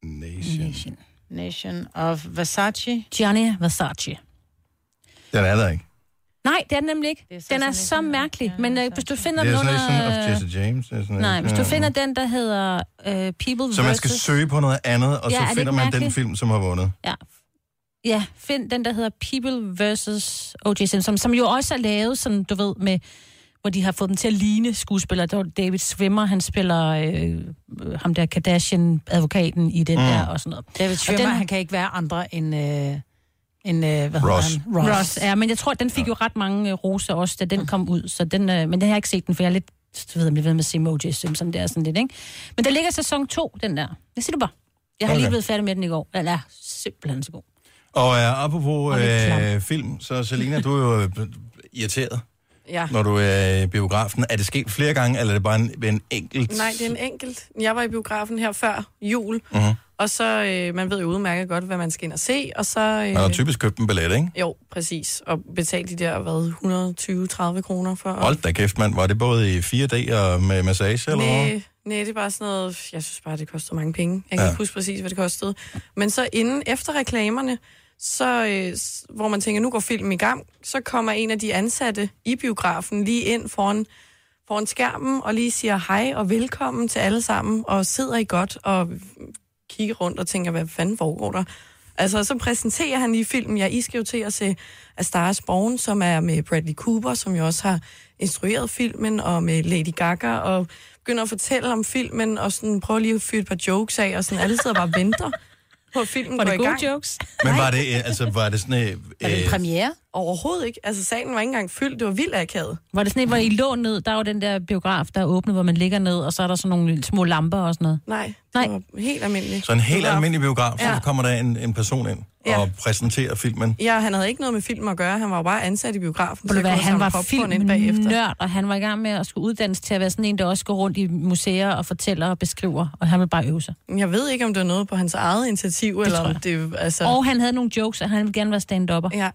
[SPEAKER 3] Nation.
[SPEAKER 2] Nation of Versace.
[SPEAKER 3] Gianni Versace.
[SPEAKER 1] Den er der ikke.
[SPEAKER 3] Nej, det er den nemlig ikke. Den er så mærkelig, men øh, hvis du finder
[SPEAKER 1] Det
[SPEAKER 3] den
[SPEAKER 1] er sådan of
[SPEAKER 3] under... øh,
[SPEAKER 1] Jesse James. det er sådan
[SPEAKER 3] Nej,
[SPEAKER 1] lidt,
[SPEAKER 3] hvis du
[SPEAKER 1] ja.
[SPEAKER 3] finder den, der hedder øh, People
[SPEAKER 1] Så man skal
[SPEAKER 3] versus-
[SPEAKER 1] søge på noget andet, og
[SPEAKER 3] Ja,
[SPEAKER 1] så
[SPEAKER 3] er det
[SPEAKER 1] finder
[SPEAKER 3] ikke
[SPEAKER 1] man den
[SPEAKER 3] mærkeligt?
[SPEAKER 1] film, som har vundet.
[SPEAKER 3] Ja. Ja, find den, der hedder People versus O.J. Simpson, som jo også er lavet, sådan, du ved, med hvor de har fået dem til at ligne skuespillere. Der var David Swimmer, han spiller øh, ham der Kardashian-advokaten i den
[SPEAKER 2] Mm.
[SPEAKER 3] mm. der og sådan noget.
[SPEAKER 2] David
[SPEAKER 3] og
[SPEAKER 2] Schwimmer, den... han kan ikke være andre end... Øh, end øh, hvad
[SPEAKER 3] Ross.
[SPEAKER 2] Hedder han?
[SPEAKER 3] Ross. Ross. ja, men jeg tror, at den fik jo ret mange øh, roser også, da den kom ud. Så den, øh, men den har jeg ikke set den, for jeg er lidt, jeg ved, om jeg ved med at se O.J. Simpson, det er sådan lidt, ikke? Men der ligger sæson 2, den der. Det siger du bare. Jeg har
[SPEAKER 1] Okay.
[SPEAKER 3] lige blevet færdig med den i går. Den er simpelthen så god.
[SPEAKER 1] Og uh, apropos
[SPEAKER 3] Og lidt
[SPEAKER 1] uh,
[SPEAKER 3] klam.
[SPEAKER 1] film, så Selina, du er jo øh, irriteret,
[SPEAKER 5] Ja.
[SPEAKER 1] når du er i biografen. Er det sket flere gange, eller er det bare en, en enkelt?
[SPEAKER 5] Nej, det er en enkelt. Jeg var i biografen her før jul,
[SPEAKER 1] Mhm.
[SPEAKER 5] og så, øh, man ved jo udmærket godt, hvad man skal ind og se, og så... Øh,
[SPEAKER 1] Man har typisk købt en billet, ikke?
[SPEAKER 5] Jo, præcis. Og betalt de der, hvad, 120-30 kroner for... at-
[SPEAKER 1] Hold da kæft, mand. Var det både i 4D og med massage, eller hvad?
[SPEAKER 5] Nej, nej, det er bare sådan noget, jeg synes bare, det koster mange penge. Jeg kan
[SPEAKER 1] Ja.
[SPEAKER 5] ja. ikke huske præcis, hvad det kostede. Men så inden, efter reklamerne, så, øh, s- hvor man tænker, nu går filmen i gang, så kommer en af de ansatte i biografen lige ind foran, foran skærmen og lige siger hej og velkommen til alle sammen, og sidder I godt og kigger rundt og tænker, hvad fanden foregår der? Altså, så præsenterer han lige filmen, jeg I skal jo til at se A Star is Born, som er med Bradley Cooper, som jo også har instrueret filmen, og med Lady Gaga, og begynder at fortælle om filmen, og sådan prøver lige at fyre et par jokes af, og sådan alle sidder bare og venter på, at filmen
[SPEAKER 3] Var det
[SPEAKER 5] går i
[SPEAKER 3] gode
[SPEAKER 5] gang.
[SPEAKER 3] jokes?
[SPEAKER 1] Men var det, øh, altså, var det sådan... Øh, øh,
[SPEAKER 2] premiere?
[SPEAKER 5] Overhovedet ikke. Altså, salen var ikke engang fyldt. Det var vildt akavet.
[SPEAKER 3] Var det sådan en, hvor I lå ned? Der er jo den der biograf, der er åbnet, hvor man ligger ned, og så er der sådan nogle små lamper og sådan noget.
[SPEAKER 5] Nej, Nej. det var helt almindeligt.
[SPEAKER 1] så en helt almindelig biograf, så
[SPEAKER 5] Ja.
[SPEAKER 1] kommer der en, en person ind
[SPEAKER 5] Ja.
[SPEAKER 1] og præsenterer filmen.
[SPEAKER 5] Ja, han havde ikke noget med film at gøre. Han var jo bare ansat i
[SPEAKER 3] Ved
[SPEAKER 5] biografen,
[SPEAKER 3] du
[SPEAKER 5] jeg
[SPEAKER 3] hvad,
[SPEAKER 5] kunne
[SPEAKER 3] han
[SPEAKER 5] samle
[SPEAKER 3] var
[SPEAKER 5] popcorn ind bagefter.
[SPEAKER 3] filmnørd, og han var i gang med at skulle uddannes til at være sådan en, der også går rundt i museer og fortæller og beskriver, og han ville bare øve sig.
[SPEAKER 5] Jeg ved ikke, om det var noget på hans eget initiativ, det eller om det... Altså...
[SPEAKER 3] Og han havde nogle jokes, og han ville gerne være stand-upper.
[SPEAKER 5] Ja.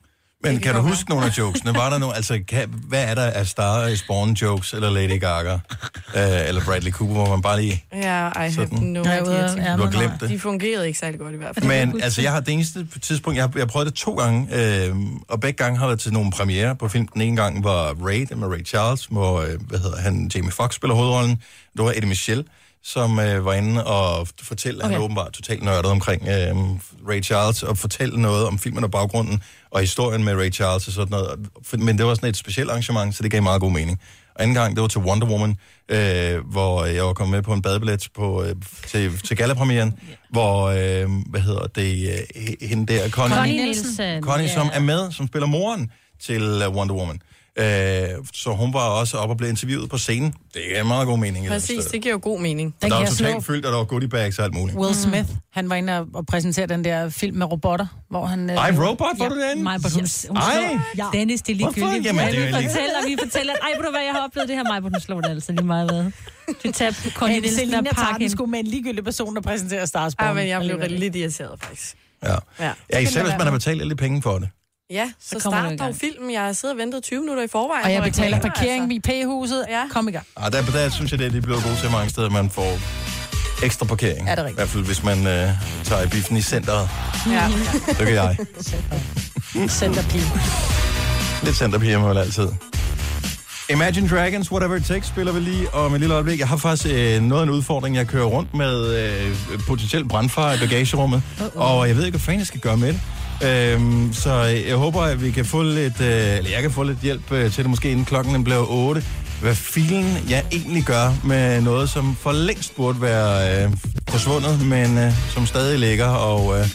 [SPEAKER 1] Men kan du huske nogle af jokesene? Var der nogle, altså, kan, hvad er der af Star Spawn jokes, eller Lady Gaga, øh, eller Bradley Cooper, hvor man bare lige...
[SPEAKER 5] Ja, Ja, I have
[SPEAKER 1] Sådan.
[SPEAKER 5] no idea.
[SPEAKER 1] ja, Du har men glemt nej. det.
[SPEAKER 5] De fungerede ikke særlig godt i hvert fald.
[SPEAKER 1] Men altså, jeg har det eneste tidspunkt, jeg har, jeg har prøvet det to gange, øh, og begge gange har været til nogle premiere på film. Den ene gang var Ray, det med Ray Charles, hvor, øh, hvad hedder han, Jamie Foxx spiller hovedrollen. Det var Eddie Michelle, som øh, var inde og fortælle, okay. han er åbenbart totalt nørdet omkring øh, Ray Charles, og fortælle noget om filmen og baggrunden, og historien med Ray Charles og sådan noget. Og- Men det var sådan et specielt arrangement, så det gav meget god mening. Og anden gang, det var til Wonder Woman, øh, hvor jeg var kommet med på en badebillet på, øh, til, til gallapremieren, hvor, øh, hvad hedder det, øh, hende der, Connie,
[SPEAKER 3] Connie Nielsen.
[SPEAKER 1] Connie
[SPEAKER 3] Ja.
[SPEAKER 1] som er med, som spiller moren til øh, Wonder Woman. Øh, så hun var også oppe og blev interviewet på scenen. Det er meget god mening. i den
[SPEAKER 5] Præcis,
[SPEAKER 1] sted.
[SPEAKER 5] det giver jo god mening.
[SPEAKER 1] Og der var totalt fyldt, og der var goodie bags og alt muligt.
[SPEAKER 2] Will
[SPEAKER 3] Mm.
[SPEAKER 2] Smith, han var inde og- og præsentere den der film med robotter, hvor han... øh,
[SPEAKER 1] Ej, Robot, var du derinde?
[SPEAKER 2] Mig, hun, hun
[SPEAKER 1] Ej.
[SPEAKER 2] Ej. Dennis, det er
[SPEAKER 1] Hvorfor?
[SPEAKER 2] ligegyldigt.
[SPEAKER 1] Jamen, det er jo
[SPEAKER 3] Vi
[SPEAKER 1] lige-
[SPEAKER 3] fortæller, vi fortæller, at, ej, ved du hvad, jeg har oplevet det her, mig, hvor den slår det altså lige meget hvad. Du tabte Connie
[SPEAKER 2] Men
[SPEAKER 3] Nielsen og
[SPEAKER 2] Selina tager
[SPEAKER 3] pakke
[SPEAKER 2] den
[SPEAKER 3] hende.
[SPEAKER 2] sgu med en ligegyldig person, der præsenterer Stars Born.
[SPEAKER 5] Ja, men jeg blev
[SPEAKER 2] Alligevel.
[SPEAKER 5] lidt irriteret, faktisk.
[SPEAKER 1] Ja.
[SPEAKER 5] Ja.
[SPEAKER 1] ja, især hvis man har betalt alle de penge for det.
[SPEAKER 5] Ja, så,
[SPEAKER 2] kommer du i
[SPEAKER 5] start dog
[SPEAKER 2] gang.
[SPEAKER 5] filmen. Jeg har siddet og ventet 20 minutter i forvejen.
[SPEAKER 2] Og jeg
[SPEAKER 5] på
[SPEAKER 2] betaler
[SPEAKER 5] reklamer,
[SPEAKER 2] parkering i
[SPEAKER 5] altså."
[SPEAKER 2] P-huset. Ja. Kom i gang.
[SPEAKER 1] Ah, der, der synes jeg, det er de er blevet gode til mange steder, at man får ekstra parkering.
[SPEAKER 2] Er det rigtigt?
[SPEAKER 1] I hvert fald, hvis man øh, tager i biffen i centret.
[SPEAKER 5] Ja.
[SPEAKER 1] Det kan jeg.
[SPEAKER 2] Centerpige.
[SPEAKER 1] Lidt centerpiger må vel altid. Imagine Dragons, Whatever It Takes, spiller vi lige om et lille øjeblik. Jeg har faktisk øh, noget af en udfordring. Jeg kører rundt med øh, potentielt brandfare i bagagerummet, uh-uh. og jeg ved ikke, hvad fanden jeg skal gøre med det. Øhm, så jeg håber, at vi kan få lidt, øh, eller jeg kan få lidt hjælp øh, til det, måske inden klokken den bliver 8. Hvad filen jeg egentlig gør med noget, som for længst burde være øh, forsvundet, men øh, som stadig ligger og øh,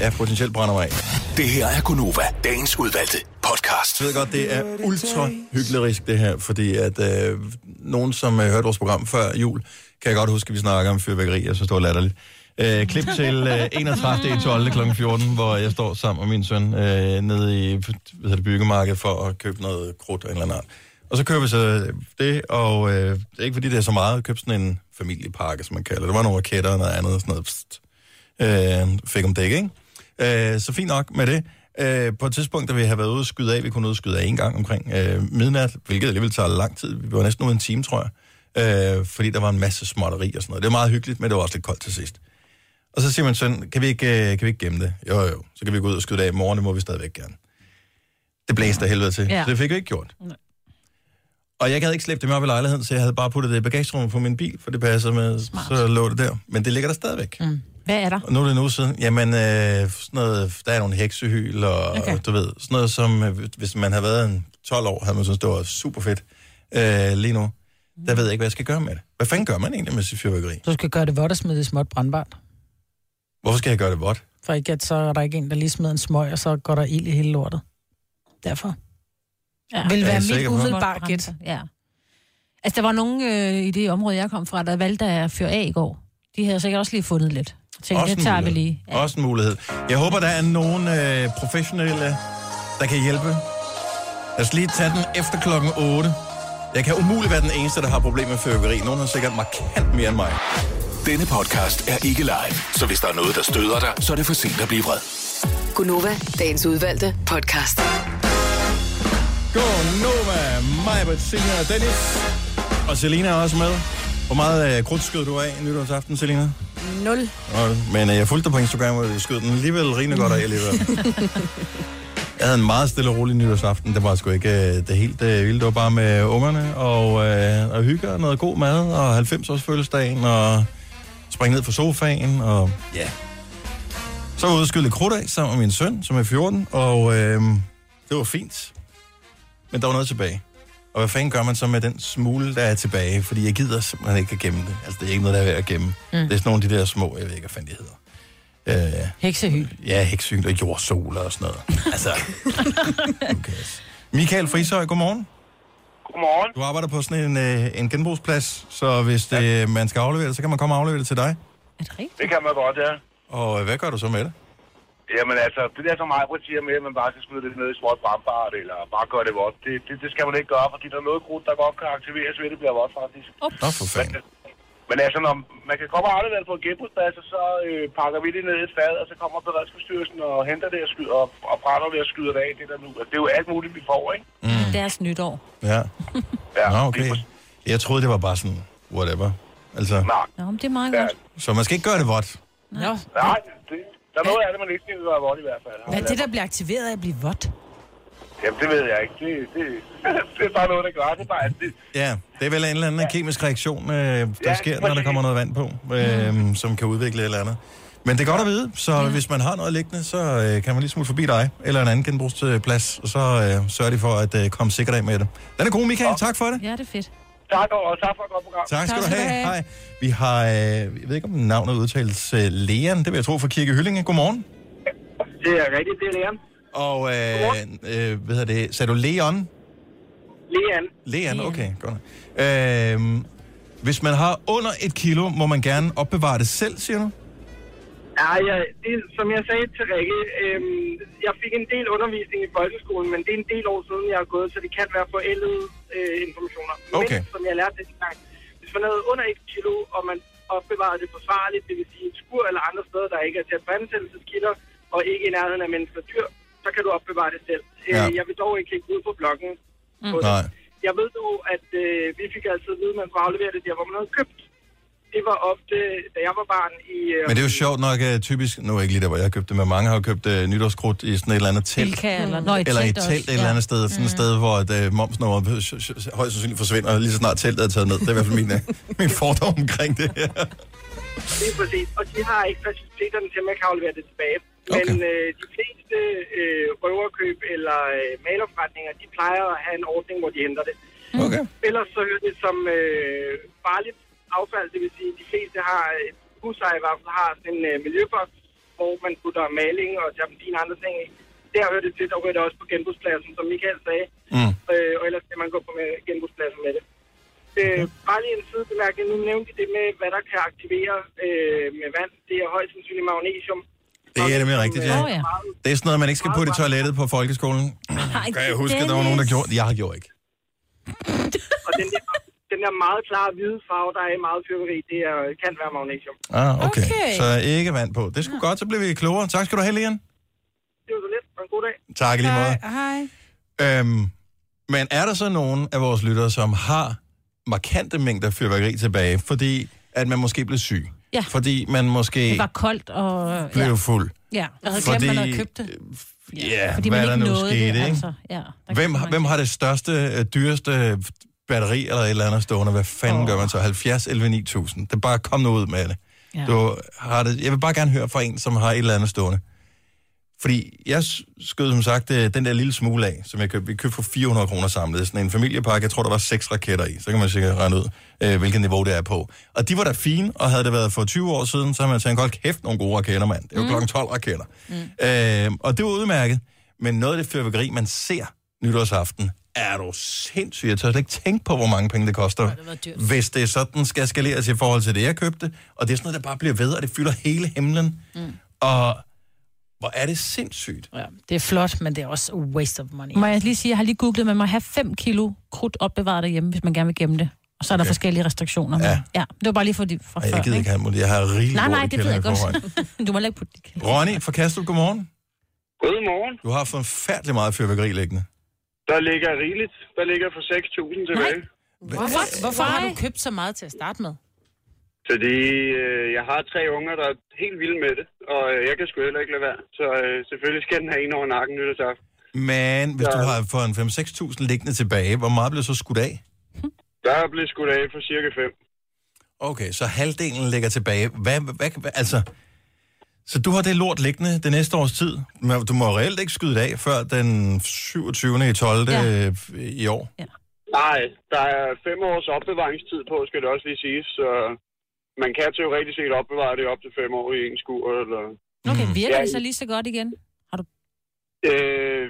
[SPEAKER 1] ja, potentielt brænder mig af.
[SPEAKER 4] Det her er Gunova, dagens udvalgte podcast.
[SPEAKER 1] Jeg ved godt, det er ultra hyklerisk det her, fordi at øh, nogen, som øh, hørte vores program før jul, kan jeg godt huske, at vi snakker om fyrværkeri, og så står latterligt. Øh, klip til øh, 31. i 12. kl. 14, hvor jeg står sammen med min søn øh, nede i hvad hedder det, byggemarkedet for at købe noget krudt af en eller anden art. Og så køber vi så det, og øh, det er ikke fordi, det er så meget. Jeg købte sådan en familiepakke, som man kalder det. Der var nogle raketter og noget andet og sådan noget. Pst øh, fik om dæk, ikke? Øh, så fint nok med det. Øh, på et tidspunkt, da vi havde været ude og skyde af, vi kunne ud og skyde af en gang omkring øh, midnat, hvilket alligevel tager lang tid. Vi var næsten ude en time, tror jeg. Øh, fordi der var en masse småtteri og sådan noget. Det var meget hyggeligt, men det var også lidt koldt til sidst. Og så siger man sådan, kan vi ikke, øh, kan vi ikke gemme det? Jo, jo, så kan vi gå ud og skyde det af i morgen, det må vi stadigvæk gerne. Det blæste af helvede til, ja.
[SPEAKER 3] Ja.
[SPEAKER 1] så det fik vi ikke gjort. Og jeg havde ikke slæbt det med op i lejligheden, så jeg havde bare puttet det i bagagerummet på min bil, for det passer med, Smart. så lå det der. Men det ligger der stadigvæk. Mm.
[SPEAKER 3] Hvad er der?
[SPEAKER 1] Og nu er det en uge siden. Jamen, øh, sådan noget, der er nogle heksehyl, og okay. du ved, sådan noget som, øh, hvis man havde været en 12 år, havde man syntes, det var super fedt. Øh, lige nu,
[SPEAKER 3] Mm.
[SPEAKER 1] der ved jeg ikke, hvad jeg skal gøre med det. Hvad fanden gør man egentlig med sit fyrværkeri?
[SPEAKER 2] Du skal gøre det vådt og smide det i småt brandbart.
[SPEAKER 1] Hvorfor skal jeg gøre det vådt?
[SPEAKER 2] For ikke at så er der ikke en, der lige smider en smøg, og så går der ild i hele lortet. Derfor. Ja. Vil
[SPEAKER 1] Jeg er
[SPEAKER 2] være mit
[SPEAKER 1] sikker på-
[SPEAKER 2] umiddelbare gæt.
[SPEAKER 3] Ja. Altså, der var nogen øh, i det område, jeg kom fra, der valgte at fyre af i går. De havde sikkert også lige fundet lidt. Jeg tænkte,
[SPEAKER 1] Også
[SPEAKER 3] det
[SPEAKER 1] en
[SPEAKER 3] tager vi
[SPEAKER 1] mulighed.
[SPEAKER 3] lige.
[SPEAKER 1] Ja. Også en mulighed. Jeg håber, der er nogen øh, professionelle, der kan hjælpe. Lad os lige tage den efter klokken 8. Jeg kan umuligt være den eneste, der har problemer med fyrværkeri. Nogen har sikkert markant mere end mig.
[SPEAKER 4] Denne podcast er ikke live, så hvis der er noget, der støder dig, så er det for sent at blive vred.
[SPEAKER 7] Gunova, dagens udvalgte podcast.
[SPEAKER 1] Godnova, Majbert, Selina og Dennis. Og Selina er også med. Hvor meget øh, krudt skød du af nytårsaften, Selina?
[SPEAKER 5] Nul.
[SPEAKER 1] Nå, Men øh, jeg fulgte dig på Instagram, og du skød den alligevel rimelig godt af alligevel. Jeg havde en meget stille og rolig nytårsaften. Det var sgu ikke øh, det helt øh, vilde. Det var bare med ungerne og, øh, og hygge og noget god mad og 90-års fødselsdagen og springe ned på sofaen og ja. Yeah. Så var jeg ude og skyde lidt krudt af sammen med min søn, som er 14, og øh, det var fint. Men der var noget tilbage. Og hvad fanden gør man så med den smule, der er tilbage? Fordi jeg gider simpelthen ikke at gemme det. Altså, det er ikke noget, der er værd at gemme. Mm. Det er sådan nogle af de der små, jeg ved ikke, hvad fanden de hedder. Øh,
[SPEAKER 2] Heksehyl.
[SPEAKER 1] ja, heksyn og jordsoler og sådan noget. Altså, okay. Michael Frishøj, godmorgen.
[SPEAKER 12] Godmorgen.
[SPEAKER 1] Du arbejder på sådan en, øh, en genbrugsplads, så hvis det, ja. man skal aflevere det, så kan man komme og aflevere det til dig.
[SPEAKER 12] Det kan man godt, ja.
[SPEAKER 1] Og øh, hvad gør du så med det?
[SPEAKER 12] Jamen altså, det der som mig siger med, at man bare skal smide det ned i småt brandbart, eller bare gøre det vådt, det, det, det, skal man ikke gøre, fordi der er noget krudt, der godt kan aktiveres ved, at det bliver vådt faktisk.
[SPEAKER 1] Nå, for fanden.
[SPEAKER 12] Men altså, når man kan komme og aflevere det på en genbrugsplads, og så øh, pakker vi det ned i et fad, og så kommer Beredskabsstyrelsen og henter det og, skyder, og, og brænder det og skyder det af, det der nu. Og det er jo alt muligt, vi får, ikke?
[SPEAKER 3] Mm. Deres nytår.
[SPEAKER 1] Ja.
[SPEAKER 12] Ja,
[SPEAKER 1] Nå, okay. Jeg troede, det var bare sådan, whatever. Altså,
[SPEAKER 3] Nå, men det er meget godt.
[SPEAKER 1] så man skal ikke gøre det vådt.
[SPEAKER 2] Nå.
[SPEAKER 12] Nej, det, der er noget af det, man ikke skal gøre vort i hvert fald.
[SPEAKER 2] Hvad er det, der bliver aktiveret af at blive vådt?
[SPEAKER 12] Jamen, det ved jeg ikke. Det, det, det er bare noget, der gør. Det er bare, det,
[SPEAKER 1] Ja, det er vel en eller anden kemisk reaktion, øh, der
[SPEAKER 12] Ja,
[SPEAKER 1] sker, når der kommer noget vand på, øh, som kan udvikle et eller andet. Men det er godt at vide, så ja. hvis man har noget liggende, så øh, kan man lige smutte forbi dig, eller en anden genbrugsplads, og så øh, sørger de for at øh, komme sikkert af med det. Den er god, Michael. Tak for det.
[SPEAKER 3] Ja, det er fedt.
[SPEAKER 12] tak, og, og tak for et godt program.
[SPEAKER 1] Tak skal, du have. Hej. Vi har, øh, jeg ved ikke om navnet udtales, øh, Leon, det vil jeg tro, fra Kirke Hyllinge. Godmorgen.
[SPEAKER 12] Det er rigtigt, det er Leon.
[SPEAKER 1] Og, øh, øh, hvad hedder det, sagde du Leon?
[SPEAKER 12] Leon.
[SPEAKER 1] Leon, okay, godt. Øh, hvis man har under et kilo, må man gerne opbevare det selv, siger du?
[SPEAKER 12] Ja, ja, det, er, som jeg sagde til Rikke, øhm, jeg fik en del undervisning i folkeskolen, men det er en del år siden, jeg har gået, så det kan være forældede øh, informationer.
[SPEAKER 1] Okay.
[SPEAKER 12] Men, som jeg lærte det gang, hvis man havde under et kilo, og man opbevarede det forsvarligt, det vil sige et skur eller andre steder, der ikke er til brændelseskilder, og ikke i nærheden af mennesker og dyr, så kan du opbevare det selv.
[SPEAKER 1] Ja.
[SPEAKER 12] Øh, jeg vil dog ikke kigge ud på bloggen. på det.
[SPEAKER 1] Nej.
[SPEAKER 12] Jeg ved dog, at øh, vi fik altid at vide, at man skulle aflevere det der, hvor man havde købt. Det var ofte, da jeg var barn i... Øh,
[SPEAKER 1] Men det er jo sjovt nok uh, typisk, nu er ikke lige der, hvor jeg købte det, men mange har jo købt uh, nytårskrudt i sådan et eller andet telt.
[SPEAKER 3] Bilka eller- Nå, i
[SPEAKER 1] eller
[SPEAKER 3] telt
[SPEAKER 1] et telt
[SPEAKER 3] også,
[SPEAKER 1] et eller
[SPEAKER 3] ja. Mm.
[SPEAKER 1] andet sted, sådan et sted, hvor et, uh, momsnummeret højst sandsynligt forsvinder, lige så snart teltet er taget ned. Det er i hvert fald min, øh, min fordom omkring det her.
[SPEAKER 12] Det er præcis. Og de har ikke faciliteterne til, at man kan aflevere det tilbage. Men øh, de fleste øh, røverkøb eller øh, malerforretninger, de plejer at have en ordning, hvor de henter det. Mm.
[SPEAKER 1] Okay.
[SPEAKER 12] Ellers så hører det som øh, farligt affald, det vil sige, at de fleste har, et husejer i hvert fald har sådan en øh, miljøboks, hvor man putter maling og terpentin og andre ting i. Der hører det til, der hører det også på genbrugspladsen, som Michael sagde.
[SPEAKER 1] Mm.
[SPEAKER 12] Øh, og ellers kan man gå på med genbrugspladsen med det. Øh, bare lige en sidebemærkning. Nu nævnte I det med, hvad der kan aktivere øh, med vand. Det er højst sandsynligt magnesium.
[SPEAKER 1] Det er nemlig rigtigt, ja.
[SPEAKER 12] Åh, ja.
[SPEAKER 1] Det er sådan noget, man ikke skal putte i toilettet på folkeskolen. Kan jeg huske, at der var nogen, der gjorde det? Jeg har gjort ikke.
[SPEAKER 12] Og den der, den der meget klare hvide farve, der er i meget fyrværkeri, det er, kan være magnesium.
[SPEAKER 1] Ah, okay.
[SPEAKER 12] Okay.
[SPEAKER 1] okay. Så ikke vand på. Det skulle godt, så blev vi klogere. Tak skal du have, Leon.
[SPEAKER 12] Det var så lidt. Og en god dag.
[SPEAKER 1] Tak i lige måde.
[SPEAKER 2] Hej.
[SPEAKER 1] Øhm, men er der så nogen af vores lyttere, som har markante mængder fyrværkeri tilbage, fordi at man måske blev syg?
[SPEAKER 3] Ja.
[SPEAKER 1] Fordi man måske
[SPEAKER 3] Det var koldt og...
[SPEAKER 1] blev
[SPEAKER 3] ja.
[SPEAKER 1] fuld?
[SPEAKER 3] Ja, og havde
[SPEAKER 1] Fordi-
[SPEAKER 3] glemt, man havde købt det.
[SPEAKER 1] Ja, yeah,
[SPEAKER 3] Fordi
[SPEAKER 1] hvad
[SPEAKER 3] man
[SPEAKER 1] er der
[SPEAKER 3] ikke
[SPEAKER 1] nu
[SPEAKER 3] nåede
[SPEAKER 1] skete,
[SPEAKER 3] det,
[SPEAKER 1] ikke?
[SPEAKER 3] altså. Ja, der
[SPEAKER 1] Hvem, hvem har det største, øh, dyreste øh, batteri eller et eller andet stående? Hvad fanden oh. gør man så? 70, 11, 9000. Det er bare kom nu ud med det.
[SPEAKER 4] Ja.
[SPEAKER 1] Ja. Du har det. Jeg vil bare gerne høre fra en, som har et eller andet stående. Fordi jeg s- skød som sagt øh, den der lille smule af, som jeg købte. Vi købte for 400 kroner samlet. Sådan en familiepakke. Jeg tror, der var seks raketter i. Så kan man sikkert regne ud, øh, hvilket niveau det er på. Og de var da fine, og havde det været for 20 år siden, så havde man tænkt, hold kæft, nogle gode raketter, mand. Det er jo mm. klokken 12 raketter. Mm. Øh, og det var udmærket. Men noget af det fyrværkeri, man ser nytårsaften, er du sindssyg. Jeg tør slet ikke tænke på, hvor mange penge det koster. hvis det er sådan, skal skaleres i forhold til det, jeg købte. Og det er sådan noget, der bare bliver ved, og det fylder hele himlen. Mm. Og hvor er det sindssygt.
[SPEAKER 2] Ja. Det er flot, men det er også a waste of money.
[SPEAKER 3] Må jeg lige sige, jeg har lige googlet, man må have 5 kilo krudt opbevaret derhjemme, hvis man gerne vil gemme det. Og så er der
[SPEAKER 1] Okay.
[SPEAKER 3] forskellige restriktioner. Men...
[SPEAKER 1] Ja.
[SPEAKER 3] Ja. ja. det var bare lige for de fra
[SPEAKER 1] Ej,
[SPEAKER 3] før,
[SPEAKER 1] jeg gider ikke have imod det. Jeg har rigeligt
[SPEAKER 3] Nej,
[SPEAKER 1] lort
[SPEAKER 3] nej,
[SPEAKER 1] i
[SPEAKER 3] det ved jeg
[SPEAKER 1] kælderen i forvejen.
[SPEAKER 3] godt. du må heller ikke putte det. i kælderen.
[SPEAKER 1] Ronny fra Kastrup, godmorgen.
[SPEAKER 13] Godmorgen.
[SPEAKER 1] Du har fået færdelig meget fyrværkeri liggende.
[SPEAKER 13] Der ligger rigeligt. Der ligger for 6.000 tilbage.
[SPEAKER 2] Hvorfor, hvorfor har du købt så meget til at starte med?
[SPEAKER 13] Fordi øh, jeg har tre unger, der er helt vilde med det, og øh, jeg kan sgu heller ikke lade være. Så øh, selvfølgelig skal den have en over nakken nytårsaften.
[SPEAKER 1] Men hvis ja. du har fået en 5-6.000 liggende tilbage, hvor meget blev så skudt af?
[SPEAKER 13] Der er blevet skudt af for cirka 5.
[SPEAKER 1] Okay, så halvdelen ligger tilbage. Hvad, hvad, hvad, altså, så du har det lort liggende det næste års tid. Men Du må reelt ikke skyde det af før den 27. i 12. Ja. i år.
[SPEAKER 13] Nej, der er fem års opbevaringstid på, skal det også lige siges. Så øh, man kan teoretisk set opbevare det op til fem år i en skur. Eller...
[SPEAKER 3] Okay,
[SPEAKER 1] Mm.
[SPEAKER 3] virker
[SPEAKER 13] Ja,
[SPEAKER 3] det så lige så godt igen?
[SPEAKER 13] Øh,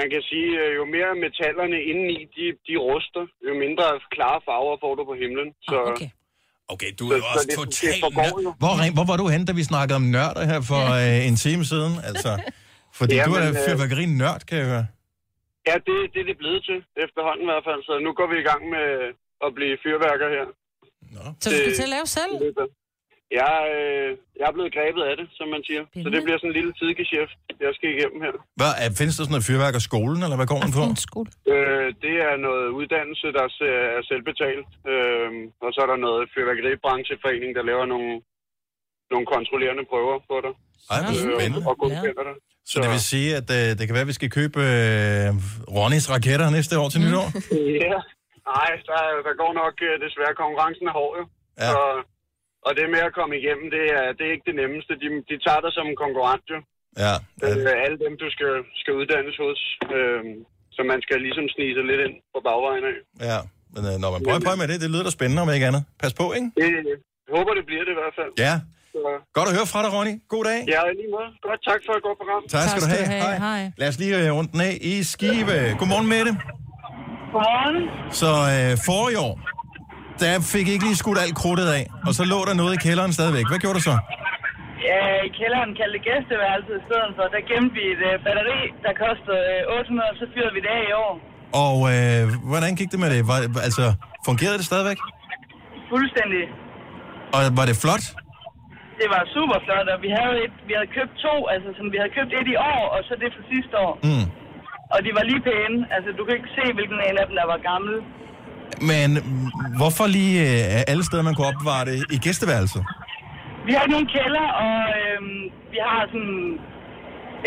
[SPEAKER 13] man kan sige, at jo mere metallerne indeni, de, de ruster, jo mindre klare farver får du på himlen. Så, Ah, okay.
[SPEAKER 1] Okay, du er jo også totalt
[SPEAKER 13] forgår jo.
[SPEAKER 1] Hvor, ren- hvor var du henne, da vi snakkede om nørder her for øh, en time siden? Altså, fordi ja,
[SPEAKER 13] Ja,
[SPEAKER 1] du er
[SPEAKER 13] men, øh,
[SPEAKER 1] fyrværkeri-nørd, kan jeg høre.
[SPEAKER 13] Ja, det, det er det blevet til efterhånden i hvert fald, så nu går vi i gang med at blive fyrværker her. Øh,
[SPEAKER 2] Så du skal til at lave selv?
[SPEAKER 13] Jeg, øh, jeg er blevet grebet af det, som man siger. Så det bliver sådan en lille sidegeschæft, jeg skal igennem her.
[SPEAKER 1] Hvad, er, findes der sådan noget fyrværk af skolen, eller hvad går man på?
[SPEAKER 13] Øh, det er noget uddannelse, der se- er selvbetalt. Øh, og så er der noget fyrværkeribrancheforening, der laver nogle, nogle kontrollerende prøver på dig. Øh,
[SPEAKER 1] Ej, hvor spændende.
[SPEAKER 13] Og godkender dig.
[SPEAKER 1] Så det vil sige, at øh, det kan være, at vi skal købe øh, Ronnys raketter næste år til nytår?
[SPEAKER 13] Ja. Nej, der, der går nok øh, desværre konkurrencen er hård, jo. Ja. Så, og det med at komme igennem, det er, det er ikke det nemmeste. De, de tager dig som en konkurrent, jo.
[SPEAKER 1] Ja.
[SPEAKER 13] Øh, alle dem, du skal, skal uddannes hos. Øh, så man skal ligesom snige sig lidt ind på bagvejen af.
[SPEAKER 1] Ja, men øh, når man prøver, prøver med det, det lyder da spændende, om ikke andet. Pas på, ikke?
[SPEAKER 13] Det, jeg håber, det bliver det i hvert fald.
[SPEAKER 1] Ja.
[SPEAKER 13] Så,
[SPEAKER 1] Godt at høre fra dig, Ronny. God dag.
[SPEAKER 13] ja, i lige måde. Godt, tak for et godt program.
[SPEAKER 1] Tak skal du have. Hej. Lad os lige øh, runde den af i Skive. Godmorgen, Mette.
[SPEAKER 14] Godmorgen.
[SPEAKER 1] Så øh, for i år, der fik I ikke lige skudt alt krudtet af, og så lå der noget i kælderen stadigvæk. Hvad gjorde du så?
[SPEAKER 14] Ja, i kælderen kaldte det gæsteværelset i stedet for. Der gemte vi et øh, batteri, der kostede øh, 800, og så fyrede vi det af i år.
[SPEAKER 1] Og øh, hvordan gik det med det? Var, altså, fungerede det stadigvæk?
[SPEAKER 14] Fuldstændig.
[SPEAKER 1] Og var det flot?
[SPEAKER 14] Det var super flot, og vi havde, et, vi havde købt to, altså sådan, vi havde købt et i år, og så det for sidste år.
[SPEAKER 1] Mm.
[SPEAKER 14] Og de var lige pæne, altså du kan ikke se, hvilken en af dem, der var gammel.
[SPEAKER 1] Men mm, hvorfor lige øh, alle steder, man kunne opbevare det i gæsteværelset?
[SPEAKER 14] Vi har ikke nogen kælder, og øhm, vi har sådan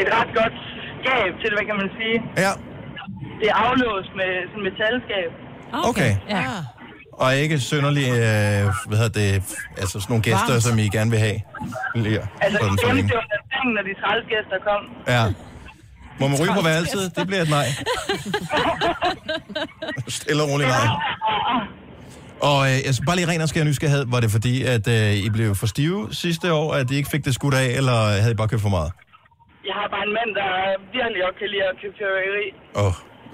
[SPEAKER 14] et ret godt skab til det, hvad kan man sige.
[SPEAKER 1] Ja.
[SPEAKER 14] Det er aflåst med sådan et metalskab.
[SPEAKER 1] Okay.
[SPEAKER 14] Ja.
[SPEAKER 1] Og ikke synderlig, øh, hvad hedder det, altså sådan nogle gæster,
[SPEAKER 14] Varmt.
[SPEAKER 1] som I gerne vil have. Lir,
[SPEAKER 14] Altså,
[SPEAKER 1] sådan, så
[SPEAKER 14] det
[SPEAKER 1] længe.
[SPEAKER 14] var der sengen, når de træls gæster kom.
[SPEAKER 1] Ja. Må man ryge på værelset? Det bliver et nej. Stille og roligt nej. Og øh, altså, bare lige ren og skær nysgerrighed, var det fordi, at øh, I blev for stive sidste år, at I ikke fik det skudt af, eller havde I bare købt for meget?
[SPEAKER 14] Jeg har bare en mand, der virkelig også kan lide at købe fyrværkeri.
[SPEAKER 1] Åh,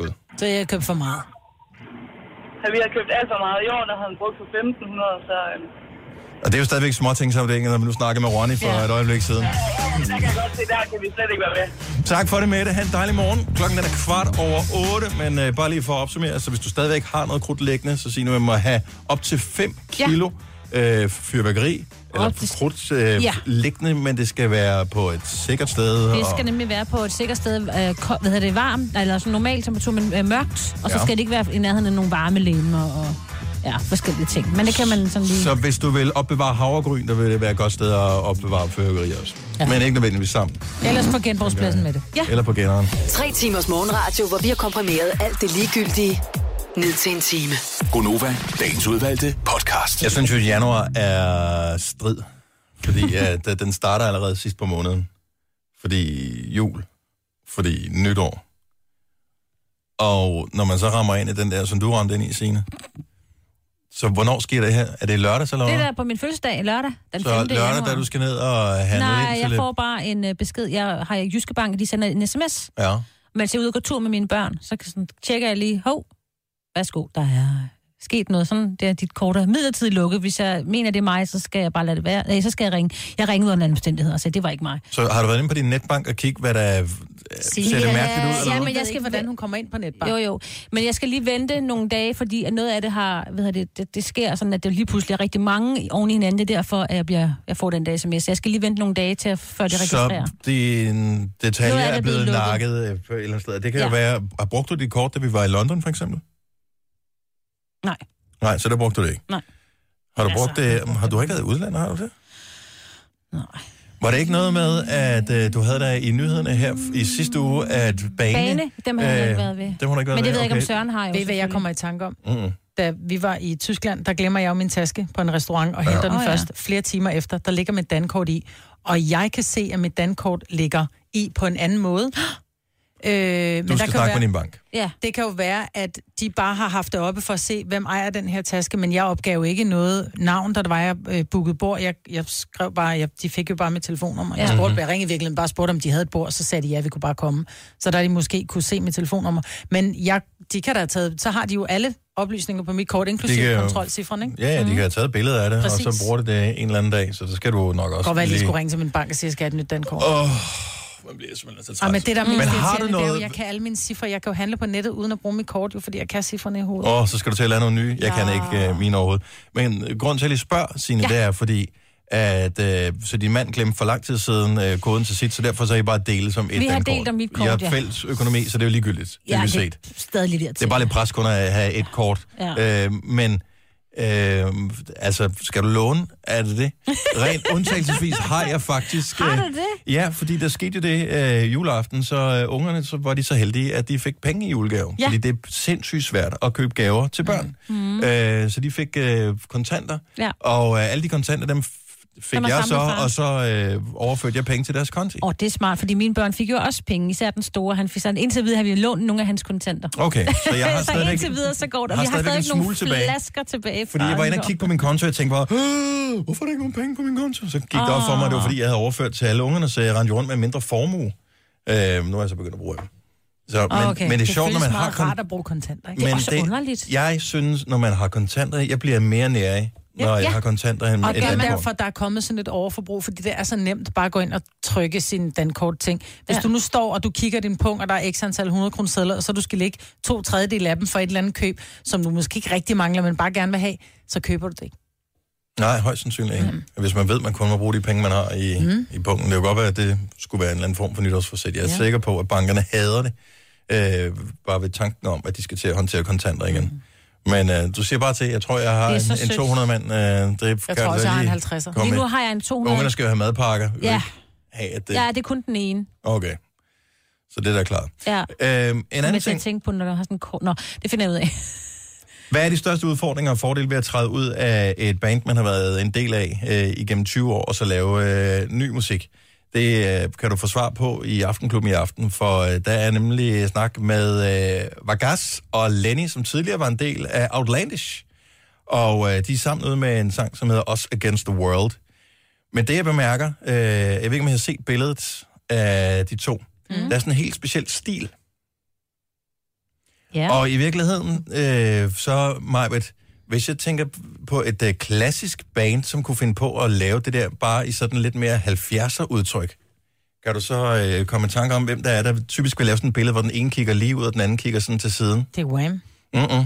[SPEAKER 1] oh,
[SPEAKER 2] Så jeg har købt for meget.
[SPEAKER 14] Han vi har købt alt for meget i år, der har han brugt for 1.500, så... øhm,
[SPEAKER 1] og det er jo stadigvæk småtingsafdelingen, når vi nu snakker med Ronny for
[SPEAKER 14] Ja.
[SPEAKER 1] et øjeblik siden.
[SPEAKER 14] Der kan jeg godt se, der kan vi slet ikke være med.
[SPEAKER 1] Tak for det, Mette. Ha' en dejlig morgen. Klokken den er kvart over 8, men øh, bare lige for at opsummere, så hvis du stadigvæk har noget krudt liggende, så sig nu, at man må have op til 5
[SPEAKER 15] Ja.
[SPEAKER 1] kilo øh, fyrværkeri, eller krudt øh,
[SPEAKER 3] Ja.
[SPEAKER 1] ja. liggende, men det skal være på et sikkert sted.
[SPEAKER 3] Det skal nemlig være på et sikkert sted, øh, ko- hvad hedder det, varmt, eller sådan normal temperatur, men øh, mørkt. Og så
[SPEAKER 1] Ja.
[SPEAKER 3] skal det ikke være i nærheden af nogle varme lemmer og ja, forskellige ting. Men det kan man sådan lige...
[SPEAKER 1] Så hvis du vil opbevare havregryn, der vil det være et godt sted at opbevare fyrværkeri også. Ja. Men ikke nødvendigvis sammen.
[SPEAKER 2] Ellers på genbrugspladsen med det.
[SPEAKER 1] Ja. Eller på genneren.
[SPEAKER 7] Tre timers morgenradio, hvor vi har komprimeret alt det ligegyldige ned til en time.
[SPEAKER 4] Gonova, dagens udvalgte podcast.
[SPEAKER 1] Jeg synes jo, at januar er strid, fordi at, øh, den starter allerede sidst på måneden. Fordi jul, fordi nytår. Og når man så rammer ind i den der, som du ramte ind i, Signe, så hvornår sker det her? Er det lørdag, så
[SPEAKER 3] Det
[SPEAKER 1] lørdag?
[SPEAKER 3] der på min fødselsdag lørdag, den 5.
[SPEAKER 1] Så lørdag,
[SPEAKER 3] januar.
[SPEAKER 1] da du skal ned og handle ind
[SPEAKER 3] Nej,
[SPEAKER 1] til
[SPEAKER 3] jeg
[SPEAKER 1] lidt.
[SPEAKER 3] får bare en øh, besked. Jeg har Jyske Bank, de sender en sms.
[SPEAKER 1] Ja.
[SPEAKER 3] Men jeg er ude og gå tur med mine børn, så kan sådan, tjekker jeg lige, hov, værsgo, der er sket noget sådan, det er dit kort er midlertidigt lukket. Hvis jeg mener, det er mig, så skal jeg bare lade det være. Nej, så skal jeg ringe. Jeg ringede under anden omstændighed og sagde, det var ikke mig.
[SPEAKER 1] Så har du været inde på din netbank og kigge, hvad der øh, ser det mærkeligt ud? Eller
[SPEAKER 3] ja,
[SPEAKER 1] noget?
[SPEAKER 3] men jeg skal,
[SPEAKER 2] hvordan hun kommer ind på netbank.
[SPEAKER 3] Jo, jo. Men jeg skal lige vente nogle dage, fordi at noget af det har, hvad hedder det, det, det sker sådan, at det lige pludselig er rigtig mange oven i hinanden. Det er derfor, at jeg, bliver, jeg får den dag sms. Så jeg skal lige vente nogle dage til, at- før det registrerer.
[SPEAKER 1] Så din detalje
[SPEAKER 3] Noget af det
[SPEAKER 1] er
[SPEAKER 3] er
[SPEAKER 1] blevet
[SPEAKER 3] blevet lukket.
[SPEAKER 1] nakket øh, på et eller andet sted. Det kan
[SPEAKER 3] Ja.
[SPEAKER 1] ja. jo være, har brugt du dit kort, da vi var i London for eksempel?
[SPEAKER 3] Nej.
[SPEAKER 1] Nej, så der brugte du det ikke?
[SPEAKER 3] Nej.
[SPEAKER 1] Har du brugt det? Har du ikke været i udlandet, har du det? Nej. Var det ikke noget med, at øh, du havde der i nyhederne her f- i sidste uge, at Bane... Øh,
[SPEAKER 2] Bane, dem har jeg ikke været ved.
[SPEAKER 1] Dem har du ikke været ved, okay.
[SPEAKER 3] har jo.
[SPEAKER 2] Ved I, hvad jeg kommer i tanke om?
[SPEAKER 1] Mm.
[SPEAKER 2] Da vi var i Tyskland, der glemmer jeg jo min taske på en restaurant og henter
[SPEAKER 1] Ja.
[SPEAKER 2] den
[SPEAKER 1] Åh, ja.
[SPEAKER 2] først flere timer efter. Der ligger mit dankort i, og jeg kan se, at mit dankort ligger i på en anden måde. Øh, men
[SPEAKER 1] Du
[SPEAKER 2] der
[SPEAKER 1] skal
[SPEAKER 2] kan
[SPEAKER 1] snakke
[SPEAKER 2] være-
[SPEAKER 1] med din bank.
[SPEAKER 3] Ja.
[SPEAKER 2] Det kan jo være, at de bare har haft det oppe for at se, hvem ejer den her taske, men jeg opgav ikke noget navn, da det var, jeg øh, bookede bord. Jeg, jeg skrev bare, jeg, de fik jo bare mit telefonnummer. Jeg
[SPEAKER 3] Ja.
[SPEAKER 2] spurgte,
[SPEAKER 3] Mhm.
[SPEAKER 2] jeg ringede virkelig bare spurgte, om de havde et bord, så sagde de, ja, vi kunne bare komme. Så der de måske kunne se mit telefonnummer. Men jeg, de kan da have taget, så har de jo alle oplysninger på mit kort,
[SPEAKER 1] Det kan
[SPEAKER 2] inklusive
[SPEAKER 1] jo-
[SPEAKER 2] kontrolcifrene, ikke?
[SPEAKER 1] Ja, ja, de kan have taget billeder af det, Præcis. og
[SPEAKER 2] Mm-hmm. Præcis.
[SPEAKER 1] så bruger det det en eller anden dag, så det skal du nok
[SPEAKER 2] Godt
[SPEAKER 1] også
[SPEAKER 2] være, at jeg lige skulle ringe til min bank og sige, at jeg skal have et nyt dankort.
[SPEAKER 1] Åh, man bliver simpelthen så træt.
[SPEAKER 2] Ej, men det der er
[SPEAKER 1] men
[SPEAKER 2] mest
[SPEAKER 1] har du
[SPEAKER 2] irriterende, det er jo,
[SPEAKER 1] noget...
[SPEAKER 2] jeg kan alle mine cifre. Jeg kan jo handle på nettet uden at bruge mit kort, jo, fordi jeg kan cifrene i hovedet.
[SPEAKER 1] Åh, oh, så skal du til at lære noget nye. Jeg ja. kan ikke øh, mine overhovedet. Men øh, grunden til, at jeg lige spørger, Signe, ja.
[SPEAKER 2] Ja.
[SPEAKER 1] det er, fordi at øh, så din mand glemte for lang tid siden øh, koden til sit, så derfor så er I bare dele som et
[SPEAKER 3] Vi har
[SPEAKER 1] dankort.
[SPEAKER 3] delt om mit kort,
[SPEAKER 1] I har
[SPEAKER 3] ja.
[SPEAKER 1] fælles økonomi, så det er jo ligegyldigt, ja, det, set.
[SPEAKER 3] er stadig lidt irriterende.
[SPEAKER 1] Det er bare lidt pres kun at have et kort.
[SPEAKER 3] Ja.
[SPEAKER 1] Øh, men øh, altså, skal du låne? Er det det? Rent undtagelsesvis har jeg faktisk...
[SPEAKER 3] Har du
[SPEAKER 1] øh,
[SPEAKER 3] det?
[SPEAKER 1] Ja, fordi der skete jo det øh, juleaften, så øh, ungerne så var de så heldige, at de fik penge i julegave.
[SPEAKER 3] Ja.
[SPEAKER 1] Fordi det er sindssygt svært at købe gaver til børn.
[SPEAKER 3] Mm.
[SPEAKER 1] Øh, så de fik øh, kontanter,
[SPEAKER 3] Ja.
[SPEAKER 1] og øh, alle de kontanter, dem f- fik
[SPEAKER 3] Dem har
[SPEAKER 1] jeg så,
[SPEAKER 3] samlet far.
[SPEAKER 1] og så øh, overførte jeg penge til deres konti.
[SPEAKER 3] Og det er smart, fordi mine børn fik jo også penge, især den store. Han fik sådan, indtil videre har vi lånt nogle af hans kontanter.
[SPEAKER 1] Okay, så jeg har
[SPEAKER 3] så
[SPEAKER 1] stadigvæk-
[SPEAKER 3] indtil videre, så går der.
[SPEAKER 1] har
[SPEAKER 3] vi har
[SPEAKER 1] stadigvæk en
[SPEAKER 3] stadig nogle
[SPEAKER 1] smule tilbage.
[SPEAKER 3] flasker tilbage. fra
[SPEAKER 1] Fordi jeg var inde og
[SPEAKER 3] nytår.
[SPEAKER 1] kigge på min konto, og jeg tænkte bare, "Øh, hvorfor er der ikke nogen penge på min konto? Så gik det op for mig, at
[SPEAKER 2] Ah.
[SPEAKER 1] det var fordi, jeg havde overført til alle ungerne, så jeg rendte jo rundt med en mindre formue. Øh, nu er jeg så begyndt at bruge dem. Så, men, okay. men det er sjovt, når man har...
[SPEAKER 2] Ah, Det føles meget rart at bruge kontanter, ikke?
[SPEAKER 1] men Jeg synes, når man har kontanter, jeg bliver mere nærig, når ja. jeg har kontanter end
[SPEAKER 2] Og
[SPEAKER 1] et
[SPEAKER 2] det er
[SPEAKER 1] andet
[SPEAKER 2] derfor,
[SPEAKER 1] kort.
[SPEAKER 2] der er kommet sådan et overforbrug, fordi det er så nemt bare at gå ind og trykke sin dankort-ting. Hvis ja. du nu står, og du kigger din punkt, og der er x antal 100 kroner sædler, og så du skal lægge to tredjedel af dem for et eller andet køb, som du måske ikke rigtig mangler, men bare gerne vil have, så køber du det ikke.
[SPEAKER 1] Nej, højst sandsynligt ikke. Mm. Hvis man ved, man kun må bruge de penge, man har i, mm. i punkten. Det kan godt være, at det skulle være en eller anden form for nytårsforsæt. Jeg er
[SPEAKER 15] Ja.
[SPEAKER 1] ja. sikker på, at bankerne hader det. Øh, bare ved tanken om, at de skal til at håndtere kontanter igen. Mm. Men øh, du siger bare til, jeg tror, jeg har
[SPEAKER 3] Det er
[SPEAKER 1] en,
[SPEAKER 3] så
[SPEAKER 1] en
[SPEAKER 3] sødt.
[SPEAKER 1] 200-mand. Øh, det jeg
[SPEAKER 3] Jeg tror også, jeg har en 50'er. Lige nu har jeg en 200.
[SPEAKER 1] Ungerne skal jo have madpakker. Vi vil
[SPEAKER 3] Ja.
[SPEAKER 1] ikke Have, at det...
[SPEAKER 3] Ja, det er kun den ene.
[SPEAKER 1] Okay. Så det er da klart.
[SPEAKER 3] Ja.
[SPEAKER 1] Øhm,
[SPEAKER 3] Som
[SPEAKER 1] en anden
[SPEAKER 3] jeg til at
[SPEAKER 1] ting,
[SPEAKER 3] tænke på, når du har sådan en kort... Nå, det finder jeg ud af.
[SPEAKER 1] hvad er de største udfordringer og fordele ved at træde ud af et band, man har været en del af øh, igennem 20 år, og så lave øh, ny musik? Det øh, kan du få svar på i Aftenklubben i aften, for øh, der er nemlig snak med øh, Vargas og Lenny, som tidligere var en del af Outlandish. Og øh, de er sammen ude med en sang, som hedder Us Against the World. Men det, jeg bemærker, øh, jeg ved ikke, om jeg har set billedet af de to. Mm. Der er sådan en helt speciel stil.
[SPEAKER 3] Ja.
[SPEAKER 1] Og i virkeligheden, øh, så Majbet, hvis jeg tænker på et øh, klassisk band, som kunne finde på at lave det der bare i sådan lidt mere 70'er udtryk, kan du så øh, komme i tanke om, hvem der er, der typisk vil lave sådan et billede, hvor den ene kigger lige ud, og den anden kigger sådan til siden?
[SPEAKER 2] Det er Wham.
[SPEAKER 1] Mm-mm.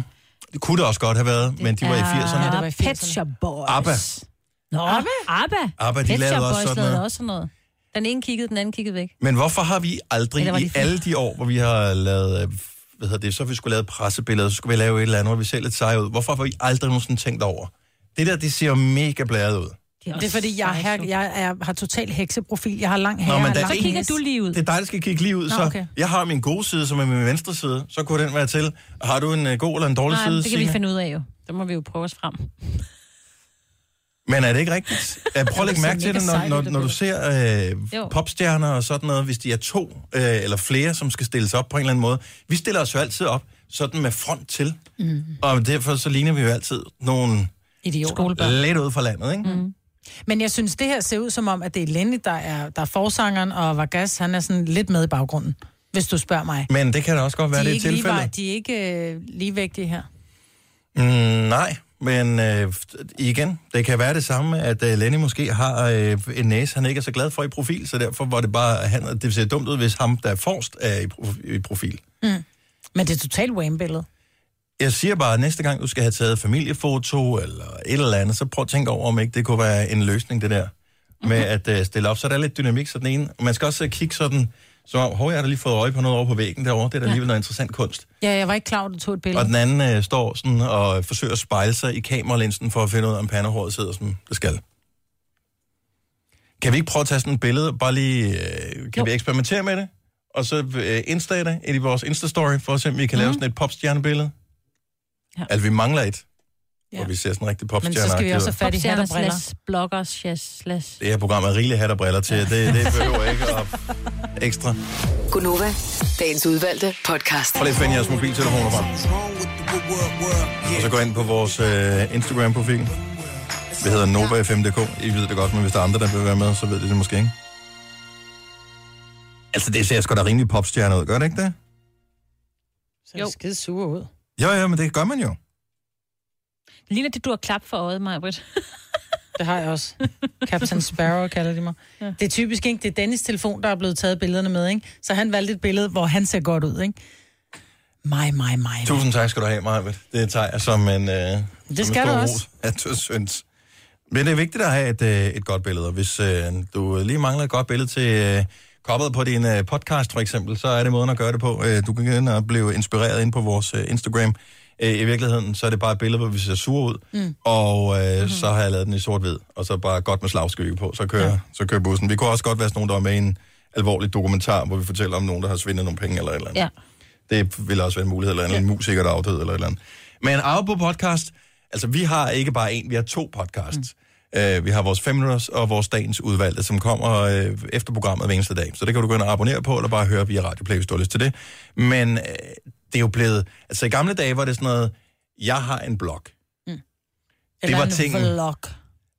[SPEAKER 1] Det kunne det også godt have været, men de var i 80'erne.
[SPEAKER 3] Ja, det var i 80'erne. Ah, Pet Shop Boys.
[SPEAKER 1] ABBA.
[SPEAKER 3] Nå, ABBA? ABBA,
[SPEAKER 1] ABBA, de
[SPEAKER 3] Pet
[SPEAKER 1] lavede
[SPEAKER 3] Shop
[SPEAKER 1] også
[SPEAKER 3] Boys
[SPEAKER 1] sådan
[SPEAKER 3] lavede
[SPEAKER 1] noget.
[SPEAKER 3] også sådan noget. Den ene kiggede, den anden kiggede væk.
[SPEAKER 1] Men hvorfor har vi aldrig
[SPEAKER 3] Eller var
[SPEAKER 1] ja,
[SPEAKER 3] det
[SPEAKER 1] i
[SPEAKER 3] fint?
[SPEAKER 1] alle de år, hvor vi har lavet, øh, hvad hedder det, så har vi skulle lave pressebilleder, så skulle vi lave et eller andet, hvor vi ser lidt seje ud. Hvorfor har vi aldrig nogensinde tænkt over? Det der, det ser jo mega blæret ud.
[SPEAKER 2] Det er, det er fordi, jeg, her, jeg er, har total hekseprofil. Jeg har lang
[SPEAKER 1] Nå,
[SPEAKER 2] hage.
[SPEAKER 1] men
[SPEAKER 2] og
[SPEAKER 1] der
[SPEAKER 2] lang
[SPEAKER 1] er en-
[SPEAKER 2] næse.
[SPEAKER 1] Det er dig, der skal kigge lige ud.
[SPEAKER 2] Nå,
[SPEAKER 1] så
[SPEAKER 2] okay.
[SPEAKER 1] Jeg har min gode side, som er min venstre side. Så kunne den være til. Har du en øh, god eller en dårlig
[SPEAKER 3] Nej,
[SPEAKER 1] side,
[SPEAKER 3] det kan vi
[SPEAKER 1] Signe?
[SPEAKER 3] finde ud af jo. Der må vi jo prøve os frem.
[SPEAKER 1] Men er det ikke rigtigt? Øh, Prøv at lægge
[SPEAKER 3] ser
[SPEAKER 1] mærke til
[SPEAKER 3] mega
[SPEAKER 1] det,
[SPEAKER 3] sejt
[SPEAKER 1] når,
[SPEAKER 3] ud,
[SPEAKER 1] når,
[SPEAKER 3] det
[SPEAKER 1] når du ser øh,
[SPEAKER 3] Jo.
[SPEAKER 1] popstjerner og sådan noget, hvis de er to øh, eller flere, som skal stilles op på en eller anden måde. Vi stiller os jo altid op sådan med front til,
[SPEAKER 2] Mm.
[SPEAKER 1] og derfor så ligner vi jo altid nogle
[SPEAKER 2] Idioter. Skolebørn.
[SPEAKER 1] lidt ud fra landet, ikke? Mm.
[SPEAKER 2] Men jeg synes, det her ser ud som om, at det er Lenny, der er, der er forsangeren, og Vargas, han er sådan lidt med i baggrunden, hvis du spørger mig.
[SPEAKER 1] Men det kan da også godt være,
[SPEAKER 2] de
[SPEAKER 1] det er
[SPEAKER 2] ikke lige var-
[SPEAKER 1] tilfældet.
[SPEAKER 2] De er ikke øh, ligevægtige her.
[SPEAKER 1] Mm, nej, men øh, igen, det kan være det samme, at øh, Lenny måske har øh, en næse, han ikke er så glad for i profil, så derfor var det bare, han, det ser dumt ud, hvis ham, der er forrest, er i, prof, i profil.
[SPEAKER 2] Mm. Men det er totalt wham-billede.
[SPEAKER 1] Jeg siger bare, at næste gang du skal have taget familiefoto eller et eller andet, så prøv at tænke over, om ikke det kunne være en løsning, det der. Med at øh, stille op, så der er lidt dynamik, så den ene. Og man skal også øh, kigge sådan, så hov, jeg har da lige fået øje på noget over på væggen derovre, det er da alligevel noget interessant kunst.
[SPEAKER 2] Ja, jeg var ikke klar over, at du tog et billede.
[SPEAKER 1] Og den anden øh, står sådan og forsøger at spejle sig i kameralinsen for at finde ud af, om pandehåret sidder, som det skal. Kan vi ikke prøve at tage sådan et billede, bare lige, øh, kan jo. vi eksperimentere med det? Og så øh, insta det ind i vores Insta-story, for at se, om vi kan mm. lave sådan et popstjernebillede.
[SPEAKER 3] Ja.
[SPEAKER 1] Ja. Altså, vi mangler et, ja. hvor vi ser sådan rigtig popstjerne
[SPEAKER 3] fat i hat og
[SPEAKER 2] briller.
[SPEAKER 3] Slash, bloggers, slash, slash.
[SPEAKER 1] Det her program er rigeligt hat og briller til, det, det behøver ikke at ekstra.
[SPEAKER 7] Gunova, dagens udvalgte podcast.
[SPEAKER 1] Prøv lige at finde jeres mobiltelefoner frem. Og så gå ind på vores øh, Instagram-profil. Vi hedder NovaFM.dk. I ved det godt, men hvis der er andre, der vil være med, så ved de det måske ikke. Altså, det ser sgu da rimelig popstjerne ud, gør det ikke det?
[SPEAKER 2] Så er det skide sure ud.
[SPEAKER 1] Jo, jo, men det gør man jo.
[SPEAKER 3] Det ligner det, du har klap for øjet, Maja Britt.
[SPEAKER 2] Det har jeg også. Captain Sparrow kalder de mig. Ja. Det er typisk ikke, det er Dennis' telefon, der er blevet taget billederne med, ikke? Så han valgte et billede, hvor han ser godt ud, ikke? Mig, mig, mig.
[SPEAKER 1] Tusind tak skal du have, Marvitt. Det tager jeg som en, øh, som en
[SPEAKER 2] skal
[SPEAKER 1] stor
[SPEAKER 2] du også.
[SPEAKER 1] ros, at du synes. Men det er vigtigt at have et, øh, et godt billede, og hvis øh, du lige mangler et godt billede til øh, coveret på din øh, podcast for eksempel, så er det måden at gøre det på. Øh, du kan gå ind og blive inspireret ind på vores øh, Instagram. Øh, I virkeligheden, så er det bare et billede, hvor vi ser sure ud,
[SPEAKER 15] Mm.
[SPEAKER 1] og øh, mm-hmm. så har jeg lavet den i sort-hvid, og så bare godt med slagskygge på, så kører, ja. så kører bussen. Vi kunne også godt være sådan nogen, der er med i en alvorlig dokumentar, hvor vi fortæller om nogen, der har svindet nogle penge eller et eller andet.
[SPEAKER 3] Ja.
[SPEAKER 1] Det ville også være en mulighed, eller en, ja. en musiker, der er afdød, eller et eller andet. Men af på podcast, altså vi har ikke bare en, vi har to podcasts. Mm. Øh, vi har vores 5 minutters og vores dagens udvalgte, som kommer øh, efter programmet hver eneste dag. Så det kan du gå ind og abonnere på, eller bare høre via Radio Play, hvis du har lyst til det. Men øh, det er jo blevet... Altså i gamle dage var det sådan noget, jeg har en blog.
[SPEAKER 2] Eller
[SPEAKER 1] var
[SPEAKER 2] en
[SPEAKER 1] tingen.
[SPEAKER 2] vlog.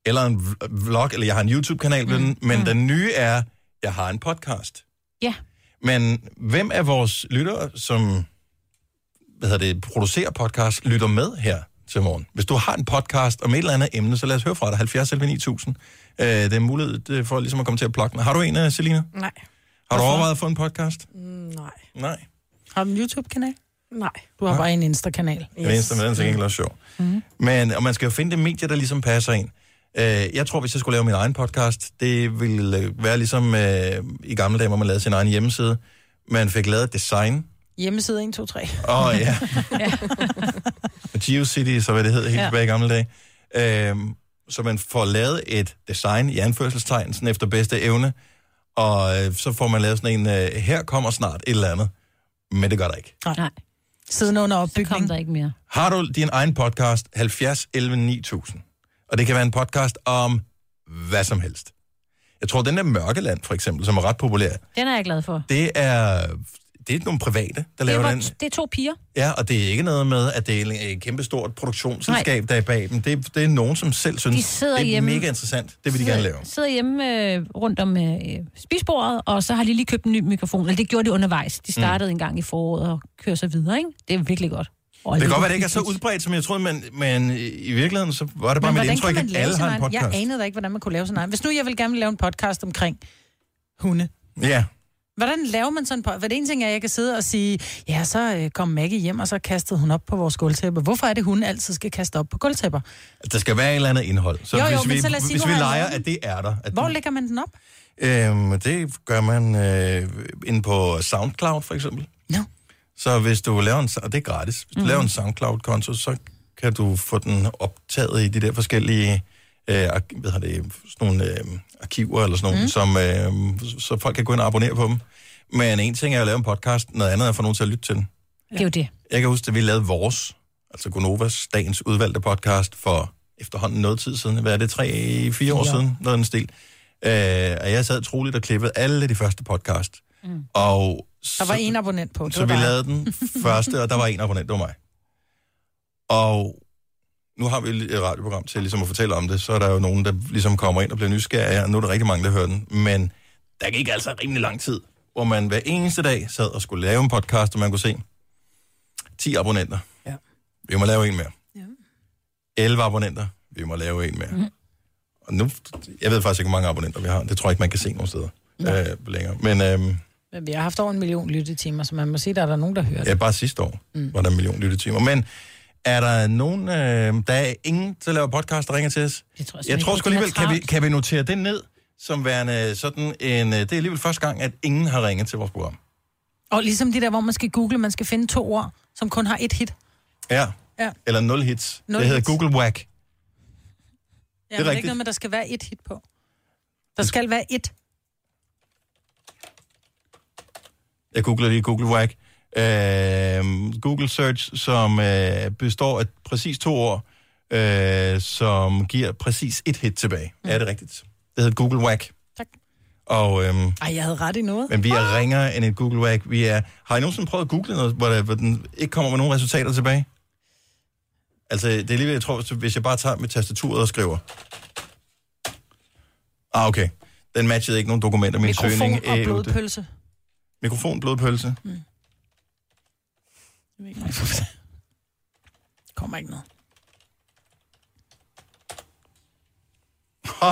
[SPEAKER 1] Eller en v- vlog, eller jeg har en YouTube-kanal, mm. men mm. den nye er, jeg har en podcast.
[SPEAKER 3] Ja.
[SPEAKER 1] Men hvem af vores lyttere, som hvad hedder det, producerer podcast, lytter med her til morgen? Hvis du har en podcast om et eller andet emne, så lad os høre fra dig. 70 11 9000. Øh, det er mulighed øh, for ligesom at komme til at plukke den. Har du en, øh, Selina?
[SPEAKER 5] Nej.
[SPEAKER 1] Har du overvejet at få en podcast?
[SPEAKER 5] Nej.
[SPEAKER 1] Nej.
[SPEAKER 2] Har du en YouTube-kanal?
[SPEAKER 5] Nej.
[SPEAKER 2] Du har bare en Insta-kanal.
[SPEAKER 1] Yes. Den eneste, men den er til gengæld også sjov. Mm. Men, og man skal jo finde det medie, der ligesom passer ind. Øh, jeg tror, hvis jeg skulle lave min egen podcast, det ville øh, være ligesom øh, i gamle dage, hvor man lavede sin egen hjemmeside. Man fik lavet et design.
[SPEAKER 2] Hjemmeside 1, 2, 3.
[SPEAKER 1] Åh oh, ja,
[SPEAKER 2] ja.
[SPEAKER 1] GeoCity, så hvad det hed helt
[SPEAKER 2] Ja.
[SPEAKER 1] ja. tilbage i gamle dage. Øhm, så man får lavet et design i anførselstegn, sådan efter bedste evne, og øh, så får man lavet sådan en, øh, her kommer snart et eller andet, men det gør der ikke.
[SPEAKER 3] Nej.
[SPEAKER 2] Siden under opbygning.
[SPEAKER 3] Så kom der ikke mere.
[SPEAKER 1] Har du din egen podcast, 70 11 9000, og det kan være en podcast om hvad som helst. Jeg tror, den der Mørkeland, for eksempel, som er ret populær,
[SPEAKER 3] Den er jeg glad for.
[SPEAKER 1] det er, det er nogle private, der
[SPEAKER 3] Det
[SPEAKER 1] laver
[SPEAKER 3] er,
[SPEAKER 1] den.
[SPEAKER 3] hvor- det er to piger.
[SPEAKER 1] Ja, og det er ikke noget med, at det er et kæmpestort produktionsselskab, der er bag dem. Det, det er nogen, som selv synes,
[SPEAKER 3] De sidder
[SPEAKER 1] det er
[SPEAKER 3] hjemme.
[SPEAKER 1] mega interessant. Det vil de gerne lave.
[SPEAKER 3] Sidder hjemme øh, rundt om øh, spisbordet, og så har de lige købt en ny mikrofon. Eller det gjorde de undervejs. De startede mm. en gang i foråret og kører så videre, ikke? Det er virkelig godt. Og
[SPEAKER 1] Det kan
[SPEAKER 3] alligevel
[SPEAKER 1] godt være, det ikke er så
[SPEAKER 3] hyggeligt.
[SPEAKER 1] udbredt, som jeg troede, men, men i virkeligheden så var det bare
[SPEAKER 2] Men
[SPEAKER 1] mit
[SPEAKER 2] hvordan
[SPEAKER 1] indtryk,
[SPEAKER 2] kan man
[SPEAKER 1] at
[SPEAKER 2] lave
[SPEAKER 1] alle
[SPEAKER 2] sin
[SPEAKER 1] har en
[SPEAKER 2] egen-
[SPEAKER 1] podcast.
[SPEAKER 2] Jeg anede da ikke, hvordan man kunne lave sådan en. Hvis nu jeg vil gerne lave en podcast omkring hunde,
[SPEAKER 1] Ja,
[SPEAKER 2] hvordan laver man sådan en podcast? Hvad det ene ting er, at jeg kan sidde og sige, ja, så øh, kom Maggie hjem, og så kastede hun op på vores gulvtæppe. Hvorfor er det, hun altid skal kaste op på gulvtæpper?
[SPEAKER 1] der skal være et eller andet indhold. Så
[SPEAKER 2] Jo, jo,
[SPEAKER 1] hvis
[SPEAKER 2] men
[SPEAKER 1] vi,
[SPEAKER 2] så lad os sige,
[SPEAKER 1] hvis
[SPEAKER 2] du
[SPEAKER 1] vi
[SPEAKER 2] har
[SPEAKER 1] leger,
[SPEAKER 2] lavet den.
[SPEAKER 1] at det er der, at
[SPEAKER 2] Hvor lægger man den op?
[SPEAKER 1] Øhm, det gør man øh, inde på SoundCloud, for eksempel.
[SPEAKER 2] No.
[SPEAKER 1] Så hvis du laver en, og det er gratis, hvis du mm. laver en SoundCloud-konto, så kan du få den optaget i de der forskellige øh, ark- hvad har det, sådan nogle, øh, arkiver eller sådan nogle, mm. som, øh, så folk kan gå ind og abonnere på dem. Men en ting er at lave en podcast, noget andet er at få nogen til at lytte til den.
[SPEAKER 3] Det er jo det.
[SPEAKER 1] Jeg kan huske, at vi lavede vores, altså Gonovas, dagens udvalgte podcast for efterhånden noget tid siden. Hvad er det, tre, fire år
[SPEAKER 15] Ja.
[SPEAKER 1] siden? Noget af den stil. Øh, og jeg sad troligt og klippede alle de første podcast. Mm. Og
[SPEAKER 2] Der var en abonnent på. Det
[SPEAKER 1] så
[SPEAKER 2] var
[SPEAKER 1] vi
[SPEAKER 2] dig.
[SPEAKER 1] lavede den første, og der var en abonnent, det var mig. Og nu har vi et radioprogram til ligesom at fortælle om det, så er der jo nogen, der ligesom kommer ind og bliver nysgerrige, og nu er der rigtig mange, der hører den. Men der gik altså rimelig lang tid, hvor man hver eneste dag sad og skulle lave en podcast, og man kunne se 10 abonnenter.
[SPEAKER 2] Ja.
[SPEAKER 1] Vi må lave en mere. Ja. 11 abonnenter. Vi må lave en mere. Mm. Og nu, jeg ved faktisk ikke, hvor mange abonnenter vi har. Det tror jeg ikke, man kan se nogen steder øh, længere. Men øh,
[SPEAKER 2] Men vi har haft over en million lyttetimer, så man må sige, at der er altså- der nogen, der hører det.
[SPEAKER 1] Ja, bare sidste år mm. var der en million lyttetimer. Men er der nogen, øh, der er ingen, der laver podcast, der ringer til os?
[SPEAKER 3] Det tror jeg
[SPEAKER 1] jeg
[SPEAKER 3] simpelthen
[SPEAKER 1] tror
[SPEAKER 3] ikke.
[SPEAKER 1] sgu
[SPEAKER 3] Det er
[SPEAKER 1] alligevel, kan vi,
[SPEAKER 3] travlt.
[SPEAKER 1] kan vi notere det ned, som værende sådan en... øh, Det er alligevel første gang, at ingen har ringet til vores program.
[SPEAKER 2] Og ligesom de der, hvor man skal google, man skal finde to ord, som kun har et hit.
[SPEAKER 1] Ja.
[SPEAKER 2] Ja.
[SPEAKER 1] Eller nul hits.
[SPEAKER 2] Nul
[SPEAKER 1] det hedder
[SPEAKER 2] hits.
[SPEAKER 1] Google Whack.
[SPEAKER 2] Ja,
[SPEAKER 1] Det er
[SPEAKER 2] det er
[SPEAKER 1] rigtigt.
[SPEAKER 2] ikke noget med, der skal være et hit på. Der skal være et.
[SPEAKER 1] Jeg googler lige Google Whack. Øh, Google Search, som øh, består af præcis to ord, øh, som giver præcis et hit tilbage. Mm. Er det rigtigt? Det hedder Google Whack.
[SPEAKER 2] Tak.
[SPEAKER 1] Og... øhm,
[SPEAKER 2] Ej, jeg havde ret i noget.
[SPEAKER 1] Men vi er ringere end et Google Wag. Vi er... Har I nogensinde prøvet at google noget, hvor, der, hvor den ikke kommer med nogen resultater tilbage? Altså, det er lige, ved, jeg tror, hvis- hvis jeg bare tager mit tastaturet og skriver. Ah, okay. Den matchede ikke nogen dokumenter, min søgning.
[SPEAKER 2] Mikrofon og
[SPEAKER 1] øh,
[SPEAKER 2] blodpølse.
[SPEAKER 1] Mikrofon, blodpølse.
[SPEAKER 2] Jeg ved ikke, om jeg- Kommer ikke noget.
[SPEAKER 1] Ha,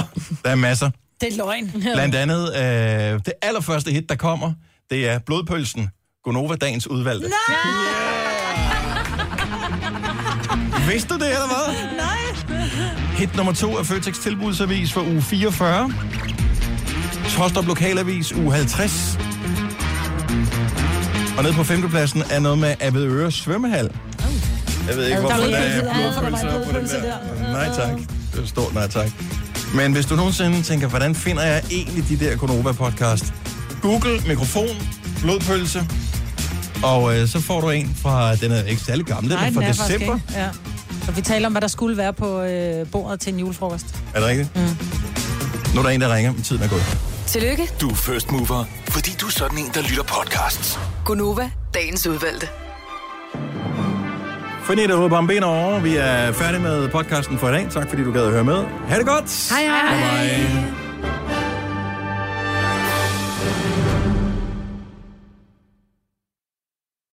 [SPEAKER 1] der er masser.
[SPEAKER 2] Det er løgn.
[SPEAKER 1] Blandt andet, øh, det allerførste hit, der kommer, det er blodpølsen. Gonova dagens udvalgte.
[SPEAKER 2] Nej!
[SPEAKER 1] Vidste du det, eller hvad?
[SPEAKER 2] Nej!
[SPEAKER 1] Hit nummer to er Føtex tilbudsavis for uge 44. Tostrup lokalavis uge 50. Og nede på femtepladsen er noget med Abedøre svømmehal. Jeg ved ikke, hvorfor der er blodpølser på den der. Nej tak. Det er et stort nej tak. Men hvis du nogensinde tænker, hvordan finder jeg egentlig de der Konoba-podcast? Google mikrofon, blodpølse, og øh, så får du en fra, den er ikke særlig gammel, den
[SPEAKER 2] Nej,
[SPEAKER 1] er fra
[SPEAKER 2] den er faktisk
[SPEAKER 1] december.
[SPEAKER 2] ikke. Ja. Så vi taler om, hvad der skulle være på øh, bordet til en julefrokost.
[SPEAKER 1] Er det rigtigt? Mm. Nu er der en, der ringer, men tiden er gået.
[SPEAKER 7] Tillykke,
[SPEAKER 4] Du er first mover, fordi du er sådan en, der lytter podcasts.
[SPEAKER 7] Gunova, dagens udvalgte.
[SPEAKER 1] Fornit og Bambina over. Vi er færdige med podcasten for i dag. Tak fordi du gad at høre med. Ha' det godt!
[SPEAKER 7] Hej, hej.
[SPEAKER 1] Bye.